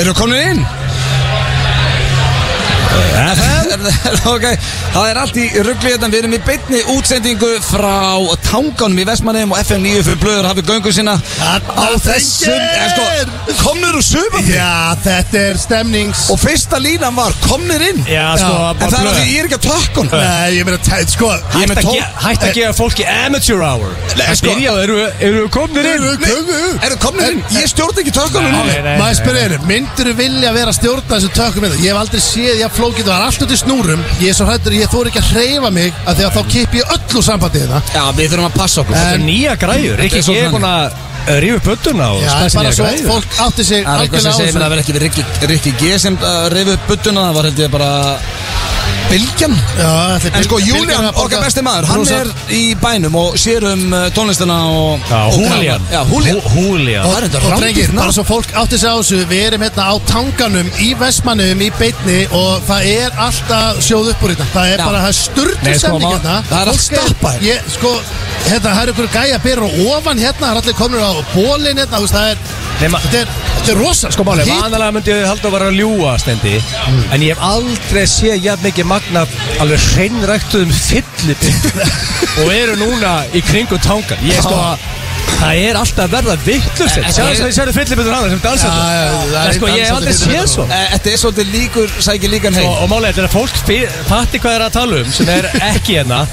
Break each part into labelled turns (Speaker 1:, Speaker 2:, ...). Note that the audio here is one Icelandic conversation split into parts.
Speaker 1: Eru komin inn? FM Ok, það er allt í ruggli hérna Við erum í beinni útsendingu frá Tanganum í Vestmannheim og FM 9 fyrir blöður hafið göngu sína á þessum eh, sko, Komnir úr sögum
Speaker 2: Já, þetta er stemnings
Speaker 1: og fyrsta línan var komnir inn
Speaker 3: Já, sko,
Speaker 2: Já,
Speaker 1: En
Speaker 3: bara
Speaker 1: það er að
Speaker 3: blöð.
Speaker 1: því ég er ekki að tökkun
Speaker 2: Nei, ég meina, tæ- sko
Speaker 1: Ég er með
Speaker 3: Hætt að
Speaker 1: tól-
Speaker 3: ge- hætt að gefa fólki amateur hour
Speaker 1: Nei,
Speaker 3: Það
Speaker 1: sko-
Speaker 3: byrjaði, eru- eru við komnir inn?
Speaker 1: Eru komnir inn? Ég stjórn ekki tökkunum
Speaker 3: Nei, nei,
Speaker 2: Maður
Speaker 3: nei.
Speaker 2: spyrir einu, myndur þú vilja vera að stjórna þessu tökum með það? Ég hef aldrei séð, ég flókið, það var allt út í snúrum Ég er svo hrættur, ég þóri ekki að hreyfa mig að Því að þá kipp ég öllu hérna. sambandið það
Speaker 1: Já, við þurfum að passa okkur
Speaker 3: Þetta er nýja græður,
Speaker 1: Þetta
Speaker 3: ekki
Speaker 1: er svo
Speaker 3: ég er
Speaker 1: þannig.
Speaker 3: búin að uh, rífa upp hönduna og
Speaker 2: Já,
Speaker 3: spæsa
Speaker 2: bara
Speaker 3: nýja
Speaker 2: svo
Speaker 3: græður
Speaker 2: fólk átti sig
Speaker 1: Það er eitthvað sem segir mér að það
Speaker 2: algjörlega á
Speaker 1: verði ekki við Rikki- Rikki G sem uh, reyfi upp buttuna Það var held ég bara Bilgjan
Speaker 2: þessu
Speaker 1: En sko, Julian, okkar besti maður, hann er í bænum og sér um uh, tónlistina og...
Speaker 3: Já,
Speaker 1: og
Speaker 3: Húlian
Speaker 1: Já, Húlian.
Speaker 3: Hú- Húlian
Speaker 1: Það er þetta
Speaker 2: Og
Speaker 1: rándýrt
Speaker 2: drengir,
Speaker 1: nafn.
Speaker 2: bara svo fólk átti sig á þessu Við erum hérna á tanganum í Vestmannum í beinni og það er alltaf sjóð upp úr hérna Það er
Speaker 1: Já.
Speaker 2: bara, það er sturtu
Speaker 3: Nei, sko,
Speaker 2: stemning
Speaker 3: maður-
Speaker 2: hérna
Speaker 1: það er allt
Speaker 2: Fólk
Speaker 1: stappað.
Speaker 2: Ég, sko, hérna, það er ykkur gæja byrra ofan hérna Það er allir komnir á bólin hérna, þú veist, það er
Speaker 3: Nei, ma-
Speaker 2: Þetta er, þetta er rosa, sko, máli
Speaker 3: Vanalega myndi ég halda að vera að ljúa stendi En ég hef aldrei séð jafn mikið magna Alveg hreinræktuðum fyllibindum Og eru núna í kringum tangan Ég sko að Það er alltaf að verða vittlust
Speaker 1: En- en-
Speaker 3: Sjáðu sem ég sérðu fyllibindur annað sem
Speaker 2: Já,
Speaker 3: dansandi
Speaker 2: já, já, það er
Speaker 3: En sko ég hef
Speaker 2: dansandi
Speaker 3: aldrei séð
Speaker 2: fyllibindur.
Speaker 3: svo
Speaker 1: Eh, Þetta er svolítið líkur, sækir líkan heim.
Speaker 3: Og, og málega þetta er að fólk fyr- fatti hvað er að tala um Sem er ekki hérna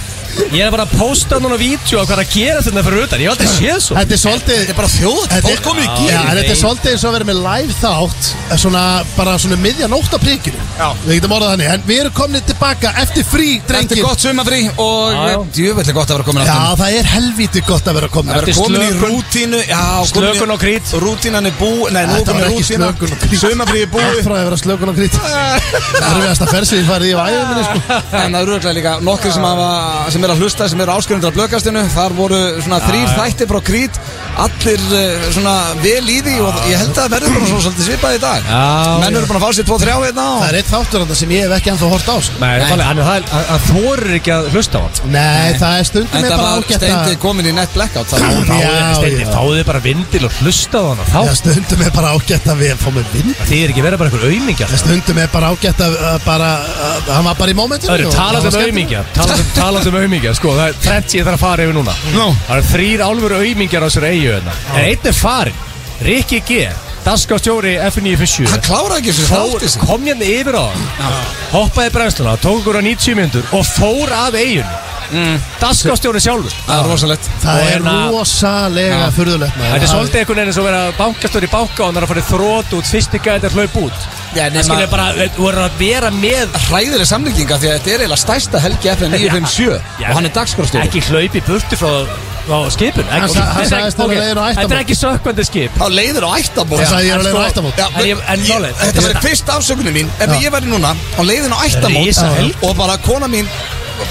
Speaker 3: Ég er bara að posta núna vídeo á hvað er að gera þetta fyrir utan Ég hef aldrei séð svo
Speaker 2: Þetta er svolítið
Speaker 1: Þetta er bara þjóð,
Speaker 2: Þetta er-
Speaker 1: fólk komið í
Speaker 2: Já,
Speaker 1: gýr.
Speaker 2: en þetta er
Speaker 3: Nei.
Speaker 2: svolítið eins og að vera með live þátt eh, svona, bara svona miðja nótt á prikinu
Speaker 1: Já.
Speaker 2: Við getum orðað þannig, en við erum komnið tilbaka eftir frí,
Speaker 1: Þetta
Speaker 2: drengir
Speaker 1: er gott sumafrí og
Speaker 3: Já, já.
Speaker 1: djúvillig gott að vera komin aftur.
Speaker 2: Já, það er helviti gott að vera komin
Speaker 1: Að vera
Speaker 3: Eftir
Speaker 1: komin í
Speaker 3: slökun.
Speaker 1: rútínu, já, komin í-
Speaker 3: Slökun og krít
Speaker 1: Rútínan er bú, nei, nú
Speaker 2: Þetta
Speaker 1: komin
Speaker 2: var
Speaker 1: í
Speaker 2: ekki
Speaker 1: rútína.
Speaker 2: slökun og krít.
Speaker 1: Sumafrí er búið.
Speaker 2: Frá að vera slökun og krít Erfiðasta fersi ég farið í væðið minni sko
Speaker 1: En það eru örugglega líka nokkri sem, hafa, sem er að hlusta, sem eru áskrifendur af blökastinu Þar voru svona þrýr þættir frá Krít Allir eh, svona vel í því og ég held að það verður bara svona svolítið svipað í dag
Speaker 3: Já,
Speaker 1: Menn eru búin að fá sér 2-3 hérna
Speaker 2: Það
Speaker 1: og
Speaker 2: er eitt þáttur þarna sem ég hef ekki ennþá hort á sko.
Speaker 3: Nei, Nei. Hann, hann, hann þorir ekki að hlusta á hann sko.
Speaker 2: Nei, það er stundum ég
Speaker 1: Þetta
Speaker 2: bara
Speaker 1: var
Speaker 2: ágætt
Speaker 1: steindi
Speaker 2: að
Speaker 1: komin í net blackout Það
Speaker 2: Já,
Speaker 3: Fáðu- Steindi,
Speaker 2: já.
Speaker 3: fáðu þið bara vindil og hlusta á hann
Speaker 2: Já,
Speaker 3: þá,
Speaker 2: stundum er bara ágætt að við fáum við vinn
Speaker 3: þið er ekki verið bara einhver auðmingjar
Speaker 2: Stundum er bara ágætt að að bara að- Hann var bara í mómentinu
Speaker 3: Það eru
Speaker 2: og
Speaker 3: talað um
Speaker 2: var skemmtilegt.
Speaker 3: auðmingjar talað um, talað um auðmingjar, sko, það er trend ég þarf að fara yfir núna
Speaker 1: Nú.
Speaker 3: Það eru þrýr álfur auðmingjar á sér eigu hérna En einn er farin, Rikki G Daskastjóri
Speaker 1: Hann
Speaker 3: F957
Speaker 1: kláraði ekki þessu þátti sig
Speaker 3: kom hérna yfir á hann Hoppaði brennsluna, tók okkur á 90 myndur Og fór af eiginu Mm. Daskastjóri sjálfur
Speaker 1: Það er rosalegt
Speaker 2: Það
Speaker 3: Og
Speaker 2: er
Speaker 3: hérna-
Speaker 2: rosalega
Speaker 1: Já.
Speaker 2: furðulegt maður.
Speaker 3: Þetta er svolítið einhvern veginn eins og vera bankastóri í banka og hann er að fara í þrót út, fyrsti gæti að hlaupa út.
Speaker 1: Já,
Speaker 3: Það skilja bara, við vorum að vera með
Speaker 1: Hræðileg samlíkinga því að þetta er eiginlega stæsta helgi FN 957
Speaker 3: Já.
Speaker 1: Og hann er dagskrafstjóri
Speaker 3: Ekki hlaupi burti frá, frá skipun
Speaker 2: Hann
Speaker 3: ekki,
Speaker 2: sa-
Speaker 3: þetta
Speaker 2: hann
Speaker 3: er ekki-
Speaker 2: sagðist það
Speaker 3: ok,
Speaker 2: var leiðin á ættamót.
Speaker 3: Þetta er ekki sökkvandi skip
Speaker 1: Á leiðir og ættabóð
Speaker 2: Það sagði ég er
Speaker 3: en
Speaker 2: alveg um
Speaker 3: sko-
Speaker 2: rættamót
Speaker 1: Já,
Speaker 3: En ég- en
Speaker 1: ég-
Speaker 3: málið-
Speaker 1: Þetta var
Speaker 3: þetta-
Speaker 1: fyrst afsökunum mín Ef ég væri núna á leiðin á ættamót
Speaker 3: Risa helgi.
Speaker 1: Og bara kona mín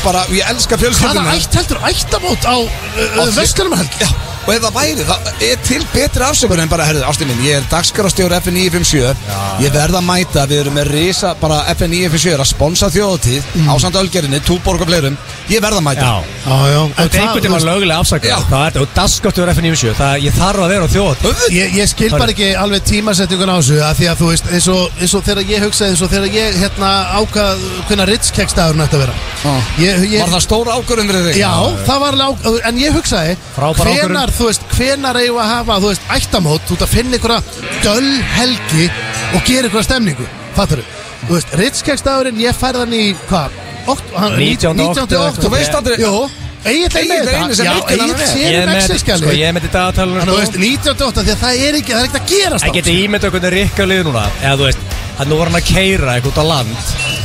Speaker 1: bara, Ég elska
Speaker 2: Hvaða
Speaker 1: fjölskyldum
Speaker 2: ætt heldur ættamót á
Speaker 1: Á því-
Speaker 2: Vestlunum
Speaker 1: Já, og ef það væri, það er til betri afsökun en bara, herðu, ástin minn, ég er dagskarastjóri FN957, ég verð að mæta við erum með risa, bara FN957 er að sponsa þjóðatíð á samt ölgerinni túborg og fleirum, ég verð að mæta
Speaker 3: Mm. Já
Speaker 2: Já, já En
Speaker 3: Þetta er einhvern veginn
Speaker 2: hvað-
Speaker 3: var lögulega
Speaker 1: Já.
Speaker 3: afsakað Það er þetta og daskáttur FN97 Það ég þarf að vera á þjóð
Speaker 1: Höfuð,
Speaker 2: Ég, ég skil bara ekki alveg tímasetningun á þessu að því að þú veist, eins og, eins og þegar ég hugsaði eins og þegar ég hérna ákvað hvernig ritskekstæðurinn ætti að vera
Speaker 1: Já.
Speaker 2: ég, ég,
Speaker 1: var það stór ákvörðun fyrir þig?
Speaker 2: Já, það var alveg ákvað, en ég hugsaði
Speaker 3: Frábær
Speaker 2: hvenar,
Speaker 3: ákvörðun.
Speaker 2: þú veist, hvenar eigum við að hafa, þú veist, ættamót þú ert að finna einhverja döll helgi og gera einhverja stemningu, fattar þú þú veist, ritskekstæðurinn, ég færði hann í hvað, Okt- hann-
Speaker 3: 19.
Speaker 2: 19. oktober
Speaker 3: Þú
Speaker 1: veist aldrei-
Speaker 2: Jú, Egil er
Speaker 1: Egill
Speaker 2: með
Speaker 1: er eini sem
Speaker 2: þetta Já,
Speaker 1: veit hvernig hann
Speaker 2: Egil
Speaker 1: er.
Speaker 2: sér
Speaker 3: Ég
Speaker 2: um
Speaker 3: er með
Speaker 2: exelskjalið.
Speaker 3: sko, ég er með þetta aðtalun
Speaker 2: Þannig að þú veist, 19.8 því að það er ekki, það er ekkert að gerast
Speaker 3: Ég geti ímynda okkur rikka liðu núna Eða þú veist að nú var hann að keira eitthvað út á land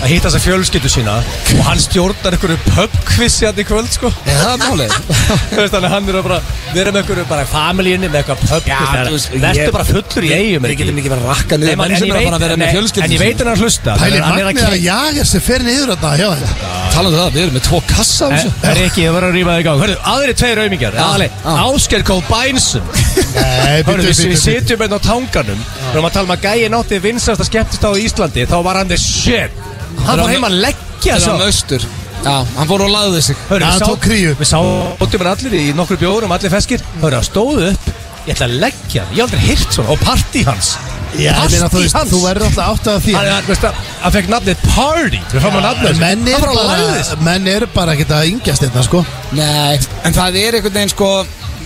Speaker 3: að hitta þess að fjölskyldu sína og hann stjórnar einhverju pubquiz hérna í kvöld sko
Speaker 1: Já, það er málið
Speaker 3: Þú veist, þannig að hann er að bara við erum einhverju bara í familíinni með eitthvað
Speaker 1: Já, þú
Speaker 3: pubquiz
Speaker 1: veist,
Speaker 3: það
Speaker 1: ég-
Speaker 3: verður bara fullur í eigum er
Speaker 1: Við
Speaker 3: ekki?
Speaker 1: getum ekki verið að rakka
Speaker 3: Nei,
Speaker 1: niður
Speaker 3: man,
Speaker 1: menn
Speaker 3: en,
Speaker 1: sem
Speaker 3: ég
Speaker 1: er að
Speaker 3: veit,
Speaker 1: bara vera
Speaker 3: nei,
Speaker 1: með fjölskyldum
Speaker 3: en ég veit hann að hlusta
Speaker 2: Pæli
Speaker 3: hann er að
Speaker 2: magnið að
Speaker 3: kæ-
Speaker 2: jaga sér fyrir niður þetta hjá þetta
Speaker 1: Talandi um það, við erum með tvo kassa á
Speaker 3: Eh,
Speaker 1: þessu
Speaker 3: Það er ekki, það verður að rýma þig í gang Hörru, aðri tveir auðmingar
Speaker 1: Já,
Speaker 3: Aðli,
Speaker 1: já.
Speaker 3: Ásker Kól Bænsson
Speaker 2: Nei,
Speaker 3: Hörru, við
Speaker 2: bíddu,
Speaker 3: við
Speaker 2: bíddu, bíddu.
Speaker 3: sitjum einn á tanganum Við erum að tala um að gæi nátti vinsast að skemmtist á Íslandi Þá var hann the shit Hann
Speaker 1: Þegar
Speaker 3: fór
Speaker 1: hann-
Speaker 3: heim að leggja
Speaker 1: Það er
Speaker 3: svo
Speaker 1: hann austur Já, hann fór og lagði sig
Speaker 3: Hörru,
Speaker 2: Hann
Speaker 3: við sá-
Speaker 2: tók kríu.
Speaker 3: Við sátum hann allir í nokkru bjórum, allir feskir Hörru, hann stóð upp Ég ætla að leggja hann, ég hef aldrei hirt svona Og partí hans
Speaker 2: Já, ég meina þú
Speaker 3: Partí
Speaker 2: veist,
Speaker 3: hans.
Speaker 2: þú verður alltaf átt að því
Speaker 3: Hann, hann, veist, að- hann fekk nafnið Party Við fáum að nafna þessu
Speaker 2: Menn
Speaker 3: Hann
Speaker 2: er
Speaker 3: bara lagðist.
Speaker 2: bara, menn er bara ekki að yngjast þetta, sko
Speaker 1: Nei, en það er einhvern veginn sko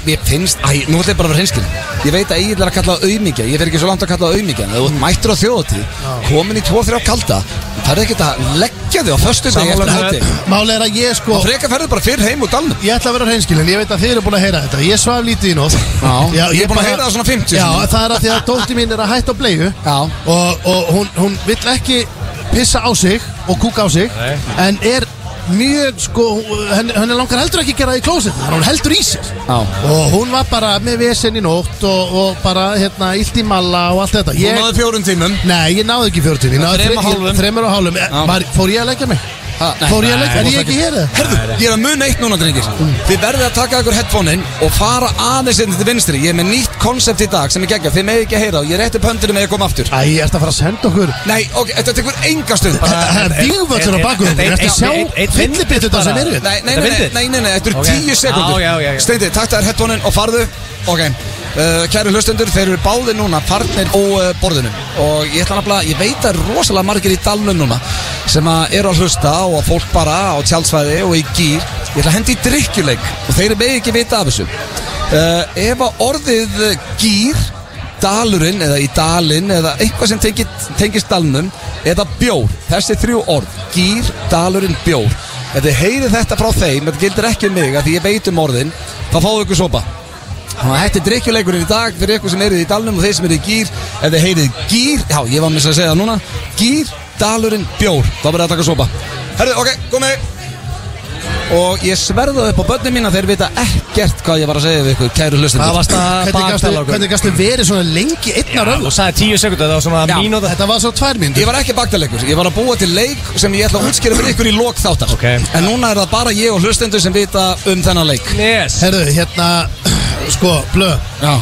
Speaker 1: Ég finnst, æ, nú ætla ég bara að vera hinskil Ég veit að ég ætla að kalla það auðmíkja Ég fer ekki svo langt að kalla það auðmíkja En ef þú ert mættur á þjóðatíð, komin í 2-3 kalda Það er ekkert að leggja þig á föstu dag eftir
Speaker 3: Sammála með
Speaker 1: hátti
Speaker 2: Máli er að ég, sko
Speaker 1: Og freka ferðu bara fyrr heim úr dalnum
Speaker 2: Ég ætla að vera hreinskilin, ég veit að þið eru búin að heyra þetta Ég svaf lítið í nótt
Speaker 1: Já, ég er búin að heyra það svona 50
Speaker 2: Já,
Speaker 1: sinnum.
Speaker 2: það er að því að dótti mín er að hætta á bleiðu
Speaker 1: Já.
Speaker 2: Og, og hún, hún vill ekki pissa á sig og kúka á sig
Speaker 3: Nei.
Speaker 2: En er mjög, sko, henni, henni langar heldur ekki að gera það í klósett Þannig að hún heldur í sér
Speaker 1: Já.
Speaker 2: Og hún var bara með vesen í nótt og, og bara, hérna, illt í malla og allt þetta
Speaker 1: Þú
Speaker 2: ég,
Speaker 1: náðu fjórum tímum
Speaker 2: Nei, ég náði ekki 40 Ég náði
Speaker 1: Þrem og
Speaker 2: þre-
Speaker 1: hálfum.
Speaker 2: ég- þremur og hálfum
Speaker 1: Já.
Speaker 2: Var- Fór ég að leggja mig?
Speaker 1: Ha, nei.
Speaker 2: Fór ég að
Speaker 1: Nei,
Speaker 2: leggja? Er
Speaker 1: þú
Speaker 2: ég
Speaker 1: varst
Speaker 2: ekki hér? eða?
Speaker 1: Herðu, ég er að muna eitt núna, drengir Þið verðið að taka ykkur headphone-in og fara aðeins inn til vinstri Ég er með nýtt konsept í dag sem ég geggja Þið megið ekki að heyra og ég rétti pöndinu með að koma aftur
Speaker 2: Æ, ég ert að fara að senda okkur
Speaker 1: Nei, ok, þetta tekur enga stund
Speaker 2: Vígvöldur á baku
Speaker 3: Einn-
Speaker 2: Þetta
Speaker 3: einn-
Speaker 2: sjá
Speaker 3: einn- einn-
Speaker 2: fyllibitt þetta sem hérna? er við
Speaker 1: Nei, nei,
Speaker 3: Þetta
Speaker 1: nei, nei,
Speaker 3: fyndið?
Speaker 1: nei, nei, nei, þetta eru
Speaker 3: Ok.
Speaker 1: tíu sekundur
Speaker 3: Já, já, já, já.
Speaker 1: Steindi, takk þær headphone-in og farðu Ok, uh, kæru hlustendur, þeir eru báðir núna farnir á uh, borðunum Og ég ætla nafnilega, ég veit að rosalega margir í dalnum núna Sem að eru að hlusta og að fólk bara á tjálsvæði og í gýr Ég ætla að hendi í drikkjuleik og þeir eru ekki vita af þessu uh, Ef að orðið uh, gýr, dalurinn eða í dalinn Eða eitthvað sem tengist, tengist dalnum Eða bjór, þessi þrjú orð, gýr, dalurinn, bjór Ef þið heyrið þetta frá þeim, þetta gildir ekki um mig að því ég veit um orðin, þá fáðu ykkur sopa. Og þetta er drikkjuleikurinn í dag fyrir ykkur sem eruð í dalnum og þeir sem eruð í gýr. Ef þið heyrið gýr, já ég var með að segja það núna, gýr, dalurinn, bjór, þá verður að taka sopa. Herðu, ok, komið. Og ég sverða upp á börnum mína, þeir vita ekkert hvað ég var að segja við ykkur, kæru
Speaker 3: Það
Speaker 1: hlustendur.
Speaker 3: varst að
Speaker 2: Hvernig gastu-
Speaker 3: baktala okkur
Speaker 2: Hvernig gastu verið svona lengi einn á
Speaker 3: Já,
Speaker 2: röðu?
Speaker 3: Þú sagði tíu sekundur, það var
Speaker 1: Já.
Speaker 3: svona mínúta
Speaker 2: Þetta var svo tvær
Speaker 1: Ég
Speaker 2: myndur
Speaker 1: var ekki baktalegur, ég var að búa til leik sem ég ætla að útskýra fyrir ykkur í lok þáttar
Speaker 3: Ok.
Speaker 1: En núna er það bara ég og hlustendur sem vita um þennan leik
Speaker 3: Yes
Speaker 2: Herðu, hérna, sko, blöð
Speaker 1: Já,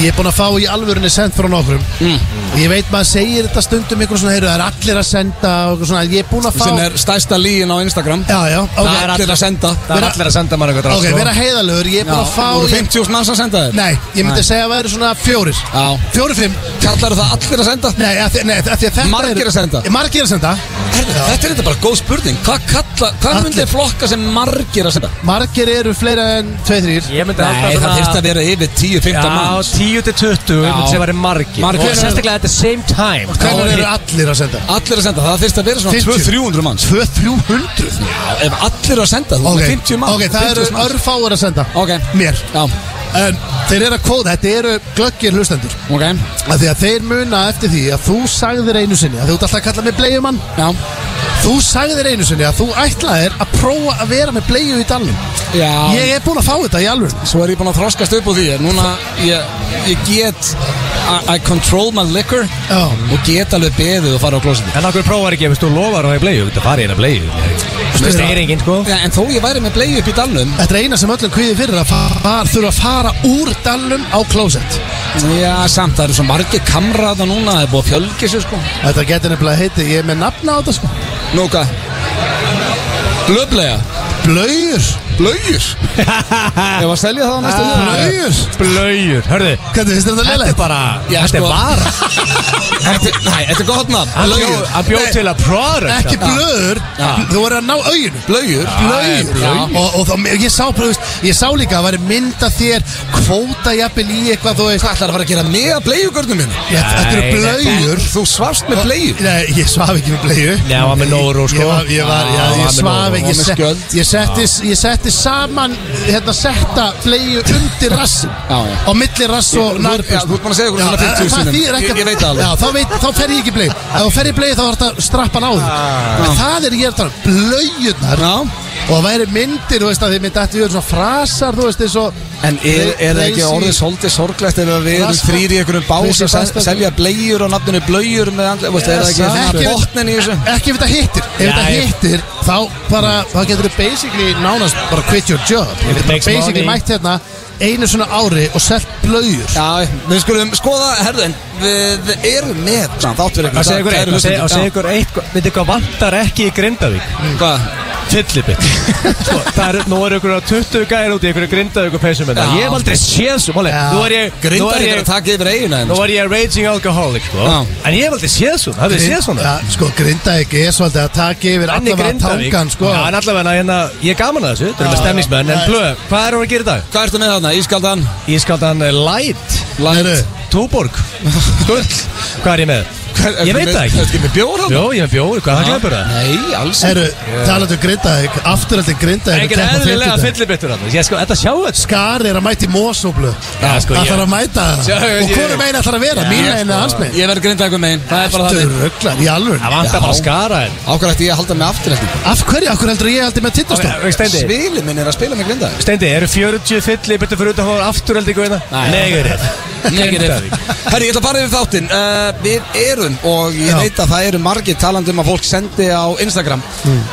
Speaker 2: Ég er búin að fá í alvörunni send frá nokkrum
Speaker 1: Mm.
Speaker 2: Ég veit maður segir þetta stundum ykkur svona, heyrðu, það er allir að senda og eitthvað svona Ég er búin að fá
Speaker 1: sem er stærsta líin á Instagram
Speaker 2: Já, já, ok,
Speaker 1: Það er sko. allir að senda
Speaker 3: Það er
Speaker 2: Vera-
Speaker 3: allir að senda mann eitthvað
Speaker 2: ok, vera heiðalögur Ég er búin
Speaker 1: voru
Speaker 2: að fá, ég,
Speaker 1: 50.000 manns að senda þér
Speaker 2: nei, ég myndi segja að það eru svona fjórir
Speaker 1: Já.
Speaker 2: Fjórir, fimm
Speaker 1: Kallar það allir að senda?
Speaker 2: Nei, að, nei, að, að þetta
Speaker 1: Margir að senda.
Speaker 2: er, Margir að senda
Speaker 1: Herðu,
Speaker 2: Já.
Speaker 1: þetta er þetta bara góð spurning Hvað kalla, hvað
Speaker 2: Allir.
Speaker 1: myndi flokka sem margir að senda?
Speaker 2: Margir eru fleira en 2-3
Speaker 3: Ég myndi
Speaker 1: Nei, það þyrst að vera yfir 10-15
Speaker 3: Já,
Speaker 1: manns
Speaker 3: 10 til 20
Speaker 1: Já.
Speaker 3: sem væri margir
Speaker 1: Margir.
Speaker 3: Og sérstaklega at the same time
Speaker 2: Hvernig eru
Speaker 3: Já,
Speaker 2: allir að senda?
Speaker 1: Allir að senda, það þyrst að vera svona
Speaker 2: 50.
Speaker 1: 200-300 manns
Speaker 2: 2-300
Speaker 1: Ef allir að senda, þú
Speaker 2: Ok,
Speaker 1: okay. 50 manns
Speaker 2: ok, það eru
Speaker 1: 50 manns.
Speaker 2: örfáur að senda
Speaker 1: Ok,
Speaker 2: Mér
Speaker 1: já,
Speaker 2: En þeir eru að kóða, þetta eru glöggir hlustendur
Speaker 1: ok,
Speaker 2: Af því að þeir muna eftir því að þú sagðir einu sinni að Þú ert alltaf að kalla mig bleiumann
Speaker 1: já
Speaker 2: Þú sagðir einu sinni að þú ætlaðir að prófa að vera með bleiu í dalnum
Speaker 1: Já,
Speaker 2: Ég er búin að fá þetta í alveg
Speaker 1: svo er ég búinn að þroskast upp úr því en Núna, ég, ég get I, I control my liquor
Speaker 2: Já.
Speaker 1: Og get alveg beðið og fara á klósiti
Speaker 3: En okkur prófar ekki, ef þú lofar að það er bleið, þú getur farið inn að bleið Þú veist, það er enginn, sko
Speaker 1: Já, en þó ég væri með bleið upp í dalnum
Speaker 2: Þetta er eina sem öllum kvíði fyrir að fa- fara, þurfa að fara úr dalnum á klósett
Speaker 1: Já, samt, það eru svo margir kamraða núna Það er búið að fjölgi sér, sko
Speaker 2: Þetta getur nefnilega heiti, ég er með nafna á þetta sko
Speaker 1: Nú, hvað? Blöblega
Speaker 2: Blöjur
Speaker 1: Blöjur? Ég var að selja það á næsta
Speaker 3: Ah.
Speaker 1: liðinu.
Speaker 2: Blöjur
Speaker 3: Blöyur, hörðu
Speaker 2: Hvernig finnst þér þetta
Speaker 3: Þetta er
Speaker 2: leilægt?
Speaker 3: bara,
Speaker 1: Já,
Speaker 3: þetta er
Speaker 1: sko.
Speaker 3: bara
Speaker 1: Þetta er- Nei, þetta er gott nafn
Speaker 3: Hann bjó-
Speaker 1: Blöjur
Speaker 3: Hann bjóð til að product
Speaker 2: Ekki
Speaker 3: þarna.
Speaker 2: blöður
Speaker 1: Já.
Speaker 2: Þú voru að ná auðinu
Speaker 1: Blöjur?
Speaker 2: Blöjur
Speaker 1: Já.
Speaker 2: Og, og þá, ég sá bara, þú veist, ég sá líka að það væri mynda þér Kvóta jafnvel í eitthvað, þú veist
Speaker 1: Hvað ætlar að fara að gera með að bleiugörnum minn?
Speaker 2: Ég- Þetta eru
Speaker 3: Nei,
Speaker 2: blöjur
Speaker 1: Þú svafst með bleiur
Speaker 2: Nei, ég svaf ekki með bleiðu
Speaker 3: Nei, hann var með Nóru, sko.
Speaker 2: Ég, var, ég, var, já,
Speaker 3: Já, hann var
Speaker 2: ég
Speaker 3: með
Speaker 2: svaf
Speaker 3: Nóru.
Speaker 2: ekki
Speaker 1: Og með
Speaker 2: se-
Speaker 1: skjöld.
Speaker 2: Ég setti, ég setti saman hérna setta bleiðu undir rassin
Speaker 1: Já, já.
Speaker 2: Á milli rass
Speaker 1: Þú
Speaker 2: og
Speaker 1: já, þú
Speaker 2: nærbuxna.
Speaker 1: ert búin að segja okkur
Speaker 2: sko, Já,
Speaker 1: svona 50
Speaker 2: en það þýðir
Speaker 1: sinum
Speaker 2: ekki
Speaker 1: Ég,
Speaker 2: að-
Speaker 1: ég veit það alveg
Speaker 2: Já, þá, veit, þá fer ég ekki bleið Ef þú fer í bleið þá þarf þetta strappan á því En það er ég að tala um, Blöjurnar
Speaker 1: Ah. Já.
Speaker 2: Og það væri myndir, þú veist að þið myndi ætti við svona frasar Þú veist, eins og
Speaker 1: En er, er það ekki orðið svolítið sorglegt ef að við erum
Speaker 2: Rask-
Speaker 1: þrýri í einhverjum bás
Speaker 2: Rask-
Speaker 1: að sel- selja bleiur og nafninu blöjur með andlega, veist, er það
Speaker 2: Ekki-
Speaker 1: ekki
Speaker 2: ekki-
Speaker 1: botnin í þessu?
Speaker 2: Ekki ef þetta hittir Ef
Speaker 3: Já,
Speaker 2: þetta
Speaker 3: ég-
Speaker 2: hittir Þá bara Þá getur þið basically Nánast bara quit your job Þú
Speaker 3: it
Speaker 2: getur bara
Speaker 3: makes
Speaker 2: basically
Speaker 3: money.
Speaker 2: mætt hérna Einu svona ári Og selt blöjur
Speaker 1: Já, við skulum skoða, herðin, við erum með samt átt fyrir
Speaker 3: Það segir ykkur eitt,
Speaker 1: Kæru
Speaker 3: það segir- það
Speaker 1: hlustendur,
Speaker 3: segir ykkur eitt Veitir hvað vantar ekki í Grindavík?
Speaker 1: já. Hvað?
Speaker 3: fyllibitt sko, það eru, nú eru ykkur 20 gæðir úti, ykkur grindaðu ykkur peysum þetta,
Speaker 1: Já.
Speaker 3: ég hef aldrei séð svo, máli,
Speaker 2: Já.
Speaker 3: nú er ég nú
Speaker 1: Grindar
Speaker 3: er
Speaker 1: ykkur
Speaker 3: ég,
Speaker 1: að taka yfir eiguna
Speaker 3: nú
Speaker 1: þeim
Speaker 3: er ég raging alcoholic, sko
Speaker 1: Já.
Speaker 3: en ég hef aldrei séð svona, hafið þið séð svona
Speaker 2: ja, Sko, Grindavík er svolítið að taka yfir
Speaker 3: Þannig
Speaker 2: allavega
Speaker 3: Grindavík.
Speaker 2: tangan sko.
Speaker 3: Já, en allavega, hérna, ég er gaman að þessu, þetta er með stemningsmenn En
Speaker 2: Já.
Speaker 3: blöð, hvað erum við að gera í dag?
Speaker 1: Hvað ertu með þarna? Ískaldan?
Speaker 3: Ískaldan eh, Light,
Speaker 2: Heyrðu,
Speaker 1: Light?
Speaker 3: Túborg, Gull Hvað er ég með?
Speaker 1: Hvað-
Speaker 3: Ég
Speaker 1: ertu
Speaker 3: veit
Speaker 1: með-
Speaker 3: það
Speaker 1: Ertu
Speaker 3: ekki
Speaker 1: ekki með bjór hann?
Speaker 3: Jó, ég er með bjóður, hvað er það glemur það?
Speaker 1: Nei, alls
Speaker 2: Herru, talandu um Grindavík Afturhaldi Grindavík
Speaker 3: Engin
Speaker 2: að keppa á
Speaker 3: eðlilega
Speaker 2: fimmtudaginn.
Speaker 3: fyllibittur hann Ég sko, þetta sjáu þetta
Speaker 2: Skar er að mæti Mósóblu
Speaker 3: Já, sko,
Speaker 2: Það
Speaker 3: ég-
Speaker 2: þarf að mæta
Speaker 3: Sjá,
Speaker 2: það
Speaker 3: ég- sko,
Speaker 2: Og hvorum einn ætlar að vera, mín einn eða hans megin
Speaker 1: Ég verð grinda ykkur megin Það er bara
Speaker 2: Þetta
Speaker 1: það
Speaker 2: er rugglar, í alvöru
Speaker 3: Það vantar bara að skara hérna. henn
Speaker 1: Ákvæmlega ætti ég að halda mig aftur eftir
Speaker 2: Af hverju, af hverju heldur ég heldur með tindastól?
Speaker 3: Steindi,
Speaker 1: Svili minn er að spila með grinda
Speaker 3: Steindi, eru 40 fyllibittur fyrir utan hóður afturhaldi guðina?
Speaker 1: Nei.
Speaker 3: Negativ
Speaker 1: Negativ. Herri, ég ætla að fara yfir þáttinn uh, Við erum, og ég
Speaker 2: Já.
Speaker 1: veit að það eru margir talandi um að fólk sendi á Instagram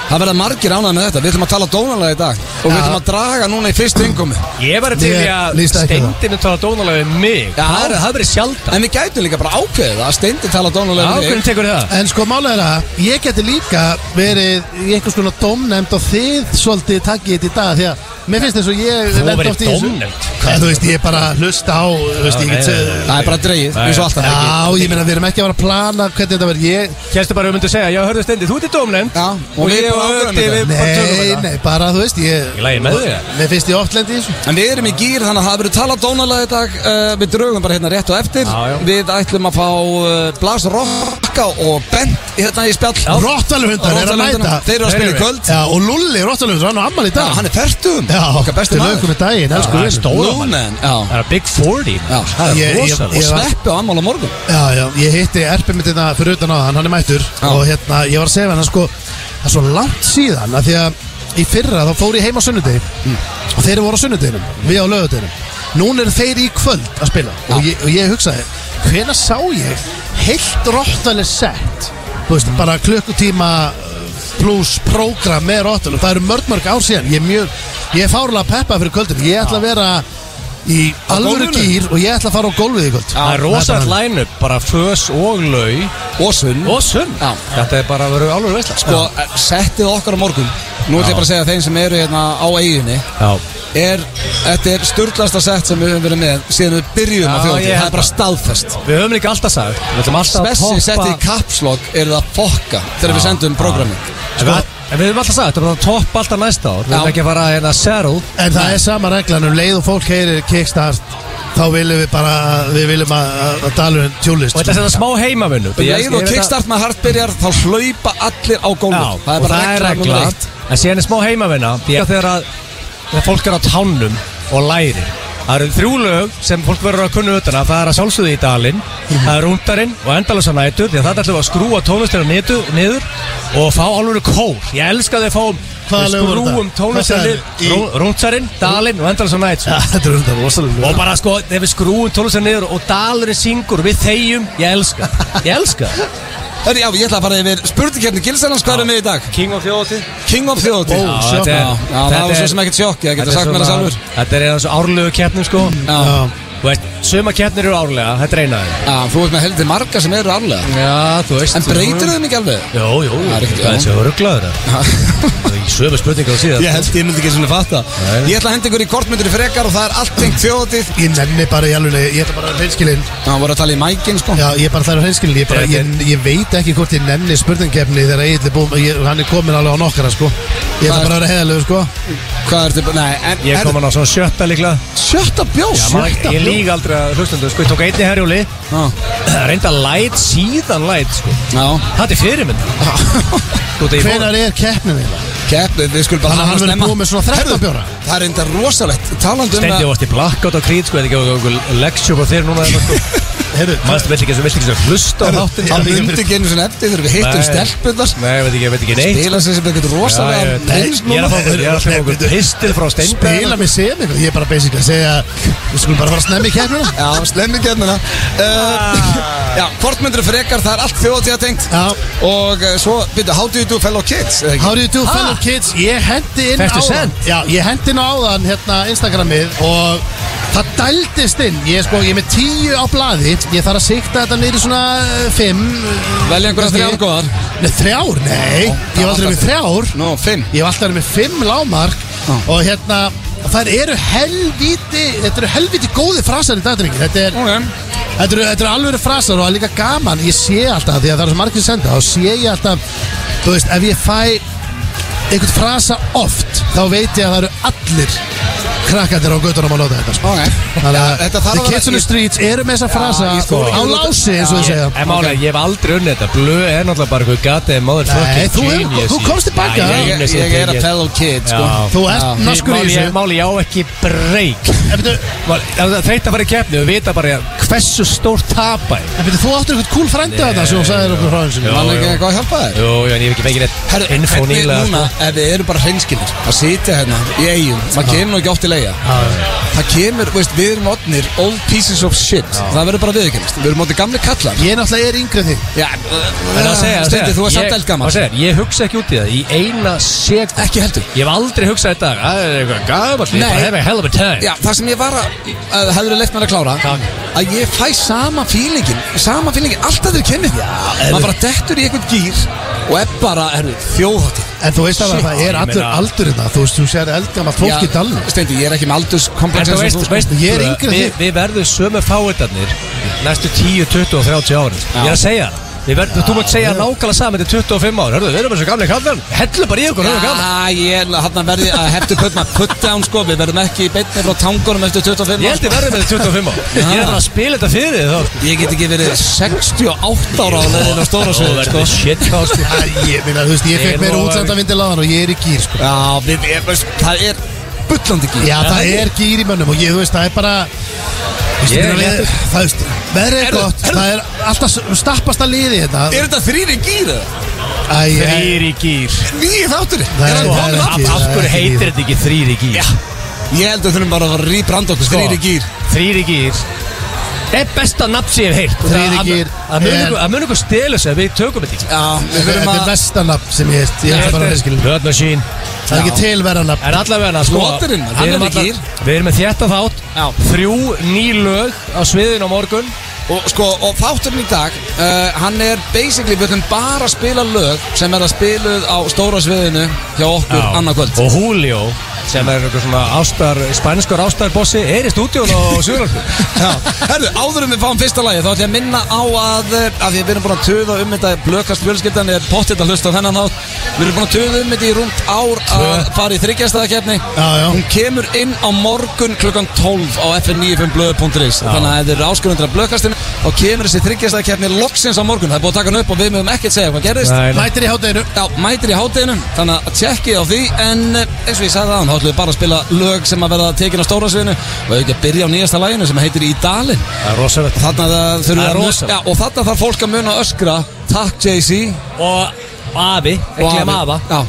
Speaker 1: Það verða margir ánað með þetta Við ætlum að tala dónalega í dag Og við
Speaker 2: Hmm. Já.
Speaker 1: ætlum að draga núna í fyrstu yngkomi
Speaker 3: Ég var til í
Speaker 2: Mér
Speaker 3: að
Speaker 2: líst ekki á það.
Speaker 3: Steindinu tala dónalega við mig
Speaker 1: Já.
Speaker 3: Það er- það verið sjaldan
Speaker 1: En við gætum líka bara ákveðið að Steindi tala dónalega
Speaker 3: Já,
Speaker 1: um
Speaker 3: hvernig
Speaker 1: mig
Speaker 3: tekur það?
Speaker 2: En sko málega er að ég geti líka verið í einhvers konar domnefnd og þið svolítið takkið þetta í dag því að mér finnst þess að ég
Speaker 3: Þú
Speaker 2: lenti
Speaker 3: verið
Speaker 2: oft í þessu.
Speaker 3: dómnefnd?
Speaker 2: Hvað, Þú veist, ég er bara að hlusta á þú veist, ég get
Speaker 3: nei,
Speaker 2: segið
Speaker 1: Það er bara dreigið,
Speaker 3: Nei.
Speaker 1: eins og alltaf
Speaker 2: Já, ég meina við erum ekki að vera að plana hvernig þetta verður ég
Speaker 3: Hérstu bara að við myndum segja, já, hörðu Steindi, þú ert í dómnefnd
Speaker 1: Já,
Speaker 3: og,
Speaker 1: og við
Speaker 3: ég
Speaker 1: bara
Speaker 3: og
Speaker 1: ákveðum
Speaker 3: Ötti,
Speaker 1: þetta.
Speaker 3: við bara tölum
Speaker 2: Nei,
Speaker 3: þetta
Speaker 2: nei, bara þú veist ég
Speaker 3: Í lagi með þig, ja.
Speaker 2: Mér finnst ég oft lendi í þessu
Speaker 1: En við erum í gýr þannig að það verður talað dónalega í dag uh, Við draugum bara hérna rétt og eftir
Speaker 3: Já, já.
Speaker 1: Við ætlum að fá uh, Blas Rokka og Bent hérna í spjall
Speaker 2: Rottalhundar er að mæta
Speaker 1: Þeir eru að spila í
Speaker 3: Þeir eru.
Speaker 1: kvöld
Speaker 2: Já, og Lulli Rottalhundur, hann á ammal í
Speaker 1: Já,
Speaker 2: dag
Speaker 1: hann er færtum
Speaker 2: Já,
Speaker 1: Okkar besti
Speaker 2: til
Speaker 1: maður
Speaker 2: lögum í daginn, elsku
Speaker 3: það Sko, er
Speaker 2: vinur.
Speaker 3: stóra mann.
Speaker 1: Lúmen Já,
Speaker 3: Það er Big 40
Speaker 1: já það
Speaker 2: Ég-
Speaker 1: er
Speaker 2: ég-
Speaker 1: rosalega
Speaker 2: ég
Speaker 1: Og
Speaker 2: var-
Speaker 1: sveppi á ammál á morgun
Speaker 2: Já, já, ég hitti erpið mitt hérna fyrir utan á hann, hann er mættur
Speaker 1: Já.
Speaker 2: og hérna, ég var að segja við hann sko, það er svo langt síðan að því að í fyrra þá fór ég heim á sunnudegi og þeir voru á sunnudeginum, við á lögudeginum Nún eru þeir í kvöld að spila og ég, og ég hugsaði, hvena sá ég heilt rottaleg sett þú veist, bara klukkutíma pluss prógram með rottalum það eru mörg mörg ár síðan, ég er mjög ég er fárlega peppa fyrir kvöldum, ég ætla að vera í alvöru
Speaker 1: gólfinu?
Speaker 2: gýr og ég ætla að fara á gólfið í kvöld
Speaker 3: Það er rosalt
Speaker 2: bara-
Speaker 3: line-up, bara fös og lau
Speaker 1: Og sunn
Speaker 3: og sunn
Speaker 1: Já.
Speaker 3: Þetta er bara að vera alveg veistla
Speaker 1: Sko, eh, settið okkar á morgun Nú ætlum ég bara að segja þeim sem eru hérna á eiginni
Speaker 3: Já,
Speaker 1: er, Þetta er sturglasta sett sem við höfum verið með Síðan við byrjum á
Speaker 3: Já,
Speaker 1: þjóðum
Speaker 3: ég
Speaker 1: Það
Speaker 3: held
Speaker 1: er bara staðfest
Speaker 3: við höfum líka alltaf sagt Við höfum alltaf að
Speaker 1: Spessi settið í
Speaker 3: toppa
Speaker 1: kapslokk eru það fokka Þegar við sendum programmi
Speaker 3: Sko, En við höfum alltaf sagt, þetta er bara að toppa alltaf næsta ár Við höfum
Speaker 1: Já.
Speaker 3: ekki að fara hérna settle
Speaker 2: En það er sama reglan um leið og fólk heyrir kickstart þá viljum við bara við viljum að, að- um að dalurinn tjúlist
Speaker 3: Og þetta er þetta smá heimavinnu
Speaker 1: Um leið og kickstart með hartbyrjar þá hlaupa allir á
Speaker 3: Já,
Speaker 1: gólfið Það er
Speaker 3: og
Speaker 1: bara
Speaker 3: það er
Speaker 1: regla
Speaker 3: regla
Speaker 1: númer eitt.
Speaker 3: En síðan er smá heimavinna Því að þegar að þegar fólk er á tánum og læri Það eru þrjú lög sem fólk verður að kunna utan að Það er að sjálfsögðu í dalinn Það er rúndarinn og endalösa nætur Því að þetta ætlum við að skrúa tónlistina niður, niður Og fá alveg kór Ég elska að við fáum
Speaker 2: Hvaða
Speaker 3: við
Speaker 2: lög voru
Speaker 3: Skrúum
Speaker 2: þetta?
Speaker 3: tónlistina
Speaker 2: Hvað sagðir? Í-
Speaker 3: niður Rúndarinn, dalinn og endalösa nætur
Speaker 2: Þetta er hundar rosalega
Speaker 3: Og bara sko, ef við skrúum tónlistina niður Og dalurinn syngur, við þegjum Ég elska, ég elska
Speaker 1: Hörru, já, ég ætla að fara yfir spurningkjarni Gilsarans, hvað erum við í dag?
Speaker 3: King of Þjóðatið
Speaker 1: King of Þjóðatí
Speaker 2: Ó, sjokk.
Speaker 1: Já, já, það
Speaker 3: þetta
Speaker 1: var svo
Speaker 3: er-
Speaker 1: sem ekkert sjokk, ég
Speaker 3: Þetta
Speaker 1: geta
Speaker 3: er
Speaker 1: sagt mér það
Speaker 3: svona-
Speaker 1: sjálfur
Speaker 3: Þetta er eins og árlegu keppnum sko
Speaker 1: Já,
Speaker 3: Þú veist, suma keppnir eru árlega, þetta er eina þeim
Speaker 1: já, þú veist með heldur marga sem eru arlega
Speaker 3: Já, þú veist
Speaker 1: En breytir þau mikið alveg?
Speaker 3: Jó, jó,
Speaker 1: Það er ekkert-
Speaker 3: það er þessi örglaður Suma spurningar á síðan
Speaker 1: Ég held, ég myndi ekki svona fatta
Speaker 3: Nei.
Speaker 1: Ég ætla að henda ykkur í kortmyndur frekar og það er allt tengt þjóðatíð
Speaker 2: Ég nenni bara í alveg ég ætla bara að hreinskilin
Speaker 1: Já, hann voru að tala í mækin, sko
Speaker 2: Já, ég bara þarf að hreinskilin ég, bara, ég, ég veit ekki hvort ég nenni spurningkeppni þegar Egil er búinn ég, hann er komin alveg á nokkara sko Ég ætla bara að vera heðalegu sko
Speaker 1: Hvað ertu, nei, en
Speaker 3: Ég kom hann á svona sjötta líkla
Speaker 1: Sjötta bjós
Speaker 3: Ég lík aldrei að hlustundu Sko, ég tók einni herjóli
Speaker 1: Já,
Speaker 3: Reynda læt, síðan læt sko
Speaker 1: já
Speaker 3: Það er fyrirmynd Þú veit, ég fór-
Speaker 2: Hvenar er keppnin þeirra?
Speaker 1: Keppið, við skulum bara
Speaker 2: Þannig að
Speaker 1: hafa
Speaker 2: hann verður
Speaker 1: snemma.
Speaker 2: búið með svona 13 bjóra
Speaker 1: Það er enda rosalegt Talandi um
Speaker 3: Steindi
Speaker 1: að
Speaker 3: varst í blackout á krít sko Ég veit ekki að okkur leksjúpa þér núna hérna, sko.
Speaker 2: Heyrðu,
Speaker 3: Manstu vill ekki eins og vill ekki eins og hlusta á þáttin
Speaker 1: Það myndi ekki einu svona eftir þegar við hittum
Speaker 3: Nei.
Speaker 1: stelpunar
Speaker 3: Nei, ég veit ekki, ég veit ekki neitt
Speaker 1: Spila sér sem eitthvað
Speaker 3: Já, ég
Speaker 1: rosalega
Speaker 3: veit.
Speaker 1: prins
Speaker 3: Ég er að
Speaker 1: núna
Speaker 3: fá okkur- ég er að fá okkur pistil frá Steinberg
Speaker 2: Spila mig sem ykkur Ég er bara basically að segja Við skulum bara fara að snemmi keppnina
Speaker 1: Já, slemmi kemina uh, Já, hvort myndir frekar, það er allt þjóðatíða tengt
Speaker 2: Já.
Speaker 1: Og uh, svo, byrju, how do you do fellow kids? eða ekki?
Speaker 2: How do you do
Speaker 1: Ha?
Speaker 2: fellow kids Ég hendi inn
Speaker 3: Fékkstu
Speaker 2: áðan
Speaker 3: sent?
Speaker 2: Já, ég hendi inn áðan hérna Instagramið og Það dældist inn, ég sko, ég er með tíu á blaði Ég þarf að sikta þetta niður í svona eh, fimm
Speaker 4: Velja einhverja
Speaker 2: kannski.
Speaker 4: þrjár sko. góðar.
Speaker 2: Nei, þrjár? Nei, ég var aldrei með þrjár
Speaker 1: Nú, fimm
Speaker 2: Ég var alltaf með fimm lámark Og hérna, þær eru helvíti Þetta eru helvíti góði frasar í dagdrengi Þetta er,
Speaker 4: Ok.
Speaker 2: þetta eru, þetta eru alveg frasar og það er líka gaman Ég sé alltaf, því að það eru svo margir sem senda Þá sé ég alltaf, þú veist, ef ég fæ einhvern frasa oft Þá veit ég að það eru allir krakkandir á göttunum að nota þetta sko.
Speaker 1: Ok.
Speaker 2: Þannig
Speaker 1: Já, þetta þarf
Speaker 2: að
Speaker 1: að
Speaker 2: The
Speaker 1: vera-
Speaker 2: Kids on the Streets eru með þessa frasa
Speaker 1: ég sko-
Speaker 2: á lási eins og þau segja
Speaker 3: En málega, ég hef aldrei unnið þetta Blöð er náttúrulega bara eitthvað gatið Mother
Speaker 2: Nei,
Speaker 3: fucking
Speaker 2: þú hefur-
Speaker 3: genius
Speaker 2: þú
Speaker 3: í-
Speaker 2: komst tilbaka.
Speaker 3: Já,
Speaker 1: Ég, ég,
Speaker 3: ég
Speaker 1: er a fellow kid, sko
Speaker 3: Já.
Speaker 2: Þú ert naskur í þessu
Speaker 3: Máli, ég á ekki breyk
Speaker 2: En byrju,
Speaker 3: Þreytta bara í keppni og vita bara hversu stór tapa ég
Speaker 2: en byrju, Þú áttur einhvern kúl frændi að það sem þú sagðir okkur frá eins og
Speaker 1: Mann ekki eitthvað að hjálpa þér
Speaker 3: Jú, jú, en ég hef ekki fengið neitt
Speaker 1: Herru,
Speaker 3: info
Speaker 1: hvernig
Speaker 3: nýlega sko.
Speaker 1: núna, ef við erum bara hreinskilir að sitja hérna í eigum, maður kemur nú ekki oft í leiða það kemur, veist, við erum odnir old pieces of shit, það verður bara viðkennist við erum odnir gamli kallar
Speaker 2: Ég náttúrulega er yngri en þig
Speaker 1: Já,
Speaker 3: En að segja, að segja
Speaker 1: Steindi, þú er samt
Speaker 3: ég-
Speaker 1: eldgammal
Speaker 3: að segja, Ég hugsa ekki út í það Í eina seg
Speaker 1: Ekki heldur
Speaker 3: Ég hef aldrei hugsað þetta Það er eitthvað gafall Ég
Speaker 1: Nei.
Speaker 3: bara hef a hell of a time
Speaker 1: Já, það sem ég var að, að hefur leitt mér að klára
Speaker 3: Takk.
Speaker 1: að ég fæ sama fílingin sama fílingin, alltaf þeir kemur því maður bara dettur í einhvern gýr og er bara, herru, þjóðhátti
Speaker 2: En þú veist
Speaker 3: Shit.
Speaker 2: alveg að það er
Speaker 3: Ég
Speaker 2: allur
Speaker 3: meina-
Speaker 2: aldur þetta Þú veist, þú sér eldgama fólk í dalnum
Speaker 1: Steindi, ég er ekki með
Speaker 3: En
Speaker 1: aldurskomplex eins
Speaker 3: þú
Speaker 1: og
Speaker 3: veist,
Speaker 1: þú, sko.
Speaker 3: veist
Speaker 2: Ég er yngri en
Speaker 3: við,
Speaker 2: þið.
Speaker 3: við verðum sömu fáitarnir Næstu 10, 20 og 30 árin Ég er að segja það. Við verðum, þú mátt segja nákvæmlega saman til 25 ára Hörðu, við erum eins og gamlega kallar Hellu bara í okkur, hörðu gamlega
Speaker 1: Já, ég hann verði að heftu put, maður put down sko, við verðum ekki í beinni frá tangunum eftir 25
Speaker 3: Ég held ég verðum með 25 ára Ég er bara að spila þetta fyrir þið þá
Speaker 1: sko. Ég get ekki verið 68 ára á leiðinu á stóra
Speaker 3: Þú
Speaker 1: sviði sko.
Speaker 3: verður shit þá sko
Speaker 2: Æ, Ég meina, þú veist, ég
Speaker 3: Ég
Speaker 2: fekk meira
Speaker 3: lofa þér.
Speaker 2: útlandavindir laðan og ég er í gýr sko.
Speaker 1: Já, við, ég, veist, það er bullandi gíl
Speaker 2: Já, það er gýr í mönnum og ég, þú veist, það er bara þú veist,
Speaker 3: Ég
Speaker 2: ég
Speaker 3: er
Speaker 2: meina, við-
Speaker 3: léttur.
Speaker 2: Það veist, verður er
Speaker 1: Herðu,
Speaker 2: gott
Speaker 1: herðu.
Speaker 2: Það er alltaf stappasta liði þetta
Speaker 1: Er þetta þrýri gíl?
Speaker 2: Æ, ég-
Speaker 3: Þrýr í gýr
Speaker 1: Nýjir þáttur
Speaker 2: Nei,
Speaker 3: sko-
Speaker 1: Er hann
Speaker 2: það
Speaker 1: komin
Speaker 2: er
Speaker 1: aftur?
Speaker 2: ekki-
Speaker 3: Af hverju heitir þetta ekki þrýr í gýr?
Speaker 1: Ég held að þurfum bara að fara að rýbranda okkur
Speaker 3: Sko.
Speaker 1: Þrýri gír
Speaker 3: Þrýr í gýr Það er besta nafn sem ég hef heyrt
Speaker 2: Þrír í gír er-
Speaker 3: Það mun ykkur stelu sem við tökum þetta ekki
Speaker 1: Já, við
Speaker 2: Þetta
Speaker 1: verðum
Speaker 2: er
Speaker 1: að
Speaker 2: vestanab sem ég heist Ég ætla bara að reynskilin
Speaker 3: Blood Machine
Speaker 2: Það er ekki til verðanab
Speaker 3: En allavega sko,
Speaker 1: Skoturinn, hann
Speaker 3: við erum
Speaker 1: er í
Speaker 3: alla-
Speaker 1: gír.
Speaker 3: Við erum með þetta þátt
Speaker 1: Já.
Speaker 3: Þrjú ný lög á sviðin á morgun
Speaker 1: Og sko, og þátturinn í dag, uh, hann er basically, við ætlum bara að spila lög sem er að spiluð á stóra sviðinu hjá okkur
Speaker 3: Já.
Speaker 1: annað kvöld
Speaker 3: Og Julio sem er einhver svona ástar, spænskur ástarbossi er í stúdíun á Suðurlandu
Speaker 1: Já, herru, áður um við fáum fyrsta lagi þá ætlum ég að minna á að að því að við erum búin að töða um þetta blökast fjölskyldan er pottitt að hlusta á þennan þátt við erum búin að töða um þetta í rúmt ár að fara í þryggjastæðakefni
Speaker 2: Já, já.
Speaker 1: hún kemur inn á morgun klukkan 12 á fn95blöð.is þannig að ef þið eru áskurundur að blökastinu þá kemur þessi þryggjastæðakefni loksins á morgun það er búin að taka hann upp og við mögum ekkert segja hvað gerðist
Speaker 3: Nei, nei.
Speaker 2: Mætir í hátæðinu
Speaker 1: Já, mætir í hátteginu, þannig að tjekkið á því En eh, eins og ég sagði aðan, þá ætlum við bara að spila lög sem að verða tekin á stóra sviðinu Og við ekki að byrja á nýjasta laginu sem heitir Í dalinn
Speaker 3: Það er rosalegt
Speaker 1: Þarna það þurfum
Speaker 3: Það
Speaker 1: við
Speaker 3: er
Speaker 1: að
Speaker 3: rosa.
Speaker 1: mun- Já, og þarna þarf fólk að muna að öskra Takk Jay-Z
Speaker 3: Og Abi,
Speaker 1: og
Speaker 3: ekki að mafa
Speaker 1: Já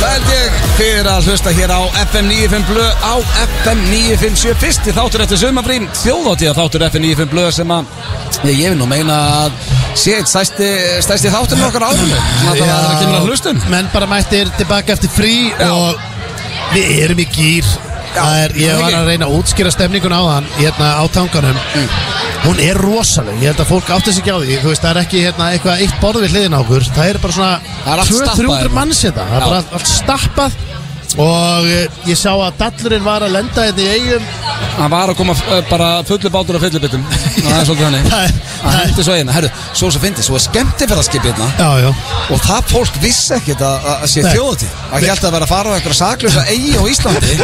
Speaker 1: Veld ég fyrir að hlusta hér á FM 95 Blö á FM 957 fyrsti þáttur eftir sumafrín þjóðáttíða þáttur FM 95 Blö sem að ég, ég vil nú meina að sé eitt stæsti, stæsti þáttur með okkar árunni þannig að það kemur að hlustum
Speaker 2: Menn bara mættir tilbaka eftir frí
Speaker 1: Já.
Speaker 2: og við erum í gýr Það er, ég
Speaker 1: það
Speaker 2: var
Speaker 1: ekki. Mm.
Speaker 2: að reyna að útskýra stemningun á hann hérna á tanganum hún er rosaleg, ég held að fólk átti sig ekki á því þú veist, það er ekki hérna, eitthvað eitt borð við hliðin á okkur það er bara
Speaker 1: Það er
Speaker 2: svona
Speaker 1: allt stappað
Speaker 2: 200-300
Speaker 1: hérna.
Speaker 2: manns hérna
Speaker 1: Já.
Speaker 2: það er bara allt stappað og eh, ég sá að dallurinn var að lenda hérna í eigum
Speaker 1: Það var að koma uh, bara fullu bátur og fullu bitum Það er svolítið þannig
Speaker 2: Það er-
Speaker 1: Það hendi svo eina Herru, svo svo fyndi, svo er skemmtifæðarskipið hérna
Speaker 2: já, já,
Speaker 1: Og það fólk vissi ekkert að, að sé
Speaker 2: Nei.
Speaker 1: þjóðatíð Það held að vera að fara á einhverja saklösa eigi á Íslandi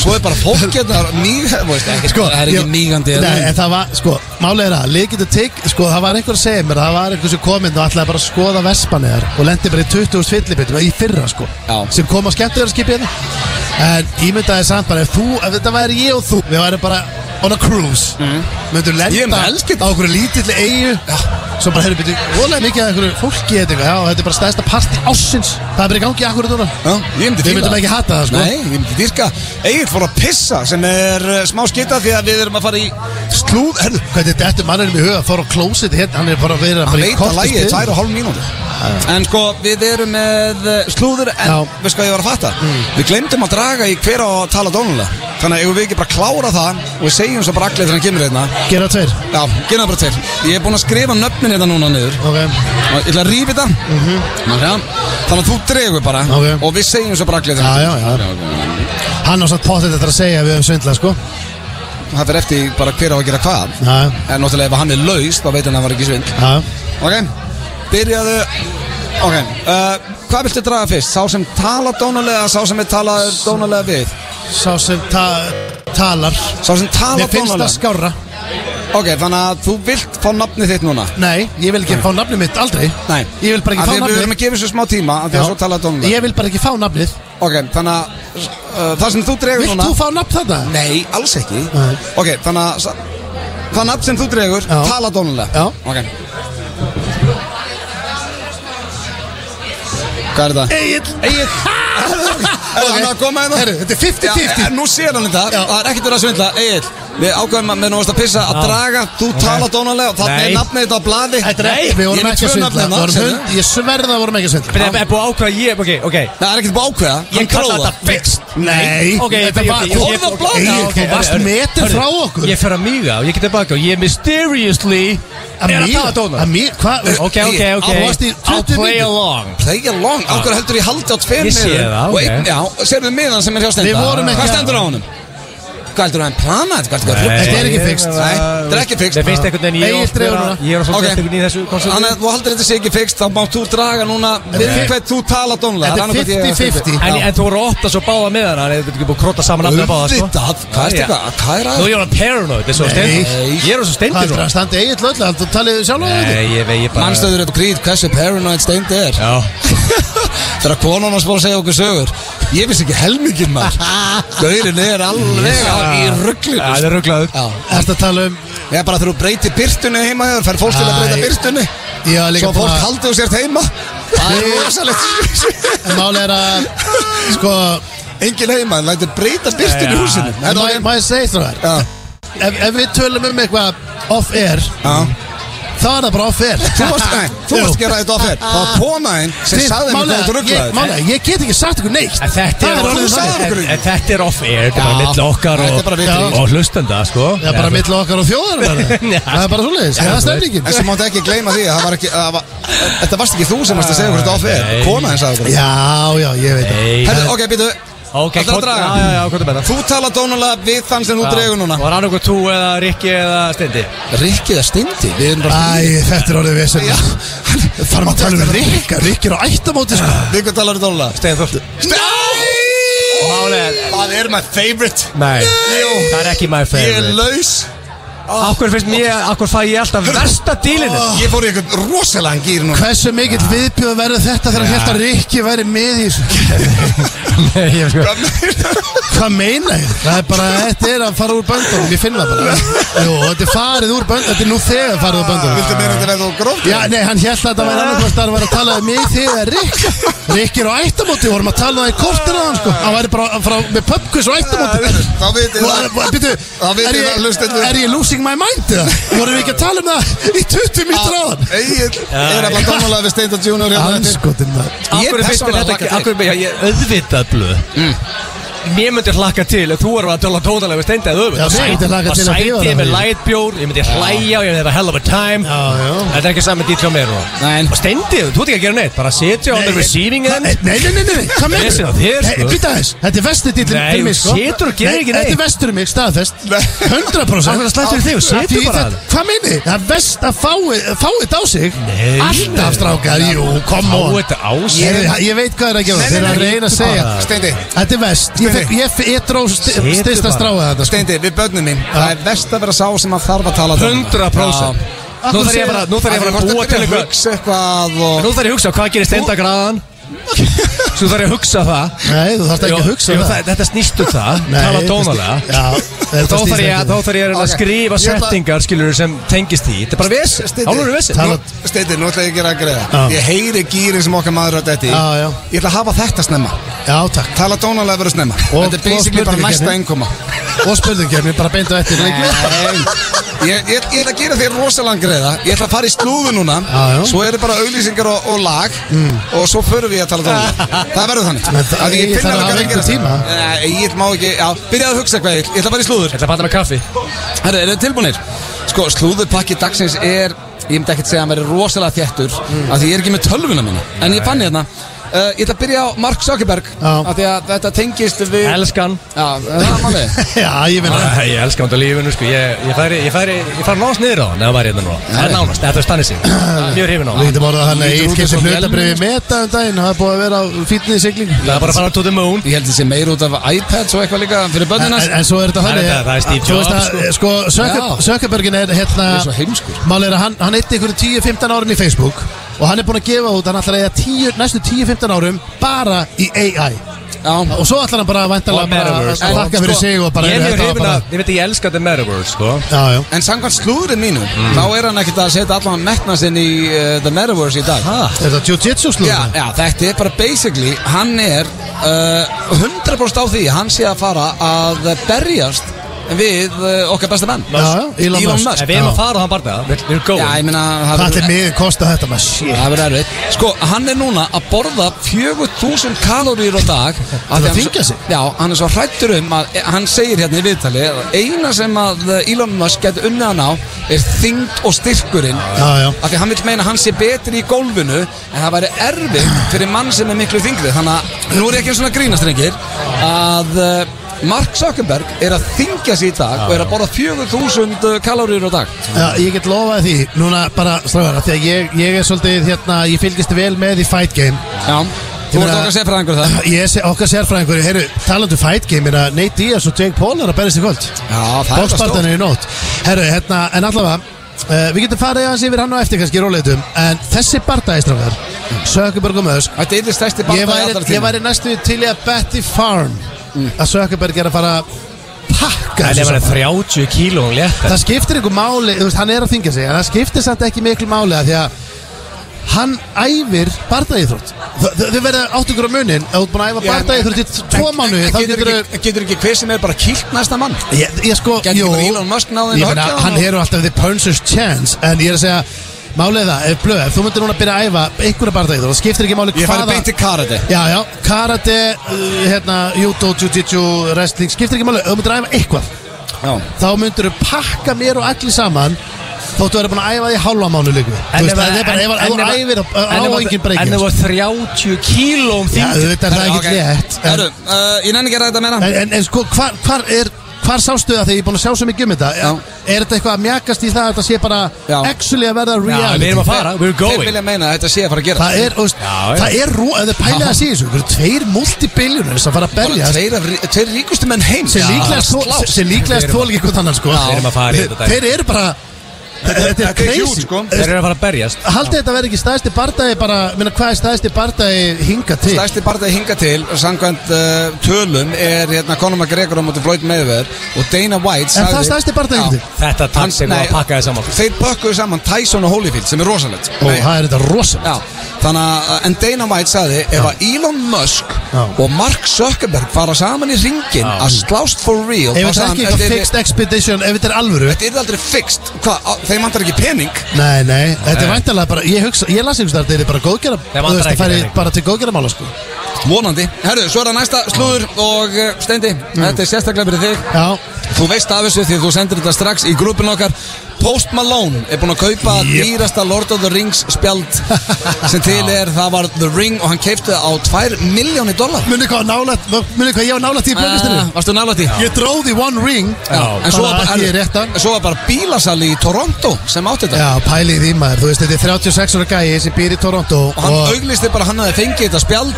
Speaker 1: Svo er bara fólk hérna mýg, veist, ekki,
Speaker 2: sko,
Speaker 1: Það er ekki
Speaker 2: ég-
Speaker 1: mýgandi
Speaker 2: Nei, en það var, sko, málega er að Leikið er tigg, sko, það var einhver að segja mér að Það var einhver sem kom inn og ætlaði bara að skoða vespanegar Og lendi bara í 20.000 fyllibitum Í fyrra, sko,
Speaker 1: Já.
Speaker 2: sem kom á skemmtiðarskipi hérna En ímyndaði samt bara Ef þú, ef þetta væri ég og þú Við væri bara on a cruise myndu
Speaker 1: Mhm. Ég er
Speaker 2: lenda
Speaker 1: með
Speaker 2: á
Speaker 1: eldspýtu.
Speaker 2: einhverju lítilli eigu Svo bara, heyrðu, byrju, volega mikið að einhverju fólki eða eitthvað Já, þetta er bara stæðsta parti ásins Það er bara í gangi akkurat núna
Speaker 1: Já, ég myndi
Speaker 2: Við
Speaker 1: fíla
Speaker 2: myndum ekki hata það, sko.
Speaker 1: Nei, ég myndi dýrka Egil fór að pissa sem er uh, smá skita því að við erum að fara í slúð Herðu,
Speaker 2: Hvernig dettur mannum í huga að fara á klósit hérna Hann er bara að vera
Speaker 1: hann
Speaker 2: bara í
Speaker 1: veit að lægi er
Speaker 2: stuði.
Speaker 1: tvær og hálf mínúti En sko, við erum með uh, slúður En,
Speaker 2: Já. Mm.
Speaker 1: veist hvað ég var að fatta Við glemdum að draga í hver á að tala dónulega Þannig að ef við ekki bara klára það Og við segjum svo bara allir þegar hann kemur hérna
Speaker 2: Gera tveir
Speaker 1: Já, gera það bara til Ég er búinn að skrifa nöfnin hérna núna niður
Speaker 2: Ok,
Speaker 1: Og Ég ætla að rífi þetta Þannig að þú dregur bara
Speaker 2: Mhm. Ok.
Speaker 1: Og við segjum svo bara allir þegar
Speaker 2: já,
Speaker 1: hann
Speaker 2: já, já Hann á satt pottet þetta að segja að við höfum svindla, sko
Speaker 1: kemur Það fer eftir bara hver á að gera hvað
Speaker 2: Já,
Speaker 1: En náttúrulega ef hann er laus, þá veit hann að hann var ekki svindl
Speaker 2: já
Speaker 1: Ok, byrjaðu Ok, uh, hvað viltu draga fyrst? Sá sem tala dónalega, sá sem er talað dónalega við
Speaker 2: Sá sem ta talar
Speaker 1: Sá sem tala
Speaker 2: Mér finnst
Speaker 1: dónalega
Speaker 2: það skára
Speaker 1: Ok, þannig að þú vilt fá nafnið þitt núna
Speaker 2: Nei, ég vil ekki fá nafnið mitt aldrei
Speaker 1: Nei
Speaker 2: Ég vil bara ekki
Speaker 1: Af
Speaker 2: fá
Speaker 1: því að Við verðum
Speaker 2: nafnið
Speaker 1: að gefa þessu smá tíma, af því að
Speaker 2: Já.
Speaker 1: svo tala dónalega
Speaker 2: Ég vil bara ekki fá nafnið
Speaker 1: Ok, þannig að uh, það sem þú dregur
Speaker 2: Vilt
Speaker 1: núna
Speaker 2: þú fá nafn þarna?
Speaker 1: Nei, alls ekki
Speaker 2: Nei.
Speaker 1: Ok, þannig að sa- það nafn sem þú dregur,
Speaker 2: Já.
Speaker 1: tala dónalega
Speaker 2: Já.
Speaker 1: Ok Hvað er það?
Speaker 2: Egil
Speaker 1: Egil Er það að koma hérna?
Speaker 2: Herru, þetta er 50-50.
Speaker 1: Já, en Nú sér hann þetta
Speaker 2: Já.
Speaker 1: Það er ekkert verið að svindla Egil Við ákveðum að með nú varst að pissa að draga Þú tala dónalega og þarna er
Speaker 3: Nei.
Speaker 1: nafnið þetta á bladi
Speaker 2: Þetta er ekki, við
Speaker 1: Ég
Speaker 2: vorum
Speaker 1: er með
Speaker 2: ekki
Speaker 1: tvö
Speaker 2: að svindla
Speaker 1: nafn
Speaker 2: Við vorum
Speaker 1: hérna
Speaker 2: hund- Ég sverða að við vorum ekki að svindla
Speaker 3: Það er búið að ákvæða ég, ok, ok
Speaker 1: Það er ekkert búið að ákveða
Speaker 3: Ég
Speaker 1: Hann
Speaker 3: kalla
Speaker 1: gróða.
Speaker 3: þetta fixed
Speaker 2: Nei,
Speaker 3: Ok, ég-
Speaker 2: þetta
Speaker 3: ég-
Speaker 2: var-
Speaker 3: ég-
Speaker 1: Þú
Speaker 3: ég-
Speaker 1: horfði á blaðið.
Speaker 3: Egill,
Speaker 1: Já,
Speaker 3: ok,
Speaker 1: þú
Speaker 3: hörru,
Speaker 2: varst
Speaker 3: hörru,
Speaker 2: metin
Speaker 3: hörru,
Speaker 2: frá okkur.
Speaker 3: Ég fer að míga og ég get tilbaka og ég mysteriously er að tala dóna
Speaker 2: Að mér, hvað
Speaker 3: Ok, ok, ok
Speaker 2: Á, varst í 20
Speaker 3: I'll play
Speaker 2: mínútur.
Speaker 3: along
Speaker 1: Play along Ákveður heldur ég haldi á tveir
Speaker 3: Ég sé
Speaker 1: miðum
Speaker 3: það,
Speaker 1: Og
Speaker 3: ok.
Speaker 1: einn, já Serðu miðan sem er hjá stenda
Speaker 2: Við vorum ekki
Speaker 1: Hvað
Speaker 2: að-
Speaker 1: stendur á honum? Hvað heldur hann plana þetta? Hvað heldur
Speaker 2: Þetta
Speaker 1: hann
Speaker 2: er ekki fixed.
Speaker 1: Nei, þetta er ekki fixed.
Speaker 3: Það finnst einhvern veginn ég er
Speaker 2: Egill
Speaker 3: oft
Speaker 2: dregur
Speaker 3: vera-
Speaker 2: núna.
Speaker 3: Ég er oft
Speaker 1: Ok.
Speaker 3: vera einhvern veginn í þessu konsulti
Speaker 1: Þannig að þú heldur þetta sé ekki fixt Þá mátt þú draga núna Við
Speaker 2: er-
Speaker 1: hvað þú tala dónalega
Speaker 2: Þetta er 50-50.
Speaker 3: En, en þú voru að opna svo báða með hana Þannig að þú getur búið að krotta saman afnir báða sko.
Speaker 1: Auðvitað, hvað er
Speaker 3: Já.
Speaker 1: þetta? Hvað er
Speaker 3: Nú
Speaker 1: að?
Speaker 3: ég var paranoid, þessu
Speaker 2: Nei.
Speaker 3: stendur Ég er svo
Speaker 2: Hvað
Speaker 3: stendur
Speaker 2: heldur
Speaker 3: nú
Speaker 2: að standi Egil öll Þú talið þið sjálf á þetta
Speaker 3: Nei, ég vegi bara
Speaker 1: Mannstöður upp gríð hversu paranoid steind er
Speaker 3: Já
Speaker 1: Þegar konan hans fór að segja okkur sögur Ég vissi ekki helmingin maður Gaurin er alveg á- í
Speaker 3: Já,
Speaker 1: rugglinu
Speaker 3: það er rugglaður
Speaker 1: Já,
Speaker 2: Ertu að tala um
Speaker 1: ég er bara þegar þú breytir byrtunni heima þér Fær fólk til að breyta
Speaker 2: Æ.
Speaker 1: byrtunni
Speaker 2: Ég var líka
Speaker 1: Svo
Speaker 2: búin
Speaker 1: fólk
Speaker 2: að-
Speaker 1: haldi þú sért heima Það er
Speaker 2: Ég-
Speaker 1: rosalegt
Speaker 2: En Mál er að Sko
Speaker 1: Engin heima, það lætur breyta byrtunni í
Speaker 3: Já.
Speaker 1: húsinu En
Speaker 2: Má
Speaker 1: það
Speaker 2: ég-
Speaker 1: er-
Speaker 2: má ég segja það
Speaker 1: Já,
Speaker 2: ef, ef við tölum um eitthvað off-air
Speaker 1: já
Speaker 2: Þá er það bara off-air
Speaker 1: Þú varst, nei, þú varst að gera þetta á þér Það var konaðinn sem
Speaker 2: Þið-
Speaker 1: sagði mér
Speaker 2: málið
Speaker 1: hvað
Speaker 2: er-
Speaker 1: þú
Speaker 2: ég-
Speaker 1: rugglaður
Speaker 2: málið er, Ég get ekki sagt ykkur neitt
Speaker 3: En þetta
Speaker 2: Það
Speaker 3: er
Speaker 2: er
Speaker 1: þú
Speaker 2: orðið
Speaker 1: sagðir
Speaker 2: þannig.
Speaker 1: okkur
Speaker 3: en,
Speaker 1: ekki.
Speaker 3: en þetta er off-air, þetta er bara
Speaker 1: Já.
Speaker 3: mittla okkar
Speaker 1: Þetta
Speaker 3: og,
Speaker 1: er bara milli
Speaker 3: og,
Speaker 1: okkar.
Speaker 3: og hlustenda, sko
Speaker 2: Það er bara
Speaker 3: þú-
Speaker 2: mittla okkar og þjóðar bara.
Speaker 3: Já.
Speaker 2: Það er bara svoleiðis, það er stefningin
Speaker 1: En sem máttu ekki gleyma því að það var ekki að, var, Þetta varst ekki þú sem varst að segja okkur þetta
Speaker 3: Nei.
Speaker 1: áfyrir Kona eins að okkur
Speaker 2: Já, já, ég veit það
Speaker 3: Nei,
Speaker 1: Herðu, ok, býtu
Speaker 3: ok,
Speaker 1: Ætlarðu að
Speaker 3: hvort-
Speaker 1: draga?
Speaker 3: Já, já, já, hvað er með það?
Speaker 1: Þú tala dónulega við þann sem þú dregur núna
Speaker 3: Var hann okkur tú eða Rikki eða Stendi?
Speaker 1: Rikkið er stindi Við erum bara
Speaker 2: Æ, þetta er orðið vesen Þarf að tala um Rikka, Rikki er á ættamóti sko.
Speaker 1: Við hvað talar dónulega
Speaker 3: Stendi Þorst Og
Speaker 1: Nei
Speaker 3: hann er
Speaker 1: Það er my favorite
Speaker 3: Nei,
Speaker 1: Jú.
Speaker 3: það er ekki my
Speaker 1: Ég er
Speaker 3: favorite
Speaker 1: laus
Speaker 3: Akkur finnst mér, akkur fæ ég alltaf versta dílinu
Speaker 1: Ég fór í einhvern rosalega gýr núna
Speaker 2: Hversu mikill viðbjöð verður þetta þegar hann held að Rikki væri með í þessu?
Speaker 3: Nei, ég sko
Speaker 2: Hvað meina ég? Það er bara, þetta er að fara úr böndunum, ég finn það bara Jú, þetta er farið úr böndunum, þetta er nú þegar farið úr böndunum
Speaker 1: Viltu meira þetta verða og gróft?
Speaker 2: Já, nei, hann held að þetta væri annað hvort að hann var að tala um mig þig eða Rikk Rikk er á ættamóti, vorum að tala um það í kortir að hann sko Hann væri bara frá, með pubquiz á ættamóti
Speaker 1: Þá veit ég það
Speaker 2: Býtu,
Speaker 1: Þá vitið það,
Speaker 2: er, ég-
Speaker 1: hlustendur.
Speaker 2: er ég losing my mind eða? Vorum við ekki að tala um það í 20 mítur á hann?
Speaker 1: Egil er að blanda dónulega við Steinda Junior hérna eftir.
Speaker 2: Anskotin maður
Speaker 3: Akkur finnst mér
Speaker 1: persónulega
Speaker 3: þetta
Speaker 1: hlakka
Speaker 3: ekki,
Speaker 1: til.
Speaker 3: akkur ég er auðvitað blöð Mér myndi hlakka til ef þú erum að tala tónalega við Stendi að
Speaker 2: Já,
Speaker 3: auðvitað
Speaker 2: ég myndi hlakka til að
Speaker 3: sæti
Speaker 2: þið
Speaker 3: ég
Speaker 2: væru
Speaker 3: með
Speaker 2: þarna.
Speaker 3: lightbjór, ég myndi hlæja og ég myndi have a hell of a time
Speaker 2: Já, já.
Speaker 3: Þetta er ekki saman dýtla á mér núna
Speaker 1: Nei.
Speaker 3: Og Stendi, þú ert ekki að gera neitt, bara setja á
Speaker 2: Nei,
Speaker 3: the receiving
Speaker 2: Nei,
Speaker 3: end
Speaker 2: nei, nei, nei, nei, hvað
Speaker 3: Ég
Speaker 2: meður?
Speaker 3: sé það á þér, sko.
Speaker 2: Býta þess, þetta er vestur dýllin
Speaker 3: Nei,
Speaker 2: fyrir mig, sko
Speaker 3: situr og gerir ekki
Speaker 2: Nei,
Speaker 3: neitt.
Speaker 2: Þetta er vestur um mig, staðfest
Speaker 1: Nei.
Speaker 2: 100%
Speaker 3: Af hverju slættur þig? Situr
Speaker 2: Af því
Speaker 3: bara
Speaker 2: þetta- Hvað meini? Það er vest að fái fái þetta á sig
Speaker 3: Nei.
Speaker 2: Alltaf strákar, jú, come
Speaker 3: Á
Speaker 2: on
Speaker 3: þetta á sig
Speaker 2: Ég, ég veit hvað er að gera
Speaker 1: Nei, nei,
Speaker 2: Þeir eru að
Speaker 1: nei,
Speaker 2: reyna að segja
Speaker 3: bara.
Speaker 1: Steindi,
Speaker 2: Þetta er vest Ég, fekk- ég, ég, ég dró
Speaker 3: Situr
Speaker 2: styrsta
Speaker 3: bara.
Speaker 2: stráið þetta sko.
Speaker 1: Steindi, við börnum mín Það er vest að vera sá sem að þarf að tala dónulega.
Speaker 3: 100%
Speaker 1: Já.
Speaker 3: Nú þarf ég bara nú þarf ég bara að búa til
Speaker 1: eitthvað
Speaker 3: eitthvað
Speaker 1: hugsa eitthvað og
Speaker 3: Nú þarf ég að hugsa hvað gerir Stendi að græðan Svo þarf ég að hugsa það
Speaker 2: Nei, þú þarfst ekki að hugsa
Speaker 3: Jú,
Speaker 2: um
Speaker 3: jú, Þetta snýst um það,
Speaker 2: Nei,
Speaker 3: tala
Speaker 2: þetta
Speaker 3: tónalega
Speaker 2: snýst- Já,
Speaker 3: Þá
Speaker 2: þetta
Speaker 3: þarf
Speaker 2: snýst
Speaker 3: ég,
Speaker 2: ekki um
Speaker 3: þá þarf ég að reyna að
Speaker 1: Ok.
Speaker 3: skrifa
Speaker 1: Ég ætla-
Speaker 3: settingar skilur sem tengist því Þetta er bara
Speaker 1: Steindi.
Speaker 3: vesið, álur vesið
Speaker 2: Tala-
Speaker 1: Steiti, nú ætla ég að gera að greiða
Speaker 2: Já.
Speaker 1: Ég heyri gýrin sem okkar maður að detti í.
Speaker 2: Já, já.
Speaker 1: Ég ætla að hafa þetta snemma
Speaker 2: Já, takk
Speaker 1: Tala dónalega verið snemma
Speaker 2: Og-
Speaker 1: Þetta er basically
Speaker 2: og
Speaker 1: bara
Speaker 2: spurningakeppni.
Speaker 1: næsta einkoma
Speaker 2: Og spurningkefni, bara beintu eftir leikni
Speaker 1: ég, ég, ég ætla að gera þér rosalega greiða Ég ætla að fara í slúðu núna
Speaker 2: Já, já.
Speaker 1: Svo eru bara auglýsingar og, og lag Og svo förum við að tala dónalega Það verður þannig
Speaker 2: Men það-
Speaker 1: Af því
Speaker 2: Egill
Speaker 1: finn
Speaker 2: þarf
Speaker 1: alveg
Speaker 2: að hafa
Speaker 1: að
Speaker 2: einhvern tíma.
Speaker 1: Nei, Ég má ekki, já, byrjaðu að hugsa hvað Egill. Ég ætla að fara í slúður
Speaker 3: Ég ætla að bata með kaffi
Speaker 1: Herra, eru þið tilbúinir? Sko, slúðurpakki dagsins er, ég myndi ekkert segja að hann verið rosalega þjættur
Speaker 2: Mm.
Speaker 1: af því ég er ekki með tölvuna mína En ég fann hérna uh, Ég ætla að byrja á Mark Zuckerberg
Speaker 2: Já.
Speaker 1: af því að þetta tengist við
Speaker 3: Elskan
Speaker 1: Já, það er málið
Speaker 2: Já, ég meina
Speaker 3: Æ, Ég elska hann á lífinu sko Ég, ég færi, ég færi, ég færi nánast niður á hann Ef það væri hérna núna Það er nánast, þetta er stannið sig Mjög hrifin á
Speaker 2: Við
Speaker 3: hann
Speaker 2: getum orðað hann
Speaker 3: Lítur
Speaker 2: að eitt
Speaker 3: út eins
Speaker 2: kemst
Speaker 3: og
Speaker 2: hlutabriði meta um daginn Það er búið að vera á fýtnið í siglingu
Speaker 3: Það er bara að fara to the moon
Speaker 1: Ég held þessi meir út af iPads og eitthvað líka fyrir
Speaker 2: En,
Speaker 1: börnina
Speaker 2: en en svo er þetta
Speaker 3: Það er
Speaker 2: þannig
Speaker 3: þetta, það er Steve
Speaker 2: Þú
Speaker 3: Jobs,
Speaker 2: veist að, sko, Zucker-
Speaker 1: Já.
Speaker 2: Zuckerbergin er hérna
Speaker 1: Ég er svo heimskur.
Speaker 2: Mál er að hann, hann eitti einhverju 10-15 árin í Facebook Og hann er búin að gefa út Hann ætlar að eiga 10, næstu 10-15 árum Bara í AI
Speaker 1: Já,
Speaker 2: Og svo ætlar hann bara væntanlega
Speaker 3: Og
Speaker 2: bara að
Speaker 3: metaverse, sko.
Speaker 2: þakka fyrir
Speaker 1: Sko,
Speaker 2: sig og bara
Speaker 3: Ég er
Speaker 2: heyrðu,
Speaker 3: mjög
Speaker 2: þetta var
Speaker 3: hrifin
Speaker 2: bara-
Speaker 3: að, ég veit að ég elska þetta metaverse sko
Speaker 2: Já, já
Speaker 1: En samkvæmt slúðurinn mínum, þá er hann ekkert að setja allan metna sinn í uh, The Metaverse í dag
Speaker 3: Ha?
Speaker 2: Er þetta jiu-jitsu sko?
Speaker 1: Já,
Speaker 2: slúðan?
Speaker 1: já, þetta er bara basically, hann er uh, 100% á því, að hann sé að fara að berjast við uh, okkar besta menn
Speaker 2: Já, já, Elon Musk.
Speaker 3: En við erum að fara á þann barndag Við við erum
Speaker 1: Já,
Speaker 3: góð
Speaker 1: ég meina, það
Speaker 2: Þetta er
Speaker 1: verður-
Speaker 2: mikið kosta þetta maður shit.
Speaker 1: það verður erfitt Sko, hann er núna að borða 4000 kaloríur á dag Til
Speaker 2: að þyngja sig?
Speaker 1: Já, hann er svo hrættur um að, hann segir hérna í viðtali að Eina sem að eh, Elon Musk getur unnið hann á er þyngd og styrkurinn
Speaker 2: Já, já
Speaker 1: Af því hann vil meina að hann sé betri í gólfinu En það væri erfitt fyrir mann sem er miklu þingri Þannig að nú er ég ekki eins og að grínast reyngir Að eh, Mark Zuckerberg er að þingja sig í dag Og er að borða 4000 kaloríur á dag
Speaker 2: Já, ég get lofaði því, núna bara strafara, því að ég, ég er svolítið hérna, ég fylgist vel með í Fight Game
Speaker 1: Já, þú ert
Speaker 2: meina-
Speaker 1: okkar að segja frá einhverju það
Speaker 2: Ég er se- okkar sérfræðingur, heyru, talandu um Fight Game er að Nate Diaz og Jake Paul er að berjast í kvöld
Speaker 1: Já, það er bara stórt
Speaker 2: Bókspartan er í nótt Herru, hérna, en allavega, uh, við getum farið aðeins yfir hann og eftir kannski í róleitum En þessi barndagi strafar, Sökuberg og Mösk
Speaker 1: Þetta er því stærsti
Speaker 2: Ég
Speaker 1: barndagi
Speaker 2: væri,
Speaker 1: allra
Speaker 2: ég
Speaker 1: tíma
Speaker 2: væri næstu því til í að Betty Farm
Speaker 1: Mm.
Speaker 2: að Sökuberg er að fara að
Speaker 3: En
Speaker 2: pakka þessu
Speaker 3: ef hann
Speaker 2: saman.
Speaker 3: er 30 kíló og létt
Speaker 2: Það skiptir einhver máli, þú veist, hann er að þingja sig En það skiptir samt ekki miklu máli að Því að hann æfir bardaðíþrótt Þau verða átt ykkur á munin Ef þú ert búin að æfa bardaðíþrótt í t- tvo
Speaker 1: En-
Speaker 2: mánuði
Speaker 1: en
Speaker 2: Þá
Speaker 1: getur
Speaker 2: getur þau
Speaker 1: ekki, getur ekki hver sem er bara kýlt næsta mann
Speaker 2: Ég, ég sko,
Speaker 1: Getur
Speaker 2: jú
Speaker 1: ekki Elon Musk náðin
Speaker 2: Ég meina, hann hefur alltaf the puncher's chance En ég er að segja Málið er það, ef blöð, ef þú myndir núna að byrja að æfa einhverja bardaðíþrótt Það skiptir ekki máli
Speaker 1: Ég færi
Speaker 2: hvaða
Speaker 1: beint til karate
Speaker 2: Já, já, karate, uh, hérna, judo, jiu-jitsu, wrestling Skiptir ekki máli, ef þú myndir að æfa eitthvað
Speaker 1: Já
Speaker 2: þá myndur þau pakka mér og allir saman þóttu verður búin að æfa því hálfa mánu líku þú veist, það er bara, ef þú æfir á- á á engin
Speaker 3: En
Speaker 2: breykin
Speaker 3: ef hann 30 kíló um
Speaker 2: já,
Speaker 3: þingd
Speaker 2: þetta er það ekki rétt en,
Speaker 1: Herru, uh, ég nenni ekki að ræða þetta meira
Speaker 2: en, en, en sko, hvar, hvar er hvar sástu það þegar ég er búin að sjá svo mikið um þetta
Speaker 1: Já.
Speaker 2: er þetta eitthvað að mjakast í það að þetta sé bara
Speaker 1: Já.
Speaker 2: actually að verða
Speaker 3: Já, við
Speaker 2: reality
Speaker 3: erum að fara, we're
Speaker 1: Þeir
Speaker 3: going
Speaker 1: vilja meina að þetta sé að fara að gera
Speaker 2: það er, þú veist,
Speaker 3: Já, já.
Speaker 2: það er rú, ef þið pælega að sé þessu það eru tveir multibiljónir sem fara að
Speaker 1: Bara
Speaker 2: berjast
Speaker 1: tveir, af rí- tveir ríkustu menn heim
Speaker 2: sem líklegast þol-
Speaker 1: slást.
Speaker 2: sem líklegast þól ekki hvort annan sko
Speaker 3: Við erum að fara í þetta dæmi.
Speaker 2: þeir eru bara þetta er
Speaker 1: Þetta er huge,
Speaker 2: crazy
Speaker 1: sko.
Speaker 3: Þeir eru að fara að berjast
Speaker 2: Haldið þetta verði ekki staðsti bardagi bara, minna hvað er staðsti bardagi hinga til?
Speaker 1: Stærsti barndagi hinga til, samkvæmt uh, tölum, er hérna Conor McGregor á móti Floyd Mayweather og Dana White
Speaker 2: En það
Speaker 1: sagði-
Speaker 2: stærsti bardagi hinga
Speaker 1: Já.
Speaker 2: til?
Speaker 3: Þetta
Speaker 1: Hann-
Speaker 3: takk sem
Speaker 1: nei,
Speaker 3: að pakka þið saman
Speaker 1: Þeir pakkaði saman Tyson og Holyfield sem er rosalegt
Speaker 2: Ó,
Speaker 1: Nei,
Speaker 2: það er þetta rosalega
Speaker 1: Já, þannig að en Dana White sagði ef að Elon Musk
Speaker 2: Já.
Speaker 1: og Mark Zuckerberg fara saman í ringin að slást for real
Speaker 2: Ef
Speaker 1: þá
Speaker 2: þetta er
Speaker 1: sagði
Speaker 2: ekki
Speaker 1: hann,
Speaker 2: eitthvað
Speaker 1: "Þetta
Speaker 2: fixed expedition, ef þetta er alvöru
Speaker 1: Þetta er aldrei fixt Hvað, á- þeim vantar ekki pening
Speaker 2: Nei, nei, þetta er væntalega bara, ég hugsa, ég las einhvers þar, þetta er bara góðgerða
Speaker 3: Þeim
Speaker 2: Þú veist,
Speaker 3: vantar
Speaker 2: það
Speaker 3: ekki
Speaker 2: færi
Speaker 3: pening.
Speaker 2: bara til góðgerða mála, sko
Speaker 1: Vonandi Herru, svo er það næsta slúður og uh, Steindi
Speaker 2: Mm.
Speaker 1: Þetta er sérstaklega fyrir þig
Speaker 2: Já,
Speaker 1: Þú veist af þessu því þú sendir þetta strax í grúpin okkar Post Malone er búinn að kaupa
Speaker 2: Jep.
Speaker 1: dýrasta Lord of the Rings spjald sem til er, það var The Ring og hann keipti það á 2 miljónir dólar
Speaker 2: munið hvað nálætt, munið hvað ég var nálætt í blöðlistinu
Speaker 1: Eh, Varstu nálægt í?
Speaker 2: Ég dróði one ring
Speaker 1: Ah. Já, en
Speaker 2: bara
Speaker 1: svo var bara,
Speaker 2: ekki rétt
Speaker 1: en
Speaker 2: að
Speaker 1: svo var bara bílasali í Toronto sem átti þetta
Speaker 2: Já, pælið í því, maður, þú veist, þetta er 36 ára gæi sem býr í Toronto
Speaker 1: og hann
Speaker 2: og-
Speaker 1: auglisti bara að hann hafi fengið þetta spjald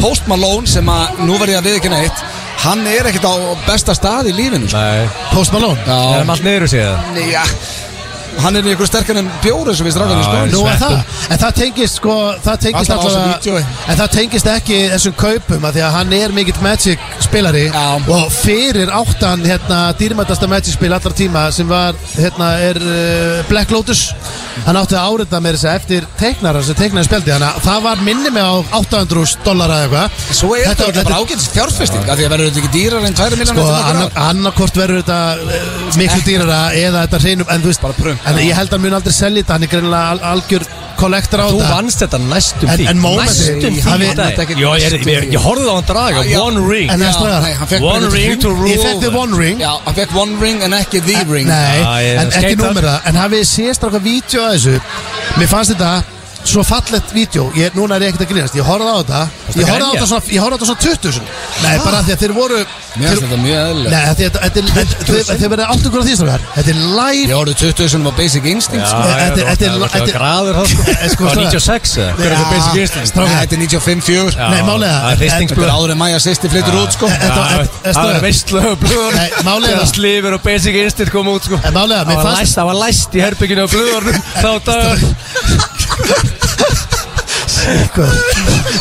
Speaker 1: Post Malone sem að nú verði ég að við ekki neitt hann er ekkert á besta stað í lífinu sko.
Speaker 3: Nei
Speaker 2: Post Malone
Speaker 3: Það
Speaker 1: Já,
Speaker 3: er allt niður sér
Speaker 1: já hann er í einhverju sterkar en bjóri sem við strafum í
Speaker 3: Já,
Speaker 2: Nú
Speaker 1: sko
Speaker 2: er
Speaker 3: Sveppum.
Speaker 2: það, en það tengist sko það tengist
Speaker 1: Alltaf á
Speaker 2: allavega-
Speaker 1: þessu vídeói.
Speaker 2: en það tengist ekki þessum kaupum að því að hann er mikill Magic spilari
Speaker 1: Já.
Speaker 2: og fyrir áttan hérna dýrmætasta Magic spil allra tíma sem var hérna er uh, Black Lotus hann átti að árita með þess að eftir teiknara sem teiknaði spjaldi þannig að það var minni með á 800 dollara eða eitthvað
Speaker 1: Svo er þetta
Speaker 2: þetta
Speaker 1: örugglega bara ágætis fjárfesting af Því að verður þetta ekki dýrar en 2
Speaker 2: Sko,
Speaker 1: miljonar
Speaker 2: annarkort verður þetta eh, miklu dýrara eða þetta hreinum en þú veist,
Speaker 1: Bara prum.
Speaker 2: en ég held að hann mun aldrei selja þetta, hann er greinilega al algjör kollektor á
Speaker 3: Þú
Speaker 2: þetta
Speaker 3: vannst þetta næstum
Speaker 2: En-
Speaker 3: því
Speaker 2: en mómentið-
Speaker 3: Næstum
Speaker 2: Ég- hann-
Speaker 1: þetta
Speaker 3: því
Speaker 1: ekki-
Speaker 3: Jó, ég, ég, ég horfði á hann draga
Speaker 1: Já, já.
Speaker 3: One ring
Speaker 2: En það er stragar.
Speaker 3: One ring to rule
Speaker 2: Ég fekk þið One Ring
Speaker 1: Já, hann fekk one ring en ekki the ring
Speaker 2: Nei,
Speaker 3: Já, ég-
Speaker 2: en ekki
Speaker 3: skeitar.
Speaker 2: númera En hafið þið sést okkar vídeo að þessu Mér fannst þetta svo fallett vídeo ég, Núna er ég ekkert að grínast, ég horfði á þetta
Speaker 3: að
Speaker 2: Ég horfði á
Speaker 3: grenja?
Speaker 2: þetta svona, ég horfði á þetta svona 20 sinni. Nei, bara af því að þeir voru
Speaker 1: Mér
Speaker 2: þeir-
Speaker 1: finnst þetta mjög eðlilega
Speaker 2: Nei, af því að þetta- þetta er- þetta- þeir- þeir verða átt okkur á því strákar Þetta er live
Speaker 1: Ég orðið 20 sem var basic instinct sko.
Speaker 2: Þetta- þetta- þetta er-
Speaker 3: Þetta er
Speaker 2: þetta-
Speaker 3: graður það sko
Speaker 2: Eh, sko,
Speaker 3: Það var
Speaker 2: strákar.
Speaker 3: 96 eða Hver er það
Speaker 2: Já,
Speaker 3: basic instinct?
Speaker 2: strákar.
Speaker 1: Nei, Þetta er 95-4
Speaker 3: Já,
Speaker 2: Nei, málega.
Speaker 3: Það er
Speaker 1: Þetta
Speaker 3: hristingsblöð
Speaker 1: er áður en Maja sýsti flyttur út sko
Speaker 2: Eh, eh,
Speaker 3: Já,
Speaker 2: þetta- þetta- þetta-
Speaker 3: Það er veistlega blöður
Speaker 2: Nei, málið er það.
Speaker 3: Slífur og basic instinct kom út sko
Speaker 2: En málega, mér
Speaker 3: Það var
Speaker 2: fannst-
Speaker 3: læst- Það var læst í herbygginu á blöðurnum Þá dag
Speaker 2: Hvað?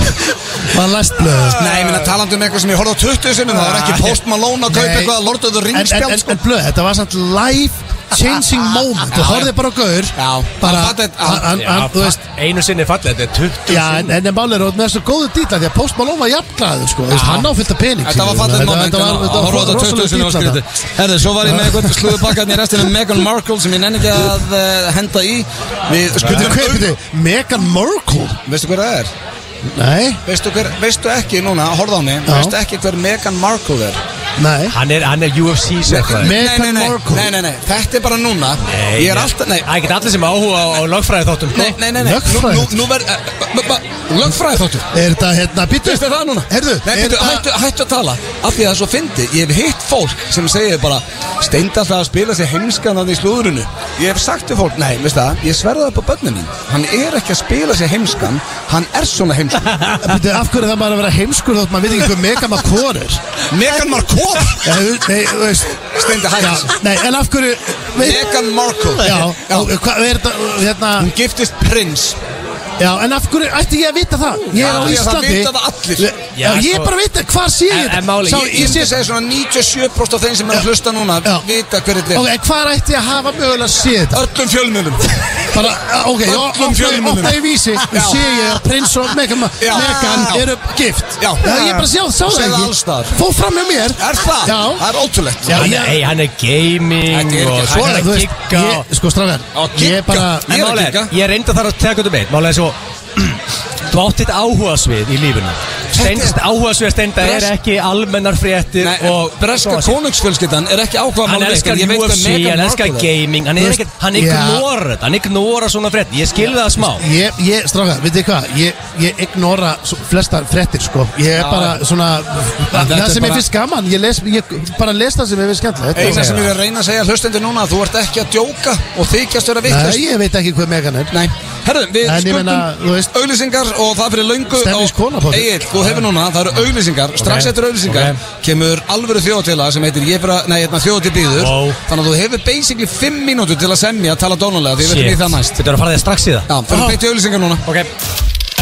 Speaker 2: Var læst blöð
Speaker 1: Nei, ég minna talandi um eitthvað sem ég horfði á 20 sem Það var ekki Post Malone að kaupa
Speaker 2: Nei.
Speaker 1: eitthvað Lord of the
Speaker 2: En,
Speaker 1: Rings
Speaker 2: en,
Speaker 1: spjald
Speaker 2: en,
Speaker 1: sko
Speaker 2: en blöð, þetta var samt live changing moment
Speaker 1: Já,
Speaker 2: Þú horfði bara á gaur
Speaker 1: Já,
Speaker 2: bara,
Speaker 1: hann fattaði-
Speaker 2: hann, hann,
Speaker 3: Já,
Speaker 2: hann, þú veist
Speaker 3: Einu sinni fallið Þetta er 20
Speaker 2: Já, en, en málega er hún með þessu góðu dýla Því að Post Malone var jafnglæður, sko Þú veist, Hann áfylgta pening
Speaker 1: Þetta var
Speaker 2: skilur,
Speaker 1: fallet
Speaker 2: þannig að
Speaker 1: moment
Speaker 2: Þetta var- þetta var
Speaker 1: Horfðu á þetta 20 sinni og
Speaker 2: rosalega dýla
Speaker 1: skrítið Herðu, svo var ég með eitthvað slúðupakkaðni í restinu Meghan Markle sem ég nenni ekki að eh, henda í Við
Speaker 2: Byrju,
Speaker 1: skutum
Speaker 2: hver, byrju, Meghan Markle
Speaker 1: Veistu hver það er?
Speaker 2: Nei,
Speaker 1: Veistu, hver, veistu ekki núna, horfðu á mig
Speaker 2: Já.
Speaker 1: Veistu ekki hver Meghan Markle er?
Speaker 2: nei
Speaker 3: Hann er, hann er UFC sérfræði
Speaker 2: Meghan
Speaker 1: nei, nei,
Speaker 2: Markle.
Speaker 1: nei, nei, nei, þetta er bara núna
Speaker 3: Nei,
Speaker 1: Ég er
Speaker 3: nei.
Speaker 1: alltaf, nei, Ah,
Speaker 3: Það er ekki allir sem áhuga á, á lögfræði þáttum
Speaker 1: nei, nei, nei, nei.
Speaker 2: Lögfræði.
Speaker 1: Nú, eh, nú, nú verð, lögfræði þáttu
Speaker 2: Er þetta, hérna, býttu
Speaker 1: Veistu það núna?
Speaker 2: Herðu,
Speaker 1: Nei,
Speaker 2: er
Speaker 1: byrju, hættu,
Speaker 2: þetta
Speaker 1: hættu að tala Af því að það er svo fyndi Ég hef hitt fólk sem segir bara Steindar það að spila sér heimskan hann í slúðrunu Ég hef sagt við fólk Nei, veistu það, ég sverða upp á börnum mín Hann er ekki að spila sér heimskan Hann er svona heimskan
Speaker 2: Býttu, af hverju það maður að vera heimskur Þótt maður veit ekki hver Meghan Markle er
Speaker 1: Megan Markle
Speaker 2: Já, þú- Nei, þú veist
Speaker 1: Steindar
Speaker 2: Já,
Speaker 1: hættu
Speaker 2: nei, en af hverju veit-
Speaker 1: Megan Markle
Speaker 2: Já, og hvað er þetta, hérna
Speaker 1: Hún giftist prins
Speaker 2: Já, en af hverju ætti ég að vita það?
Speaker 1: Já,
Speaker 2: Ég er á
Speaker 1: því að það
Speaker 2: Íslandi
Speaker 1: vita það allir.
Speaker 2: Já,
Speaker 3: Já,
Speaker 2: ég
Speaker 3: sko-
Speaker 2: bara veit það, hvað sé ég
Speaker 3: En-
Speaker 2: þetta?
Speaker 3: en máli-
Speaker 2: Sá,
Speaker 1: Ég, ég sé að segja svona 97% af þeim sem er að hlusta núna
Speaker 2: Já.
Speaker 1: Vita hver þetta
Speaker 2: Ok,
Speaker 1: er
Speaker 2: en hvað ætti ég að hafa mögulega að sé þetta?
Speaker 1: Öllum fjölmjölum
Speaker 2: Bara, ok, ég
Speaker 1: Öllum
Speaker 2: opnaði-
Speaker 1: fjölmiðlum.
Speaker 2: opnaði í vísi
Speaker 1: Já.
Speaker 2: og sé ég að prins og Megan,
Speaker 1: Já.
Speaker 2: Megan
Speaker 1: Já.
Speaker 2: eru gift
Speaker 1: Já.
Speaker 2: ég bara sjá, sá
Speaker 1: Þú
Speaker 2: það
Speaker 1: segir það
Speaker 2: ekki
Speaker 1: alls staðar.
Speaker 2: Fór fram hjá mér
Speaker 1: Er það?
Speaker 2: Já.
Speaker 1: Það er ótrúlegt
Speaker 2: Já,
Speaker 3: Hann
Speaker 2: ég-
Speaker 3: er, ei, hann er gaming
Speaker 1: Þetta er ekki
Speaker 3: og
Speaker 1: hægt.
Speaker 3: svo er
Speaker 2: Ég- þú
Speaker 3: það
Speaker 2: veist,
Speaker 3: gigga og-
Speaker 2: ég- Sko, strafgar,
Speaker 1: Á,
Speaker 2: ég
Speaker 1: gigga.
Speaker 2: bara
Speaker 1: Ég
Speaker 3: En
Speaker 1: er að
Speaker 3: málega
Speaker 1: kíkja.
Speaker 3: er, ég reyndi að þarf að teka þetta með Málega er svo Þú átt þitt áhugasvið í lífinu Steinst áhugasvið steinda er
Speaker 1: Brest-
Speaker 3: ekki almennar fréttir
Speaker 1: Nei, og
Speaker 3: og
Speaker 1: breska
Speaker 3: svona-
Speaker 1: konungsfjölskyldan er ekki áhuga
Speaker 3: Hann elskar UFC, hann elskar gaming Hann
Speaker 2: Þú
Speaker 3: er
Speaker 2: veist,
Speaker 3: ekkert, hann
Speaker 2: já.
Speaker 3: ignorar þetta Hann ignorar svona frétt Ég skil það smá
Speaker 2: Ég, ég stráka, veit þið hvað Ég, ég ignora svo- flestar frettir, sko Ég er bara svona
Speaker 1: þetta
Speaker 2: Það
Speaker 1: er
Speaker 2: sem ég
Speaker 1: bara-
Speaker 2: finnst gaman Ég, les, ég bara les það sem ég finnst
Speaker 1: Eina
Speaker 2: skemmtilegt
Speaker 1: sem ég vil reyna að segja hlustendur núna Þú ert ekki að djóka og þykjast vera
Speaker 2: Nei,
Speaker 1: vittlust
Speaker 2: ég veit ekki hvað megan er
Speaker 1: Nei, herðu, við
Speaker 2: En ég
Speaker 1: skuldum
Speaker 2: meina, þú veist-
Speaker 1: auglýsingar og það fyrir löngu
Speaker 2: Stefnis kona, Páll.
Speaker 1: Egil, þú hefur núna, það eru auglýsingar Strax
Speaker 3: Ok,
Speaker 1: eftir auglýsingar
Speaker 3: ok.
Speaker 1: kemur alvöru þjóðatila sem heitir ég fyrir, Nei, hérna þjóðatil býður
Speaker 3: Wow.
Speaker 1: Þannig að þú hefur basically 5 mínútur til að semja að tala dónulega Því við erum í það næst
Speaker 3: Þetta er að fara þig strax í það
Speaker 1: Já, fyrir beint í auglýsingar núna
Speaker 3: Ok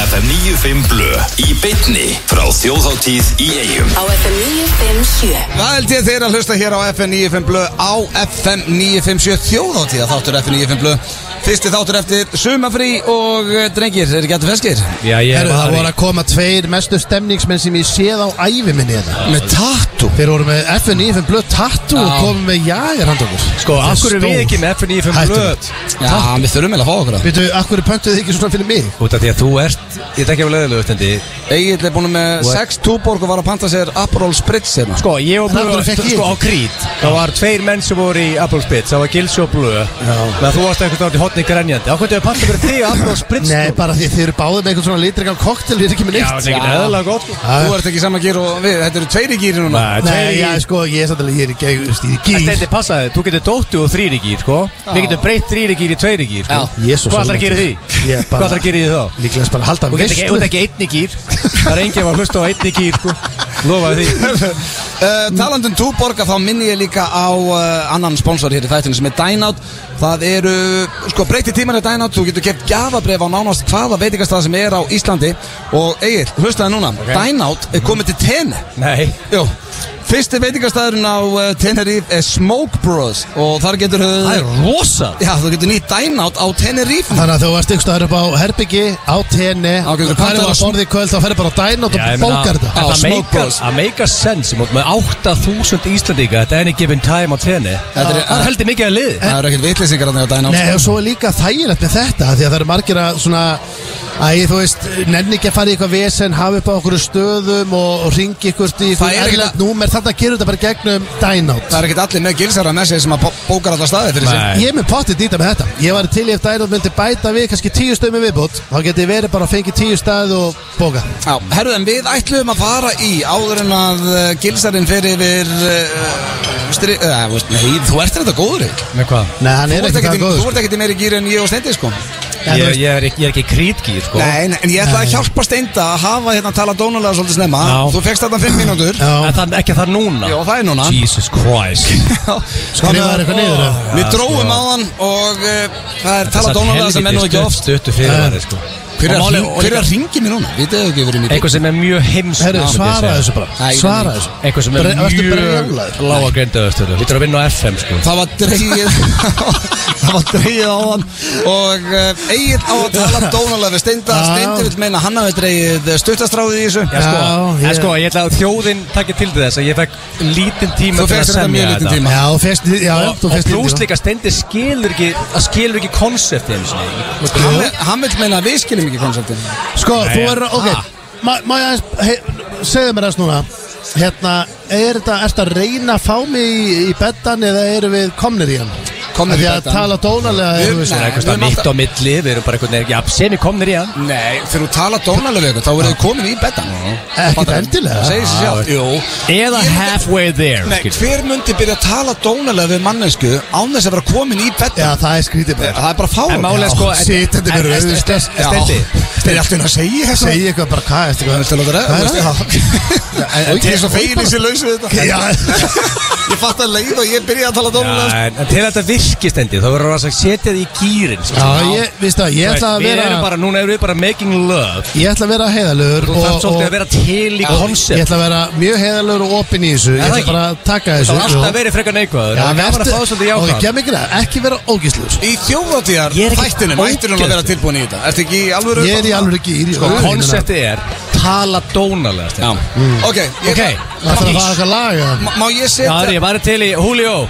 Speaker 4: FM 95 Blö í bytni frá þjóðháttíð í eigum
Speaker 5: á FM 957
Speaker 1: Það held ég þeir að hlusta hér á FM 95 Blö á FM 957 þjóðáttíða þáttur FM 95 Blö Fyrsti þáttur eftir sumafrí og eh, drengir, er ekki alltaf feskir?
Speaker 3: Já, ég
Speaker 2: Heru, Það
Speaker 3: var
Speaker 2: voru að koma tveir mestu stemningsmenn sem ég séð á ævi minni þetta
Speaker 1: Með tattu
Speaker 2: Þeir voru með FN9, FN Blöð Tattoo og
Speaker 1: Já.
Speaker 2: komu með jagar handókur
Speaker 3: Sko, af hverju við ekki með FNÍ5 blöð
Speaker 2: Hættulegt.
Speaker 1: Já, við þurfum eða að fá okkur það
Speaker 2: Veitu, af hverju pöntuð þið ekki svona fyrir mig?
Speaker 3: Út af því að þú ert Ég tek ekki að leðilega stendi
Speaker 1: Egil er búin með
Speaker 3: What?
Speaker 1: 6 túborg og var að panta sér Aperol Spritz hérna
Speaker 3: Sko, ég og
Speaker 2: En af
Speaker 3: Blöð
Speaker 2: hverju fekk ég
Speaker 3: Sko, á
Speaker 2: ekki?
Speaker 3: Krít Það var tveir menn sem voru í Apple Spitz Það var Gilsjó Blöð Meðan þú varst einhvern veginn hotni grenjandi Ákvæmt hefur pantað fyrir þig Apple Spitz
Speaker 2: Nei,
Speaker 3: sko?
Speaker 2: bara því þið eru báðið með eitthvað svona litringan koktel Við erum ekki með
Speaker 3: Já,
Speaker 2: neitt
Speaker 3: það er ekki
Speaker 1: Já.
Speaker 3: eðalega gott sko.
Speaker 2: Já,
Speaker 1: Þú ert ekki í sama gýr og við, þetta eru tveiri gýri núna
Speaker 2: Nei, já, sko, ég er samtalið, ég er ekki, ég er ekki
Speaker 3: Stendi, passa þig, þú getur dóttu og þrýri gýr, sko Við getum breytt þrýri gýr í tveiri gýr, sko
Speaker 1: Já.
Speaker 2: Jesús,
Speaker 3: Hvað ætlar að
Speaker 2: alveg.
Speaker 3: gera í því?
Speaker 2: Ég bara-
Speaker 3: Hvað ætlar að gera í því þá?
Speaker 2: Líklega bara að halda
Speaker 3: Þú getur ekki, þú
Speaker 2: veislu.
Speaker 3: getur ekki einni gýr Það er enginn að hlusta á einni gýr, sko Lofaði því
Speaker 1: Uh, talandum túborga þá minni ég líka á uh, annan sponsor hér í þættinu sem er Dynout Það eru, sko breyti tímar er Dynout Þú getur keft gafabref á nánast hvaða veitingastað sem er á Íslandi Og Egil, hlustaði núna Dynout er komið til tenni
Speaker 3: Nei
Speaker 1: Jó Fyrsti veitingastæðurinn á uh, Tenerife er Smoke Bros Og þar getur
Speaker 3: Það
Speaker 1: þau
Speaker 3: er rosa
Speaker 1: Já, þú getur nýtt Dynout á Tenerife
Speaker 2: Þannig að þú varst ykkur staðar upp á herbyggi, á tenni
Speaker 1: Á, getur þú
Speaker 2: Hvað er
Speaker 1: pantað
Speaker 2: það að
Speaker 1: að-
Speaker 2: borði í kvöld, þá ferði bara á dæn og
Speaker 3: Já, ég meina,
Speaker 2: bókar
Speaker 3: en
Speaker 2: þetta
Speaker 1: Á,
Speaker 3: Það
Speaker 1: Smoke
Speaker 3: meikar-
Speaker 1: Bros.
Speaker 3: það meikar sens Ég mót með 8000 Íslandíka Þetta er any given time á tenni
Speaker 1: Þetta er-
Speaker 3: Það er heldur mikið að liði
Speaker 1: Það eru ekkert vitlýsingar hann á Dynout
Speaker 2: Nei, og svo er líka þægilegt með þetta Því að það eru margir að svona Æ, þú veist, nenni ekki að fara í eitthvað vesen hafa upp á okkur stöðum og, og ringi ykkur í
Speaker 1: Það
Speaker 2: eitthvað
Speaker 1: er ekki
Speaker 2: erlend númer þannig að gera þetta bara í gegnum dænátt
Speaker 1: Það eru ekkert allir með gilsara með sig sem að bó- bókar alla staði fyrir sig
Speaker 3: Nei.
Speaker 2: Ég er með pottið dýta með þetta Ég var til í ef dænátt myndi bæta við kannski tíu stöðum í viðbútt þá geti ég verið bara að fengi tíu stað og bóka
Speaker 1: Já, herru, en við ætlum að fara í áður en að uh, gilsarinn fer yfir uh, stri, uh, veist, Nei, þú ert þetta góður Egill.
Speaker 3: Með hvað?
Speaker 2: Nei, hann
Speaker 1: Þú
Speaker 2: er
Speaker 1: ert
Speaker 2: ekki
Speaker 1: ekkert
Speaker 2: það
Speaker 1: í-
Speaker 2: góður
Speaker 1: Þú ert ekkert í meiri gýr en ég og Steindi sko
Speaker 2: Já, þú
Speaker 3: Ég,
Speaker 2: veist-
Speaker 3: ég, er, ekki- ég er ekki krítgýr sko
Speaker 1: Nei, nei, en ég ætla að hjálpa Steinda að hafa hérna að tala dónulega svolítið snemma
Speaker 3: Já.
Speaker 1: Þú fekst þetta 5 mínútur
Speaker 2: Já.
Speaker 3: En það, ekki það núna
Speaker 1: Jó, það er núna.
Speaker 3: Jesus Christ
Speaker 2: Skrifaðir eitthvað niður, eða?
Speaker 1: Við
Speaker 3: Já,
Speaker 1: dróum
Speaker 3: sko.
Speaker 1: á hann og uh, það er
Speaker 3: Þessar
Speaker 1: tala dónulega sem er nú ekki
Speaker 3: helviti
Speaker 1: oft
Speaker 3: stutt- Stuttu fyrir það sko
Speaker 1: Hver er að
Speaker 3: Og máli-
Speaker 1: hring-
Speaker 3: og
Speaker 1: hver er
Speaker 3: líka-
Speaker 1: að ringi mér núna? Við tegum ekki verið mikið
Speaker 3: Einhver sem er mjög heims
Speaker 2: Herru,
Speaker 3: myndi ég
Speaker 2: svara
Speaker 3: segja.
Speaker 2: þessu bara
Speaker 1: Æ, ég
Speaker 2: Svara
Speaker 1: veit
Speaker 2: þessu
Speaker 3: Einhver sem er
Speaker 2: Bre- ertu
Speaker 3: mjög
Speaker 2: brjálaður?
Speaker 3: lága grindaðastölu Lítur að vinna á FM sko
Speaker 1: Það var dreigið Það var dreigið á hann Og uh, eigið á að tala dónalega við Steinda
Speaker 2: Já.
Speaker 1: Steindi vil meina að hann hafi dreigið stuttastráðið í þessu
Speaker 3: Já, sko,
Speaker 2: Já,
Speaker 3: en
Speaker 2: ég-
Speaker 3: sko, ég ætla að þjóðin takki til þess að ég fekk lítinn
Speaker 1: Þú
Speaker 3: tíma til að
Speaker 1: fegst þetta
Speaker 3: semja
Speaker 1: mjög lítinn tíma
Speaker 2: Já, þú fegst- já,
Speaker 3: Og,
Speaker 2: þú
Speaker 3: og
Speaker 2: fegst
Speaker 3: pluss
Speaker 2: lítið,
Speaker 3: líka stendi skilur ekki að skilur ekki konseptið einu sinni
Speaker 1: Hann, hann vil meina að við skiljum ekki konceptin
Speaker 2: Sko,
Speaker 3: Nei,
Speaker 2: þú
Speaker 3: ja.
Speaker 2: er, ok
Speaker 3: Ah.
Speaker 2: Má má ég aðeins, he- segðu mér aðeins núna Hérna, er þetta, ertu að reyna að fá mig í, í bettan eða eru við komnir í hann?
Speaker 1: Komnir í
Speaker 2: Af því að
Speaker 1: beddann.
Speaker 2: tala dónalega
Speaker 1: Við-
Speaker 2: þú veist.
Speaker 1: Nei,
Speaker 3: Það er
Speaker 1: við
Speaker 3: eitthvað
Speaker 1: erum
Speaker 3: mitt
Speaker 1: alltaf-
Speaker 3: á milli, við erum bara einhvern veginn Já, semi komnir í hann
Speaker 1: Nei, þegar þú tala dónalega við ykkur Þá verður þið komin í betan
Speaker 2: Ekkert endilega.
Speaker 1: Segir sér sjálf Jú
Speaker 3: Eða halfway there
Speaker 1: Nei,
Speaker 3: skilur.
Speaker 1: hver myndi byrja að tala dónalega við mannesku Án þess að vera komin í
Speaker 2: Já,
Speaker 1: betan
Speaker 2: það er skrítið bara
Speaker 1: Það er bara fáum
Speaker 3: En málega sko en-
Speaker 2: sitjandi
Speaker 3: en-
Speaker 2: fyrir
Speaker 3: en-
Speaker 2: auðvitað.
Speaker 3: en- en- Steindi,
Speaker 1: Steindi alltaf að segja þetta
Speaker 2: Segji eitthvað bara, hvað, eftir
Speaker 1: Það er til að
Speaker 2: hvað
Speaker 1: það
Speaker 2: það?
Speaker 1: er Ég er svo fegin í sér laus við þetta
Speaker 2: Já.
Speaker 1: Ég fatt að leið og ég byrja að tala
Speaker 3: Já,
Speaker 1: dónalega
Speaker 3: en en til að þetta virki stendi þá verður það að setja þið í gýrin
Speaker 2: Já, ég, víst það, ég ætla að
Speaker 3: Við erum
Speaker 2: vera
Speaker 3: bara, núna erum við bara making love
Speaker 2: Ég ætla að vera heiðalögur
Speaker 3: Þú þarf svolítið að vera til í
Speaker 2: Ég
Speaker 3: konsept
Speaker 2: ætla að vera mjög heiðalögur og opinn í þessu Ég
Speaker 3: Er það
Speaker 2: ætla
Speaker 3: ekki?
Speaker 2: bara að taka þessu
Speaker 3: Það var
Speaker 2: jú.
Speaker 3: alltaf verið frekar neikvæður
Speaker 2: Já,
Speaker 3: Það var að
Speaker 2: vertu-
Speaker 3: fá svolítið
Speaker 2: Ok,
Speaker 3: jákvæð
Speaker 2: gerð mig grein, Ekki vera ógísluður
Speaker 1: Í þjóðatíðar
Speaker 3: Ég er ekki
Speaker 1: þættinum ættir hún að vera
Speaker 3: ógeðslegur.
Speaker 1: tilbúin í þetta Ertu ekki í alvöru?
Speaker 2: Ég er í alveg ekki í
Speaker 3: Sko, konseptið er tala dónalega
Speaker 1: Já
Speaker 3: Steindi.
Speaker 1: Mm. Ok, ég-
Speaker 3: Ok,
Speaker 2: Það þarf að fara eitthvað laga
Speaker 1: Má- Má ég
Speaker 3: Já,
Speaker 1: setja
Speaker 3: ég var til í Julio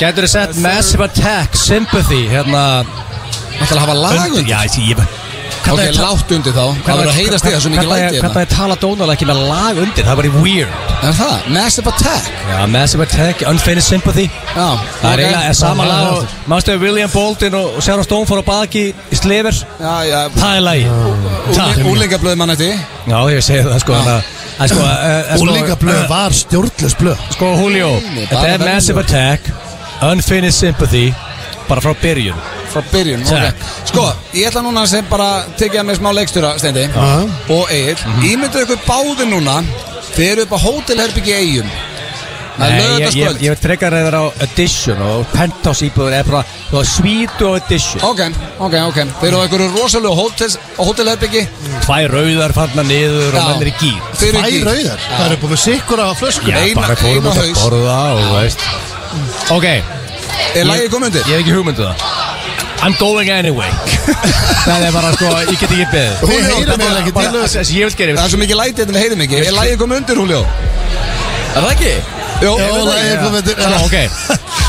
Speaker 3: Gætur þið sett Massive Attack, Sympathy Hérna
Speaker 1: Það ætla að hafa lag
Speaker 3: undir-
Speaker 1: undir
Speaker 3: Já, ég ég- Hvað
Speaker 1: Ok,
Speaker 3: það er ta-
Speaker 1: látt undir þá Það verður að heyrast þig að svo mikið
Speaker 3: hvað-
Speaker 1: læti
Speaker 3: hvað- Hvað
Speaker 1: hérna
Speaker 3: það er tala dónalega ekki með lag undir Það var í weird
Speaker 1: Er það? Massive Attack
Speaker 3: Já, Massive Attack, Unfinished Sympathy
Speaker 1: Já
Speaker 3: Það er
Speaker 1: ok.
Speaker 3: eiginlega er sama
Speaker 2: Já,
Speaker 3: lag
Speaker 2: það er
Speaker 3: og Mástu að William Bolton og og Sharon Stone fór á baki í Sliver
Speaker 1: Já, já
Speaker 3: Það er lagi Það-
Speaker 1: Úlingablöð mann eftir
Speaker 3: Já, ég segi það
Speaker 1: Ah.
Speaker 3: sko þannig að- að sko, eh, eh, sko,
Speaker 2: Úlinga blöð
Speaker 3: eh,
Speaker 2: var stjórnlös blöð
Speaker 3: Sko Julio,
Speaker 1: Nei,
Speaker 3: þetta
Speaker 1: bara
Speaker 3: er Massive
Speaker 1: venjulegur.
Speaker 3: Attack Unfinished Sympathy Bara frá byrjun
Speaker 1: Frá byrjun ok.
Speaker 3: Takk.
Speaker 1: Sko, ég ætla núna sem bara Tekið að mig smá leikstjóra, Steindi
Speaker 2: Já.
Speaker 1: Og Egil
Speaker 3: Mhm.
Speaker 1: Ímyndu ykkur báði núna Þið eru upp á hótelherbyggi eigum Það er
Speaker 3: Nei, ég, ég,
Speaker 1: lögðarskvöld
Speaker 3: ég veit frekar að það er á Edition og Penthouse íbúður er bara þú var Sweet og Edition
Speaker 1: Ok, ok, ok Þið eru á einhverju rosalegu hótels, hótelherbyggi
Speaker 3: Tvær rauðar fannar niður og
Speaker 1: Já.
Speaker 3: menn er í gýr
Speaker 1: Þið eru
Speaker 2: Æ,
Speaker 1: í gír.
Speaker 2: rauðar Það eru búið sikkur á flösku
Speaker 3: Já,
Speaker 1: Eina-
Speaker 3: bara fórum
Speaker 1: eina
Speaker 3: út að
Speaker 1: haus. Ah.
Speaker 3: borða og veist Ok,
Speaker 1: Er lagið komið undir?
Speaker 3: ég hef ekki hugmyndu það I'm going anyway Það er bara sko, ég get ekki beðið
Speaker 2: Við heyrum
Speaker 3: Bara-
Speaker 2: eiginlega ekki
Speaker 3: bara-
Speaker 2: til þess.
Speaker 3: þess- Ég vil gera
Speaker 1: Það er svo mikið hérna lætið þetta við heyrum ekki Er lagið komið undir, Húljó?
Speaker 3: Er það ekki?
Speaker 1: Jó,
Speaker 2: Jó, lagið er komið undir.
Speaker 3: Já, Ok,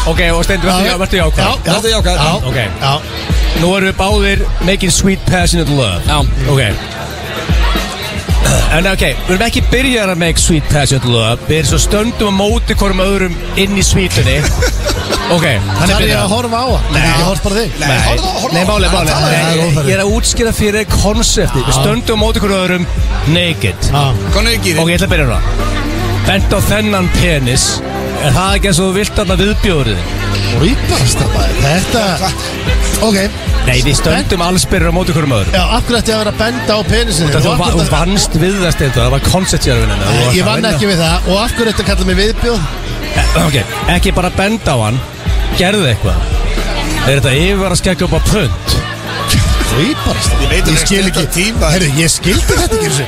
Speaker 3: ok, og Steindi, verður
Speaker 2: Já.
Speaker 3: já- verður jákvæð
Speaker 2: Já.
Speaker 1: Þetta er jákvæð
Speaker 2: Já,
Speaker 3: Ok.
Speaker 2: já
Speaker 3: Nú erum við báðir making sweet passionate love
Speaker 1: Já.
Speaker 3: Ok En ok, við erum ekki byrjar að make sweet passionate love Við erum svo stöndum að móti hvorum öðrum inn í sweetunni Ok, hann er
Speaker 2: Það er ég að
Speaker 3: byrjar
Speaker 2: horfa á hann Nei, ég horf bara á þig
Speaker 3: Nei,
Speaker 1: horfðu á- horfðu
Speaker 3: nei,
Speaker 1: á-
Speaker 3: máli,
Speaker 1: hann er að
Speaker 3: máli
Speaker 1: tala
Speaker 2: við þig. Það er
Speaker 3: Nei,
Speaker 2: óþarfi.
Speaker 3: Ég er að útskýra fyrir konsepti Við stöndum á móti hverju öðrum naked
Speaker 2: Já.
Speaker 1: Konur í gíri
Speaker 3: Ok, ég ætla að byrja núna Bent á þennan penis Er það ekki eins og þú vilt að viðbjóðrið
Speaker 2: Rípast það bara Þetta Ok
Speaker 3: Nei, við stöndum alls byrjar á móti hverjum öðrum
Speaker 2: Já, af hverju ætti ég að vera að benda á penisinni
Speaker 3: Þetta þú va- þú vannst við það stendur, það var konceptjörfinina
Speaker 2: Ég vann ekki við það Og af hverju ætti að kalla mig viðbjóð
Speaker 3: Eh, Ok, ekki bara benda á hann Gerðu eitthvað Er þetta yfir að skekka upp á punt?
Speaker 2: Rípast það
Speaker 1: Ég veit að
Speaker 2: Ég skil
Speaker 1: þetta
Speaker 2: ekki
Speaker 1: tíma.
Speaker 2: Herru, ég skildi þetta ekki þessu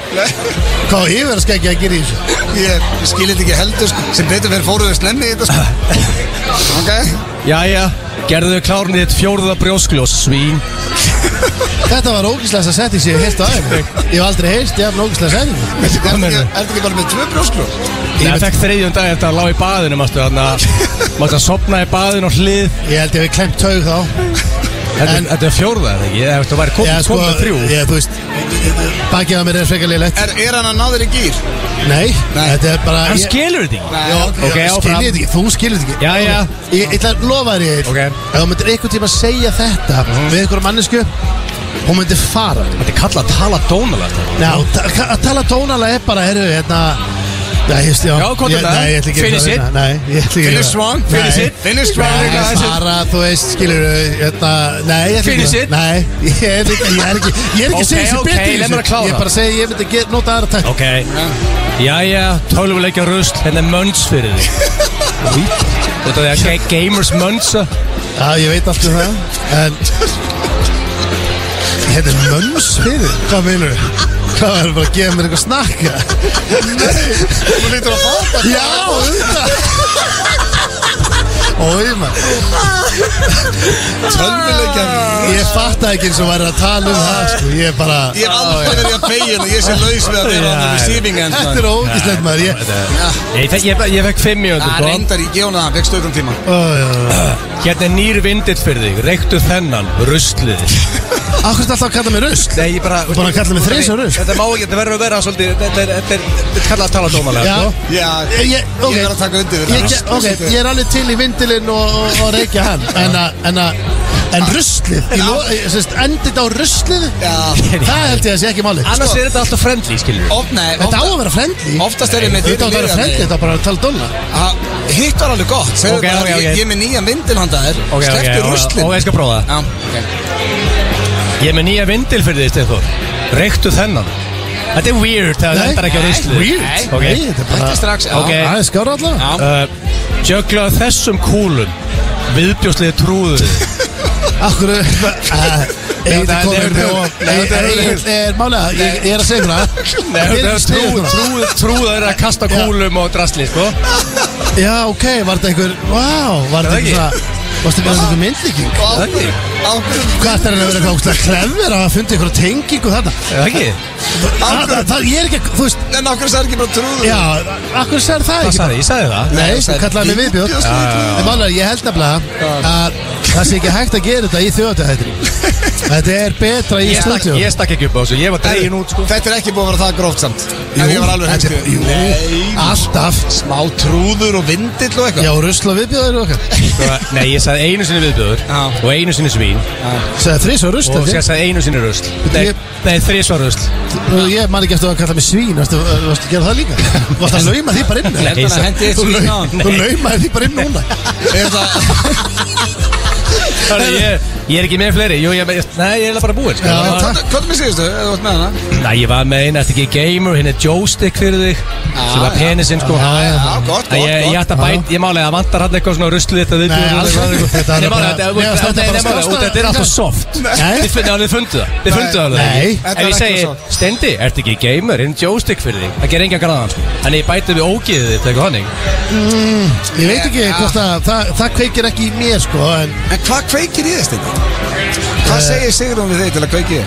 Speaker 2: Hvað á ég verið að skegja að gera í þessu
Speaker 1: Ég skil þetta ekki heldur sko. Sem betur fyrir fóruðu snemmi í þetta sko. Ok
Speaker 3: Jæja, gerðu þau klárnið þitt fjórða brjóskljós Svín
Speaker 2: Þetta var ógíslega setting sem ég heilt á aðeins Ég hef aldrei heilt, ég hef ógíslega setting
Speaker 1: Er
Speaker 3: Hvað
Speaker 1: þetta
Speaker 3: meinarðu?
Speaker 1: ekki- er þetta ekki bara með tvö brjóskló?
Speaker 3: Nei, ég fekk þriðjum dag eftir að lág í baðinu Mástu að, mástu að sopna í baðinu og hlið
Speaker 2: Ég held ég við klemt taug þá
Speaker 3: Þetta
Speaker 2: En-
Speaker 3: þetta er fjórða, er það ekki? Ég hefði væri
Speaker 2: Já,
Speaker 3: komið
Speaker 2: sko,
Speaker 3: sko, þrjú
Speaker 2: ég, þú veist Bakið á mér er frekar lélegt
Speaker 1: Er, er hann að ná þér í gýr?
Speaker 2: Nei, þetta er bara
Speaker 3: Hann
Speaker 2: ég-
Speaker 3: skilur þetta ekki
Speaker 2: Já,
Speaker 1: ok.
Speaker 3: Ok,
Speaker 2: okay,
Speaker 3: áfram.
Speaker 2: skiljið þetta ekki, þú skiljið þetta ekki
Speaker 3: Já, já.
Speaker 2: Ég, ég ætla að lofa þér Egill.
Speaker 3: Ok. Mhm.
Speaker 2: Ef þú myndir einhvern tíma segja þetta Við einhverjum mannesku Hún myndir fara
Speaker 3: Þetta er kallað sko. að tala dónalegt
Speaker 2: Já, ta- ka- að tala tónala er bara, herru, hérna Já, ég veist, já
Speaker 3: Já, komdu
Speaker 2: Ég-
Speaker 3: þetta.
Speaker 2: Nei, ég ætla ekki að
Speaker 3: Finish
Speaker 2: gera það. Nei, ég ætla ekki að
Speaker 1: Finish
Speaker 2: gera það.
Speaker 1: strong, finish
Speaker 2: Nei.
Speaker 1: it, finish strong
Speaker 2: Nei,
Speaker 1: guys.
Speaker 2: bara, þú veist, skilur hérna, Nei, ég ætla
Speaker 3: Finish
Speaker 2: ekki
Speaker 3: it.
Speaker 2: Nei, ég er ekki Ég er ekki, ég er ekki að
Speaker 3: Ok,
Speaker 2: segja þessi
Speaker 3: ok,
Speaker 2: betur í
Speaker 3: leið mér að
Speaker 2: þessu.
Speaker 3: klára.
Speaker 2: Ég er bara að segja, ég myndi gera- nota aðra takt
Speaker 3: Ok, jæja, tölvuleikja rusl, hérna er mönns fyrir þig Þú veit að það er gamers mönnsa
Speaker 2: Já, ég veit allt um það En Þetta er mönns fyrir Hvað meinur þú? Hvað er bara að gefa mér eitthvað snakka?
Speaker 1: Þú lítur að fáta
Speaker 2: Já, auðvitað Ói, maður
Speaker 1: Tölvuleikja
Speaker 2: Ég fatta ekki eins og væri að tala um það sko. Ég er bara
Speaker 1: Ég hef aldrei verið að fegin og ég sé laus við að vera á
Speaker 3: Já,
Speaker 1: það receiving end sko.
Speaker 2: Þetta er ógíslegt maður Ég,
Speaker 3: Ég, ég, ég, ég fekk fimm mjöndu,
Speaker 1: Það
Speaker 3: sko
Speaker 1: reyndar í geuna það, vekst auðvitað tíma
Speaker 2: ó, já, já.
Speaker 3: Hérna er nýr vindill fyrir þig, reyktu þennan, ruslið
Speaker 2: Akkur er alltaf að kalla mér rusl
Speaker 3: Nei, ég bara
Speaker 2: Þú bara kallar mig þrisvar rusl?
Speaker 3: Þetta má ekki, þetta verður að vera svolítið Þetta er, þetta er, þetta er kallað að tala dómalega,
Speaker 2: Já
Speaker 3: sko
Speaker 1: Já,
Speaker 2: Ég-
Speaker 1: ég
Speaker 2: ég- ok.
Speaker 1: er að taka undir
Speaker 2: Ég,
Speaker 1: þetta
Speaker 2: ge- ok, ég er alveg til í vindilinn og, og, og reykja hann En að, en að, en ruslið Ég lo- ég- sem sagt, Endið á ruslið
Speaker 1: Já,
Speaker 2: Það held ég að sé ekki máli
Speaker 3: Annars er þetta alltaf friendly, skilur við
Speaker 1: of, nei,
Speaker 2: Þetta á
Speaker 1: ofta,
Speaker 2: að vera friendly
Speaker 1: oftast er ég með
Speaker 2: Þetta á að vera friendly, þetta á bara að tala dóla
Speaker 1: friendly Hitt var alveg gott, segðu
Speaker 3: Ok,
Speaker 1: okay,
Speaker 3: ok,
Speaker 1: bara, ég,
Speaker 3: ok.
Speaker 1: ég er með nýjan vindil handa þér
Speaker 3: Ok, ok,
Speaker 1: Slepptu
Speaker 3: ok,
Speaker 1: ruslin
Speaker 3: ok, ég skal prófa það
Speaker 1: Já, ok
Speaker 3: Ég er með nýja vindil fyrir þig, Steinþór Reyktu þennan Þetta er weird, það
Speaker 2: Nei,
Speaker 3: endar ekki á
Speaker 1: nei,
Speaker 3: ruslið
Speaker 1: weird.
Speaker 3: Ok.
Speaker 2: Nei, þetta er
Speaker 1: Þetta
Speaker 2: bara
Speaker 1: er strax, já
Speaker 3: Ok.
Speaker 1: okay.
Speaker 2: Það er skára allavega
Speaker 1: Já,
Speaker 3: uh, Jökla þessum kúlum Viðbjóðslið trúðu þig.
Speaker 2: Akkur Egil
Speaker 3: Nei,
Speaker 2: Eh, er Eh, komin
Speaker 3: nei,
Speaker 2: með
Speaker 3: nei, nei, nei.
Speaker 2: Egil er málega Ég ég er að segja
Speaker 3: Nei,
Speaker 2: það
Speaker 3: þetta er Trúðu trúðu- Trúðu þeir að kasta kúlum og drasli sko.
Speaker 2: Já, ok, var þetta einhver Vá, var þetta
Speaker 3: Það ekki?
Speaker 2: einhver svona- Varstu ekki að þetta myndlíking
Speaker 1: og á-
Speaker 3: Þannig.
Speaker 1: á hverju-
Speaker 2: Hvað þetta er að vera eitthvað ógstlega klemmir að hafa fundið einhverja tengingu þarna
Speaker 3: Það ekki?
Speaker 2: Það- það- Það ég er ekki, að- þú veist
Speaker 1: En okkur sagði ekki bara trúðu
Speaker 2: Já, akkur sér það
Speaker 3: Hvað
Speaker 2: ekki
Speaker 3: sagði? Ég sagði það
Speaker 2: Nei,
Speaker 1: Nei,
Speaker 2: þú
Speaker 1: sagði-
Speaker 2: kallaði mig viðbjóð
Speaker 1: Viðbjóð, sagði þú.
Speaker 2: En málega, ég held nefnilega að það sé ekki hægt að gera þetta í þjóðatættri Þetta er betra í
Speaker 3: Ég stakk,
Speaker 2: stúdíu
Speaker 3: ég stakk ekki upp á þessu, ég var dregin út sko
Speaker 1: Þetta er ekki búið að vera það gróft samt Ef ég var alveg
Speaker 2: þetta er-
Speaker 1: hreinskilinn.
Speaker 2: jú,
Speaker 1: Nei,
Speaker 2: Alltaf
Speaker 1: smá trúður og vindill og eitthvað
Speaker 2: Já, rusl og viðbjóð eru okkar
Speaker 3: Sko, Nei, ég sagði einu sinni viðbjóður
Speaker 1: Já.
Speaker 3: og einu sinni svín
Speaker 2: Sæði þrís og rusl
Speaker 3: og
Speaker 2: ekki?
Speaker 3: sér sagði einu sinni rusl Nei,
Speaker 2: Ég-
Speaker 3: nei þrísvar rusl
Speaker 2: Og Ég man ekki eftir að kalla mig svín Varstu varstu að gera það líka? Varstu að lauma því bara inn
Speaker 3: Nei,
Speaker 1: Þannig að hendi eitt
Speaker 2: Þú
Speaker 1: svo í
Speaker 2: lau-
Speaker 1: náðan
Speaker 2: þú laumaði því bara inn núna
Speaker 1: Er það
Speaker 3: Hörðu, ég, ég er ekki með fleiri, jú, ég, ég, nei, ég er bara búinn sko.
Speaker 2: Já,
Speaker 3: Það var-
Speaker 2: takk.
Speaker 1: Hvað er með síðustu? Ef þú ert með hana
Speaker 3: Nei, ég var með eina, þetta ekki gamer, hérna er joystick fyrir þig sem var
Speaker 1: já.
Speaker 3: penisinn sko
Speaker 2: Ah, Já, já,
Speaker 1: Já, gott,
Speaker 3: Ég, ég, ég
Speaker 1: gott,
Speaker 3: ætti að bæta, ég málega, það vantar hann eitthvað svona ruslið þetta við
Speaker 2: Nei, alls ekki. Þetta er
Speaker 3: Nei,
Speaker 2: bara-
Speaker 3: málega, þetta
Speaker 2: Mér fannst þetta
Speaker 3: nei,
Speaker 2: bara
Speaker 3: nei, málega,
Speaker 2: skásta-
Speaker 3: út, þetta er alltaf soft
Speaker 2: Nei.
Speaker 3: Þið finn- já, þið funduð það, þið funduð það alveg
Speaker 2: Nei.
Speaker 3: ekki.
Speaker 1: Þetta
Speaker 3: Ef
Speaker 1: er
Speaker 3: ég
Speaker 1: ekki
Speaker 3: segi,
Speaker 1: soft.
Speaker 3: Stendi, ertu ekki gamer, hérna er joystick fyrir þig Það ger engan græðan, sko Þannig ég bæti við ógiðið þitt, eitthvað hannig
Speaker 2: Ég veit ekki hvort að það, það kveikir ekki í mér sko En
Speaker 1: gott. En hvað kveikir í þess þetta? Hvað segir Sigrun við þeir til að kveiki þér?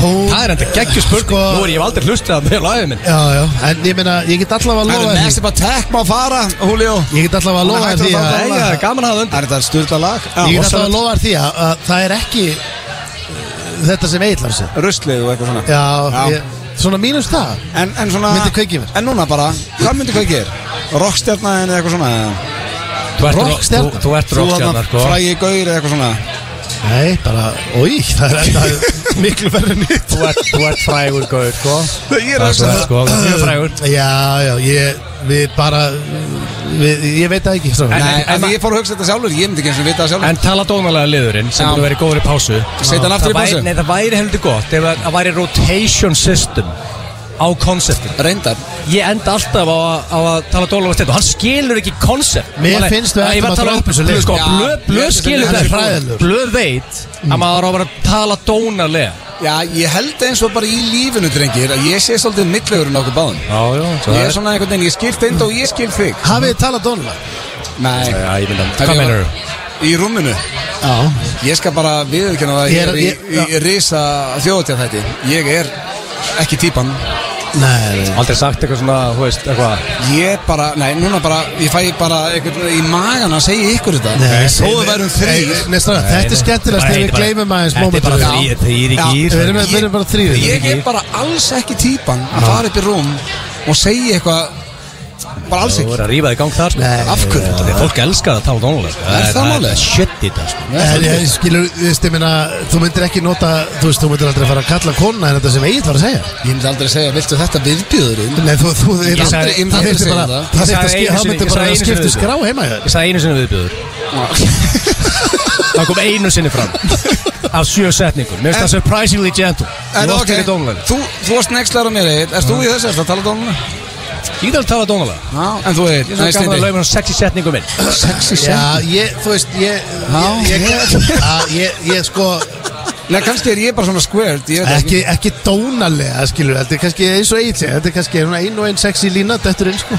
Speaker 2: hún
Speaker 3: Það er enda geggjur spurning,
Speaker 2: Sko-
Speaker 3: nú er ég hef aldrei hlustið að með lagið minn
Speaker 2: Já, já En ég meina, ég get allavega að
Speaker 1: Það
Speaker 2: lofa
Speaker 1: er
Speaker 2: því
Speaker 1: næstum að tekk má fara, Julio
Speaker 2: Ég get allavega að
Speaker 1: Hún er
Speaker 2: lofa
Speaker 1: hættur
Speaker 2: því
Speaker 1: að
Speaker 2: að
Speaker 1: fá
Speaker 3: Nei,
Speaker 1: já,
Speaker 3: já, gaman að hafa undir
Speaker 1: Er þetta styrta lag?
Speaker 2: Ég get
Speaker 1: Rosa-
Speaker 2: allavega að lofa því að að það er ekki uh, Þetta sem eiginlega sér
Speaker 1: Ruslið og eitthvað svona
Speaker 2: Já,
Speaker 1: Já.
Speaker 2: ég, svona mínus það
Speaker 1: En, en svona
Speaker 2: Myndi kveikja í mér.
Speaker 1: En núna bara, hvað myndi kveikið þér? Rockstjarnaðin eða eitthvað svona
Speaker 3: Þú ert
Speaker 2: Rockstjarna.
Speaker 3: ro- Þú þú ert rockstjarnar, sko
Speaker 1: Frægi gaur eða eitthvað svona
Speaker 2: Nei, bara, oi, það er enda miklu verður nýtt
Speaker 3: Þú ert- Þú ert frægur, gaur, sko
Speaker 1: Ég er sko, að
Speaker 3: Það er
Speaker 1: hugsa
Speaker 3: svo, sko, þú ert mjög frægur
Speaker 2: Já, já, ég, við bara við, ég veit það ekki strákar.
Speaker 3: En-
Speaker 1: Nei, en
Speaker 3: ma-
Speaker 1: ég fór að hugsa þetta sjálfur, ég myndi ekki eins og vita það sjálfur
Speaker 3: En tala dónalega liðurinn sem
Speaker 1: Já.
Speaker 3: búin að vera í góðri pásu
Speaker 1: Setja hann aftur í
Speaker 3: Það væri-
Speaker 1: pásu.
Speaker 3: Nei, það væri heldur gott ef að- það væri rotation system á konceptinu
Speaker 1: Reyndar
Speaker 3: Ég enda alltaf á, að- á að tala dónalega stefnu Hann skilur ekki koncept
Speaker 2: Mér finnst við
Speaker 3: Ég
Speaker 2: ættum
Speaker 3: var
Speaker 2: að
Speaker 3: að tala
Speaker 2: droppa
Speaker 3: upp
Speaker 2: þessu lið.
Speaker 3: Blöð sko,
Speaker 1: Já,
Speaker 3: blöð,
Speaker 1: mér
Speaker 3: blöð
Speaker 1: finnst
Speaker 3: skilur
Speaker 1: þetta
Speaker 2: lið
Speaker 3: þetta
Speaker 2: hræðilegur.
Speaker 3: Blöð veit að maður á að vera að tala dónalega
Speaker 1: Já, ég held eins og bara í lífinu, drengir að ég sé svolítið millögurinn okkur báðum
Speaker 3: Já, já
Speaker 1: Ég er svona einhvern veginn, ég skil þeind og ég skil þig
Speaker 2: Hafið þið talað dónulega?
Speaker 1: Nei
Speaker 3: Já, ég myndi að-
Speaker 1: Ef ég
Speaker 3: Hvað
Speaker 1: var-
Speaker 3: meinarðu?
Speaker 1: Í rúminu
Speaker 2: Já
Speaker 1: Ég skal bara viðurkenna það
Speaker 2: Ég
Speaker 1: Ég
Speaker 2: er-
Speaker 1: er í,
Speaker 2: ég-
Speaker 1: í, í risa þjóðutjað Ég er ekki típan
Speaker 2: Nei, nei.
Speaker 3: Aldrei sagt eitthvað svona, hú veist, eitthvað
Speaker 1: Ég bara, nei, núna bara Ég fæ bara einhvern í magan að segja ykkur þetta
Speaker 2: Nei,
Speaker 1: Þó þau værum þrýr
Speaker 2: Nei, Nei, strákar, þetta er skemmtilegast þegar við gleymum aðeins
Speaker 3: Þetta er
Speaker 2: mómentinu
Speaker 3: bara
Speaker 1: Já.
Speaker 3: þrýr, þrýr
Speaker 1: Já.
Speaker 3: ekki ír
Speaker 2: Við erum- við erum bara þrýr
Speaker 1: Ég er bara alls ekki típan að fara upp í rúm og segja eitthvað bara alls
Speaker 3: Þú
Speaker 1: ekki
Speaker 3: voru að rífa þig í gang þar sko.
Speaker 2: Nei.
Speaker 1: Af hverju?
Speaker 3: Þetta er fólk elskar að tala dónalega sko.
Speaker 1: Er það málið?
Speaker 3: Shit í dag sko.
Speaker 2: En Eh, ég skilur, þú veist, ég meina, þú myndir ekki nota, þú veist, þú myndir aldrei fara að kalla konuna en þetta sem Egil var að segja.
Speaker 1: Ég myndi aldrei segja, viltu þetta viðbjöðurinn?
Speaker 2: Nei, þú, þú,
Speaker 1: Ég
Speaker 2: það
Speaker 1: sagði- ég myndi aldrei
Speaker 2: þurfti
Speaker 1: segja
Speaker 2: bara,
Speaker 1: það.
Speaker 2: það
Speaker 3: Ég
Speaker 2: þurfti að
Speaker 3: sagði
Speaker 2: skipta,
Speaker 3: einu
Speaker 2: það
Speaker 3: sinni-
Speaker 2: myndi
Speaker 3: ég
Speaker 2: bara
Speaker 3: sagði
Speaker 2: að
Speaker 3: einu sinni
Speaker 2: skipta
Speaker 3: við
Speaker 2: skrá heima hjá þér.
Speaker 3: Ég sagði einu sinni viðbjöður Það kom einu sinni fram Af sjö setningur Mér finnst það surprisingly gentle
Speaker 1: En
Speaker 3: Þú varst
Speaker 1: ok,
Speaker 3: ekki dónalega
Speaker 1: þú, þú varst nexlar á mér Egil Erst þú í þessu erst að tala dónuna?
Speaker 3: Ég get alveg að tala dónalega
Speaker 1: Já, en þú Egil,
Speaker 3: Ég er
Speaker 1: nei,
Speaker 3: svo gaman að
Speaker 1: Steindi
Speaker 3: lauma hann sexy setningum minn
Speaker 1: Sexy
Speaker 2: Já,
Speaker 1: sem
Speaker 2: ég, þú veist, ég,
Speaker 1: Já.
Speaker 2: ég, ég, að, ég, ég, sko,
Speaker 1: Nei, kannski er ég bara svona squared Ég veit ekki
Speaker 2: ekki, ekki dónalega, skilur, þetta er kannski eins og Egil segja, þetta er kannski svona ein og ein sexy lína, þetta er eins, sko.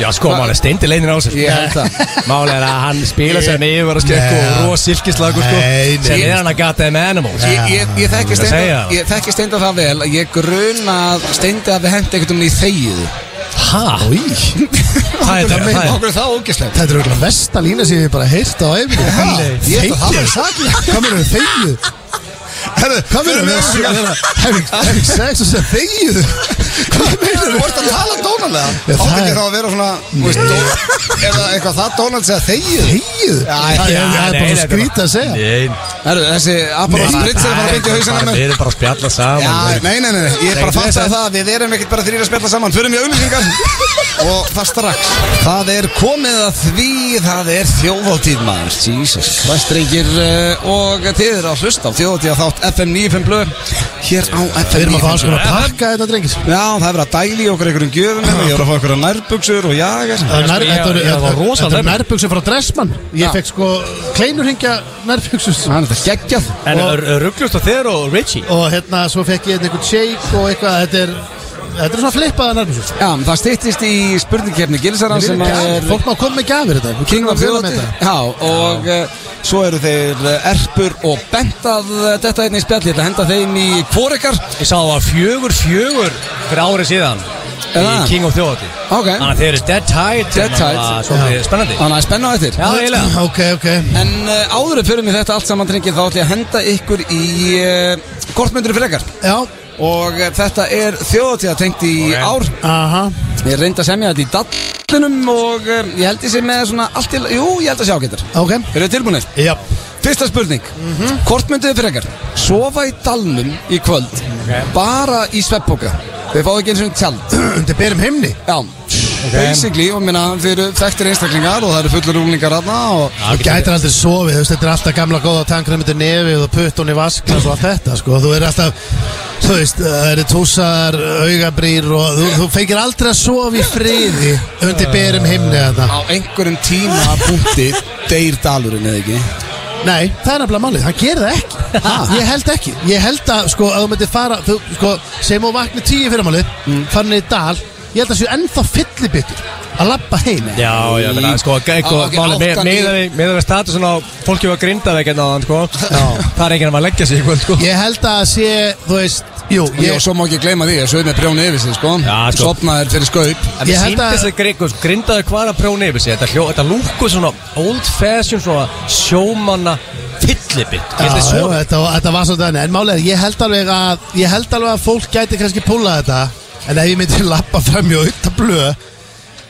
Speaker 3: Já sko, málega steindi leinir á sér
Speaker 1: Ég held það
Speaker 3: Málega er að hann spila sem ég var að skekku
Speaker 2: Nei.
Speaker 3: og rós silkislagur sko
Speaker 2: Nei, nei.
Speaker 3: sem er hann að gata þeim animals
Speaker 1: Ég, ég, ég þekki
Speaker 3: Ég segi
Speaker 1: Steinda-
Speaker 3: það.
Speaker 1: ég þekki steinda það vel að ég gruna að steinda að við hendi einhvern veginn í þegið
Speaker 3: Hæ?
Speaker 2: Í,
Speaker 3: Það er það það er-
Speaker 1: Okkur er það ógislegt
Speaker 2: þetta er auðvitað besta lína sem ég bara heyrst á æfni.
Speaker 1: Ég held að það væri
Speaker 2: Hvað mennum við þegið? Hvað mennum við þegið? Sex og sem þegið? Hvað mennum
Speaker 1: Þú
Speaker 2: við?
Speaker 1: vorst að tala dónalega
Speaker 2: Já,
Speaker 1: Átt
Speaker 2: það
Speaker 1: ekki
Speaker 2: er-
Speaker 1: þá að vera svona þú veist, dó- Eða eitthvað það Donald segja þegið
Speaker 2: Þegið?
Speaker 1: Æ, já,
Speaker 2: Það er það er
Speaker 3: nei,
Speaker 2: bara
Speaker 3: nei,
Speaker 2: svo skrítið að segja.
Speaker 3: Nei,
Speaker 1: Herru, þessi Aperol Spritz er bara að byggja hausina með
Speaker 3: Við erum bara að spjalla
Speaker 1: Já,
Speaker 3: saman
Speaker 1: nei, nei, nei, nei, ég
Speaker 3: Nei,
Speaker 1: bara
Speaker 3: þú veist
Speaker 1: fatt að
Speaker 3: það.
Speaker 1: það að Við erum ekkert bara þrýra að spjalla saman Förum í auðlýsingar Og það strax Það er komið að því Það er þjóðáttíð maður Jesus Christ, drengir eh, Og þið eru að hlusta á þjóðáttíð þátt FM 95 blöð Hér á
Speaker 2: Við
Speaker 1: FM
Speaker 2: erum að
Speaker 1: 95
Speaker 2: fá alls konar að pakka þetta drengis
Speaker 1: Já, það er verið að dæli okkur einhverjum gjöfum hérna, Ég er að fá okkur nærbuksur og jagar
Speaker 2: Það er nær-
Speaker 3: Ég-
Speaker 2: Þetta eru-
Speaker 3: ég- ég var rosa
Speaker 2: þetta eru
Speaker 3: hrifinn.
Speaker 2: nærbuksu frá Dressmann
Speaker 1: Já.
Speaker 2: Ég fekk sko kleinurhingja nærbuksu
Speaker 1: Það er þetta geggjað
Speaker 3: En rugglust á þér og Richie
Speaker 2: Og hérna svo fekk ég einhvern shake og eitthvað Þetta er, þetta er svona flippaða nærbuksu
Speaker 1: Já, það styttist í spurningkefni Gilsara sem er
Speaker 2: Fólk má koma með gafir þetta Við
Speaker 1: King
Speaker 2: kunum
Speaker 1: of
Speaker 2: að vera með
Speaker 1: Þjóðati Já, og uh, svo eru þeir eh, Erpur og Bentað eh, Þetta einnig í spjall, ég ætla að henda þeim í kvorikar
Speaker 3: Ég sá það var fjögur fjögur fyrir ári síðan
Speaker 1: Er
Speaker 3: Í
Speaker 1: það?
Speaker 3: King of Þjóðati
Speaker 1: Ok.
Speaker 3: Þannig að þeir eru dead tight
Speaker 1: Dead
Speaker 3: þannig að
Speaker 1: tight.
Speaker 3: það var Svolítið spennandi
Speaker 1: Þannig að spenna á eftir
Speaker 3: Já,
Speaker 2: þetta
Speaker 3: eiginlega
Speaker 2: Ok, ok
Speaker 1: En uh, áður en fyrir mig þetta allt saman tringið þá ætla ég að henda ykkur í uh, kortmyndur frekar
Speaker 2: Já,
Speaker 1: Og uh, þetta er þjóðatíða tengt í
Speaker 3: Ok.
Speaker 1: ár
Speaker 2: aha
Speaker 1: Ég reyndi að semja þetta í dallinum og uh, ég held ég sé með svona allt til Jú, ég held að sjá getur
Speaker 2: Ok
Speaker 1: Eru þið tilbúinir?
Speaker 2: Já
Speaker 1: Fyrsta spurning Hvort mynduðu frekar Sofa í dalnum í kvöld Bara í sveppoka Þið fáðu ekki eins og tjald
Speaker 2: Undir berum himni
Speaker 1: Já Basically, og minna, þið eru þekktir einstaklingar og það eru fullur rúlingar aðna og
Speaker 3: Já,
Speaker 2: Þú
Speaker 3: getur
Speaker 2: gætir aldrei sofið, þú veist, þetta er alltaf gamla góða tangrið myndir nefið og putt hún í vasklas og allt þetta, sko, þú er alltaf þú veist, það eru túsar augabrýr og þú, þú fengir aldrei að sofa í friði undir berum himni þetta.
Speaker 1: á einhverjum tíma punkti deyr dalurinn eða ekki
Speaker 2: Nei, það er nefnilega málið, hann gerir það ekki ég held ekki, ég held að, sko, að þú myndir fara, þú, sko, sem og vakni tíu fyrramálið, mm. farin í dal ég held að séu ennþá fyllibittur að labba heim
Speaker 3: Já, já, menn að sko
Speaker 1: Ah, ok, áttan í-
Speaker 3: Meðan við statusin á fólki var grindaveik en aðan sko Það er enginn að maður leggja sig í kvöld sko
Speaker 2: ég held að sé, þú veist, jú,
Speaker 1: Ég, og
Speaker 2: ég,
Speaker 1: svo má ekki gleyma því að sögðu með brjónu yfir sig, sko,
Speaker 3: Já, sko.
Speaker 1: Sopnaðir fyrir skaup
Speaker 3: En
Speaker 2: Ég
Speaker 3: það
Speaker 2: held að-
Speaker 3: síndist að grinda, grindaði hvar að prjóna yfir sig Þetta, hljó, þetta lúku svona old fashion svona sjómanna fyllibitt Ég
Speaker 2: Já,
Speaker 3: ætla
Speaker 2: jú,
Speaker 3: svo
Speaker 2: þetta, var- þetta var svolítið þannig En málega, ég held alveg að Ég held alveg að fólk gæti kannski púlað þetta En ef ég myndi lappa fram í auðta blöð